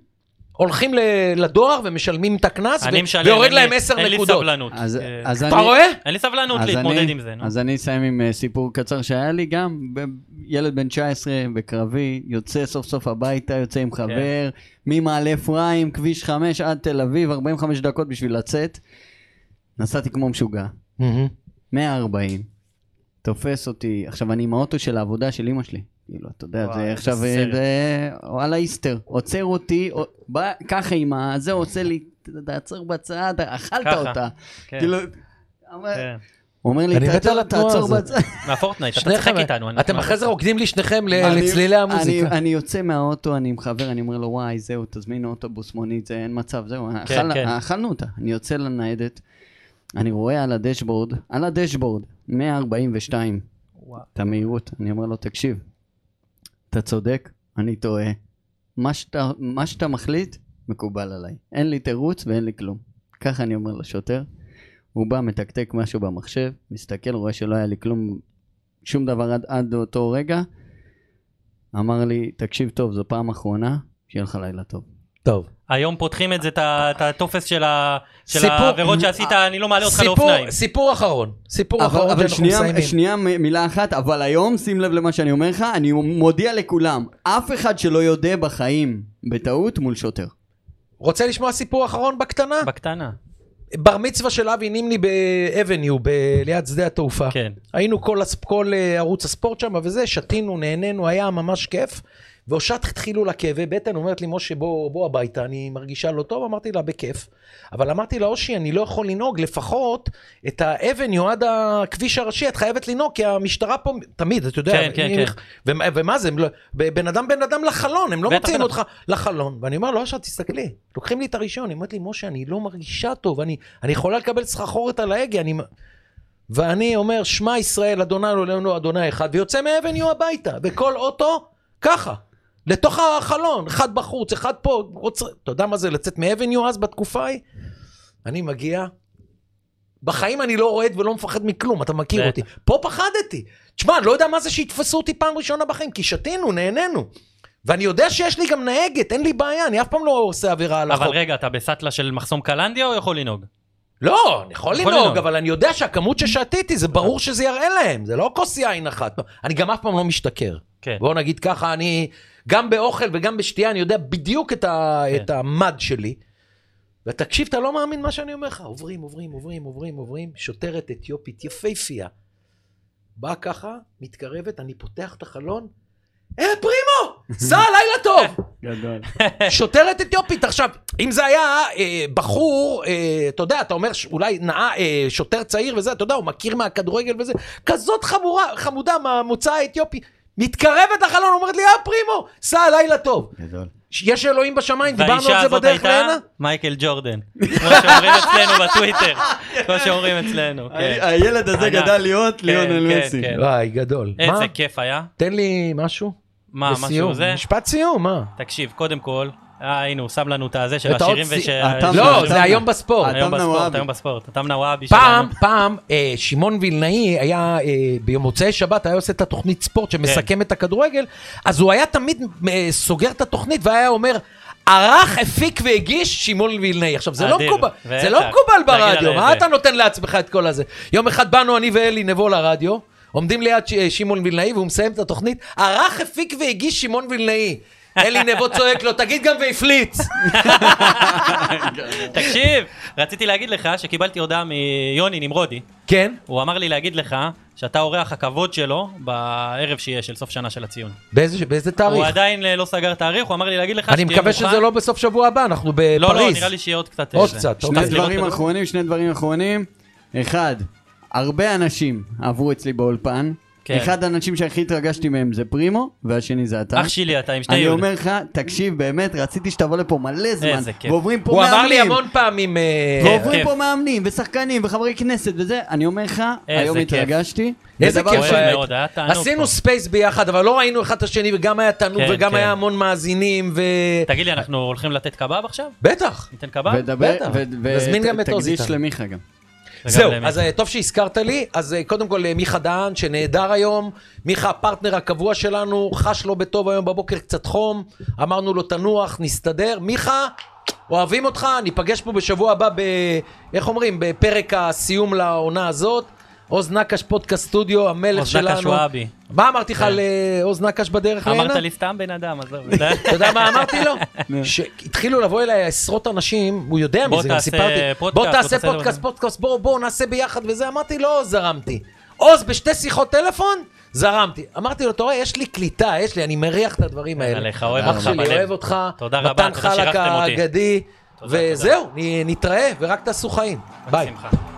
Speaker 1: הולכים ל- לדואר ומשלמים את הקנס,
Speaker 2: אני
Speaker 1: ו-
Speaker 2: משלם,
Speaker 1: ויורד
Speaker 2: אין לי-
Speaker 1: להם 10
Speaker 2: אין לי
Speaker 1: נקודות.
Speaker 2: סבלנות.
Speaker 3: אז-
Speaker 2: אה,
Speaker 3: אז
Speaker 1: אתה
Speaker 3: אני-
Speaker 1: רואה?
Speaker 2: אין לי סבלנות
Speaker 3: אז
Speaker 2: להתמודד
Speaker 3: אני-
Speaker 2: עם זה. נו.
Speaker 3: אז אני אסיים עם אה, סיפור קצר שהיה לי גם, ב- ילד בן 19 בקרבי, יוצא סוף סוף הביתה,
Speaker 2: כן.
Speaker 3: יוצא עם חבר, ממעלה אפרים, כביש 5 עד תל אביב, 45 דקות בשביל לצאת. נסעתי כמו משוגע, 140, תופס אותי, עכשיו אני עם האוטו של העבודה של אימא שלי. כאילו, אתה יודע,
Speaker 2: וואי,
Speaker 3: זה
Speaker 2: איזה
Speaker 3: עכשיו, אה,
Speaker 2: סרט.
Speaker 3: זה על האיסטר. עוצר אותי, או- בא ככה עם ה... זה עושה לי, אתה יודע, עצר בצד, אכלת
Speaker 2: ככה,
Speaker 3: אותה.
Speaker 2: כן,
Speaker 3: כאילו, אמר-
Speaker 2: כן.
Speaker 3: הוא אומר לי,
Speaker 1: אני מת על
Speaker 3: תעצור,
Speaker 1: התנועה
Speaker 3: תעצור
Speaker 1: הזאת.
Speaker 3: בצד.
Speaker 2: מהפורטנייט, אתה
Speaker 1: שניכם,
Speaker 2: צחק איתנו. אני
Speaker 1: אתם
Speaker 2: אשמח.
Speaker 1: אחרי זה רוקדים לי שניכם ל-
Speaker 3: אני-
Speaker 1: לצלילי המוזיקה.
Speaker 3: אני, אני יוצא מהאוטו, אני עם חבר, אני אומר לו, וואי, זהו, תזמינו אוטובוס, מונית, זה אין מצב, זהו,
Speaker 2: כן,
Speaker 3: אכל,
Speaker 2: כן.
Speaker 3: אכלנו אותה. אני יוצא לניידת, אני רואה על הדשבורד, על הדשבורד, 142,
Speaker 2: וואו.
Speaker 3: את המהירות. אני אומר לו, תקשיב, אתה צודק, אני טועה. מה שאתה, מה שאתה מחליט, מקובל עליי. אין לי תירוץ ואין לי כלום. ככה אני אומר לשוטר. הוא בא, מתקתק משהו במחשב, מסתכל, רואה שלא היה לי כלום, שום דבר עד, עד אותו רגע. אמר לי, תקשיב טוב, זו פעם אחרונה, שיהיה לך לילה טוב.
Speaker 1: טוב.
Speaker 2: היום פותחים את זה, את ה- את הטופס של ה- של
Speaker 1: סיפור- אה,
Speaker 2: העבירות שעשית, אני לא מעלה אותך
Speaker 1: סיפור-
Speaker 2: לאופניים.
Speaker 1: סיפור אחרון. סיפור
Speaker 3: אבל,
Speaker 1: אחרון
Speaker 3: אבל
Speaker 1: שאנחנו
Speaker 3: שנייה,
Speaker 1: מסיימים.
Speaker 3: שנייה מ- מילה אחת, אבל היום, שים לב למה שאני אומר לך, אני מודיע לכולם, אף אחד שלא יודע בחיים בטעות מול שוטר.
Speaker 1: רוצה לשמוע סיפור אחרון בקטנה?
Speaker 2: בקטנה.
Speaker 1: בר מצווה של אבי נימני באבניו, ב- ליד שדה התעופה.
Speaker 2: כן.
Speaker 1: היינו כל, הס- כל אה, ערוץ הספורט שם וזה, שתינו, נהנינו, היה ממש כיף. והושעת התחילו לה כאבי בטן, אומרת לי, משה, בוא, בוא הביתה, אני מרגישה לא טוב, אמרתי לה, בכיף. אבל אמרתי לה, אושי, אני לא יכול לנהוג, לפחות את האבניו עד הכביש הראשי, את חייבת לנהוג, כי המשטרה פה, תמיד, אתה יודע,
Speaker 2: כן, כן,
Speaker 1: היא- ומה, ומה זה, הם לא, בן אדם בן אדם לחלון, הם לא
Speaker 2: בטח,
Speaker 1: מוציאים
Speaker 2: בטח.
Speaker 1: אותך לחלון. ואני אומר לו, עכשיו תסתכלי, לוקחים לי את הראשון, היא אומרת לי, משה, אני לא מרגישה טוב, אני, אני יכולה לקבל סחרחורת על ההגה, אני... מ-" ואני אומר, שמע ישראל, אדוני אלוהינו, אדוני אחד, ויוצא מאבן יהיו הביתה, וכל אוטו, ככה. לתוך החלון, אחד בחוץ, אחד פה, רוצה... אתה יודע מה זה לצאת מאבן יו אז בתקופה ההיא? אני מגיע, בחיים אני לא רועד ולא מפחד מכלום, אתה מכיר
Speaker 2: בטח.
Speaker 1: אותי. פה פחדתי. תשמע, אני לא יודע מה זה שיתפסו אותי פעם ראשונה בחיים, כי שתינו, נהנינו. ואני יודע שיש לי גם נהגת, אין לי בעיה, אני אף פעם לא עושה עבירה על החוק.
Speaker 2: אבל רגע, אתה בסטלה של מחסום קלנדיה או יכול לנהוג?
Speaker 1: לא, אני יכול
Speaker 2: יכול
Speaker 1: לנהוג,
Speaker 2: לנהוג. אה.
Speaker 1: אבל אני יודע שהכמות ששתיתי, זה ברור שזה יראה להם, זה לא כוס יין אחת. אני גם אף פעם לא משתכר.
Speaker 2: כן.
Speaker 1: בואו נגיד ככה, אני גם באוכל וגם בשתייה, אני יודע בדיוק את, ה,
Speaker 2: כן.
Speaker 1: את המד שלי. ותקשיב, אתה לא מאמין מה שאני אומר לך. עוברים, עוברים, עוברים, עוברים, עוברים. שוטרת אתיופית יפייפייה. באה ככה, מתקרבת, אני פותח את החלון. אה, פרימו! סע, לילה טוב!
Speaker 3: גדול.
Speaker 1: שוטרת אתיופית. עכשיו, אם זה היה אה, בחור, אה, אתה יודע, אתה אומר שאולי נאה אה, שוטר צעיר וזה, אתה יודע, הוא מכיר מהכדורגל וזה, כזאת חמורה, חמודה מהמוצא האתיופי, מתקרבת לחלון, אומרת לי, אה פרימו, סע לילה טוב.
Speaker 3: גדול.
Speaker 2: כן.
Speaker 1: יש אלוהים בשמיים, דיברנו
Speaker 2: והאישה
Speaker 1: על זה
Speaker 2: הזאת
Speaker 1: בדרך
Speaker 2: הייתה
Speaker 1: להנה?
Speaker 2: מייקל ג'ורדן. כמו שאומרים אצלנו בטוויטר. כמו שאומרים אצלנו, כן.
Speaker 3: הילד הזה
Speaker 2: ענק.
Speaker 3: גדל להיות
Speaker 2: כן,
Speaker 3: ליאונל
Speaker 2: כן,
Speaker 3: מסי.
Speaker 2: כן.
Speaker 1: אה, וואי, גדול. מה?
Speaker 2: איזה כיף היה.
Speaker 1: תן לי משהו.
Speaker 2: מה, משהו
Speaker 1: לסיום.
Speaker 2: זה?
Speaker 1: משפט סיום, מה?
Speaker 2: תקשיב, קודם כל, אה, הנה, הוא שם לנו את הזה של
Speaker 1: את העוד
Speaker 2: השירים
Speaker 1: סי-
Speaker 2: וש...
Speaker 3: התם-
Speaker 1: לא,
Speaker 3: לא,
Speaker 1: זה
Speaker 3: אתה-
Speaker 1: היום בספורט.
Speaker 2: היום
Speaker 3: התם
Speaker 2: בספורט,
Speaker 3: נוואבי.
Speaker 2: היום בספורט. התם נוואבי
Speaker 1: פעם,
Speaker 2: שלנו.
Speaker 1: פעם, אה, שמעון וילנאי היה, אה, במוצאי שבת היה עושה את התוכנית ספורט
Speaker 2: כן.
Speaker 1: שמסכם את הכדורגל, אז הוא היה תמיד אה, סוגר את התוכנית והיה אומר, ערך, הפיק והגיש שמעון וילנאי. עכשיו, זה לא
Speaker 2: אדיר,
Speaker 1: מקובל,
Speaker 2: בטח.
Speaker 1: זה לא מקובל
Speaker 2: תגיד על
Speaker 1: ברדיו, מה
Speaker 2: איזה.
Speaker 1: אתה נותן לעצמך את כל הזה? יום אחד באנו אני ואלי נבוא לרדיו, עומדים ליד ש- שמעון וילנאי והוא מסיים את התוכנית, ערך, הפיק והגיש שמעון וילנאי. אלי נבו צועק לו, תגיד גם והפליץ.
Speaker 3: כן,
Speaker 2: תקשיב, רציתי להגיד לך שקיבלתי הודעה מיוני נמרודי.
Speaker 1: כן,
Speaker 2: הוא אמר לי להגיד לך שאתה אורח הכבוד שלו בערב שיהיה של סוף שנה של הציון.
Speaker 1: באיזה באיזה
Speaker 2: הוא
Speaker 1: תאריך?
Speaker 2: עדיין אה, לא סגר תאריך, הוא אמר לי להגיד לך
Speaker 1: אני
Speaker 2: שתהיה
Speaker 1: מקווה
Speaker 2: מוכן.
Speaker 1: שזה לא בסוף שבוע הבא, אנחנו בפריז.
Speaker 2: לא, לא, נראה לי שיהיה עוד קצת... אה,
Speaker 1: עוד
Speaker 2: זה.
Speaker 1: קצת,
Speaker 3: שני
Speaker 1: אוקיי.
Speaker 2: אז לראות
Speaker 3: דברים
Speaker 2: כדור-
Speaker 3: אחרונים, שני דברים אחרונים. אחד, הרבה אנשים עברו אצלי באולפן.
Speaker 2: כן.
Speaker 3: אחד האנשים שהכי התרגשתי מהם זה פרימו, והשני זה אתה.
Speaker 2: אח שלי אתה עם שני
Speaker 3: אני
Speaker 2: יוד.
Speaker 3: אומר לך, תקשיב, באמת, רציתי שתבוא לפה מלא זמן.
Speaker 2: איזה כיף.
Speaker 3: ועוברים פה
Speaker 1: הוא אמר לי
Speaker 3: מאמנים,
Speaker 1: המון פעמים... אה,
Speaker 2: כן.
Speaker 3: ועוברים פה מאמנים, ושחקנים, וחברי כנסת וזה. אני אומר לך,
Speaker 2: איזה
Speaker 3: היום
Speaker 2: כיף.
Speaker 3: התרגשתי.
Speaker 1: איזה
Speaker 3: ודבר
Speaker 1: כיף
Speaker 3: שני,
Speaker 2: אוהב
Speaker 1: היה.
Speaker 2: מאוד, היה תענוג פה.
Speaker 1: עשינו ספייס ביחד, אבל לא ראינו אחד את השני, וגם היה תענוג,
Speaker 2: כן,
Speaker 1: וגם
Speaker 2: כן.
Speaker 1: היה המון מאזינים, ו...
Speaker 2: תגיד לי, אנחנו הולכים לתת קבב עכשיו?
Speaker 1: בטח.
Speaker 2: ניתן קבב?
Speaker 3: ודבר,
Speaker 1: בטח.
Speaker 3: ו- ו-
Speaker 1: נזמין
Speaker 3: ת-
Speaker 1: גם את עוז
Speaker 3: תקדיש
Speaker 1: איתנו.
Speaker 3: למיכה גם.
Speaker 2: וגם
Speaker 1: זהו,
Speaker 2: למיכה.
Speaker 1: אז אה, טוב שהזכרת לי, אז אה, קודם כל אה, מיכה דהן, שנהדר היום, מיכה הפרטנר הקבוע שלנו, חש לא בטוב היום בבוקר, קצת חום, אמרנו לו תנוח, נסתדר, מיכה, אוהבים אותך, ניפגש פה בשבוע הבא ב... איך אומרים? בפרק הסיום לעונה הזאת, עוז נקש פודקאסט סטודיו, המלך
Speaker 2: אוזנה
Speaker 1: שלנו.
Speaker 2: קשואבי.
Speaker 1: מה אמרתי לך
Speaker 2: כן.
Speaker 1: על אה, עוז נקש בדרך להנה?
Speaker 2: אמרת לי סתם בן אדם, עזוב.
Speaker 1: אתה יודע מה אמרתי לו? שהתחילו לבוא אליי עשרות אנשים, הוא יודע
Speaker 2: בוא
Speaker 1: מזה, גם
Speaker 2: תעשה
Speaker 1: סיפרתי.
Speaker 2: פודקאסט,
Speaker 1: בוא
Speaker 2: בוא
Speaker 1: תעשה
Speaker 2: תעשה
Speaker 1: פודקאסט,
Speaker 2: דבר.
Speaker 1: פודקאסט, בואו בואו נעשה ביחד וזה. אמרתי לו, זרמתי. עוז, בשתי שיחות טלפון, זרמתי. אמרתי לו, אתה רואה, יש לי קליטה, יש לי, אני מריח את הדברים האלה.
Speaker 2: עליך, אוהב
Speaker 1: אח
Speaker 2: אותך
Speaker 1: שלי,
Speaker 2: בלב.
Speaker 1: אוהב אותך.
Speaker 2: תודה רבה,
Speaker 1: מתן
Speaker 2: תודה שאירחתם
Speaker 1: חלק
Speaker 2: אותי.
Speaker 1: האגדי.
Speaker 2: תודה,
Speaker 1: וזהו, נ- נתראה, ורק תעשו חיים. ביי.
Speaker 2: בשמחה.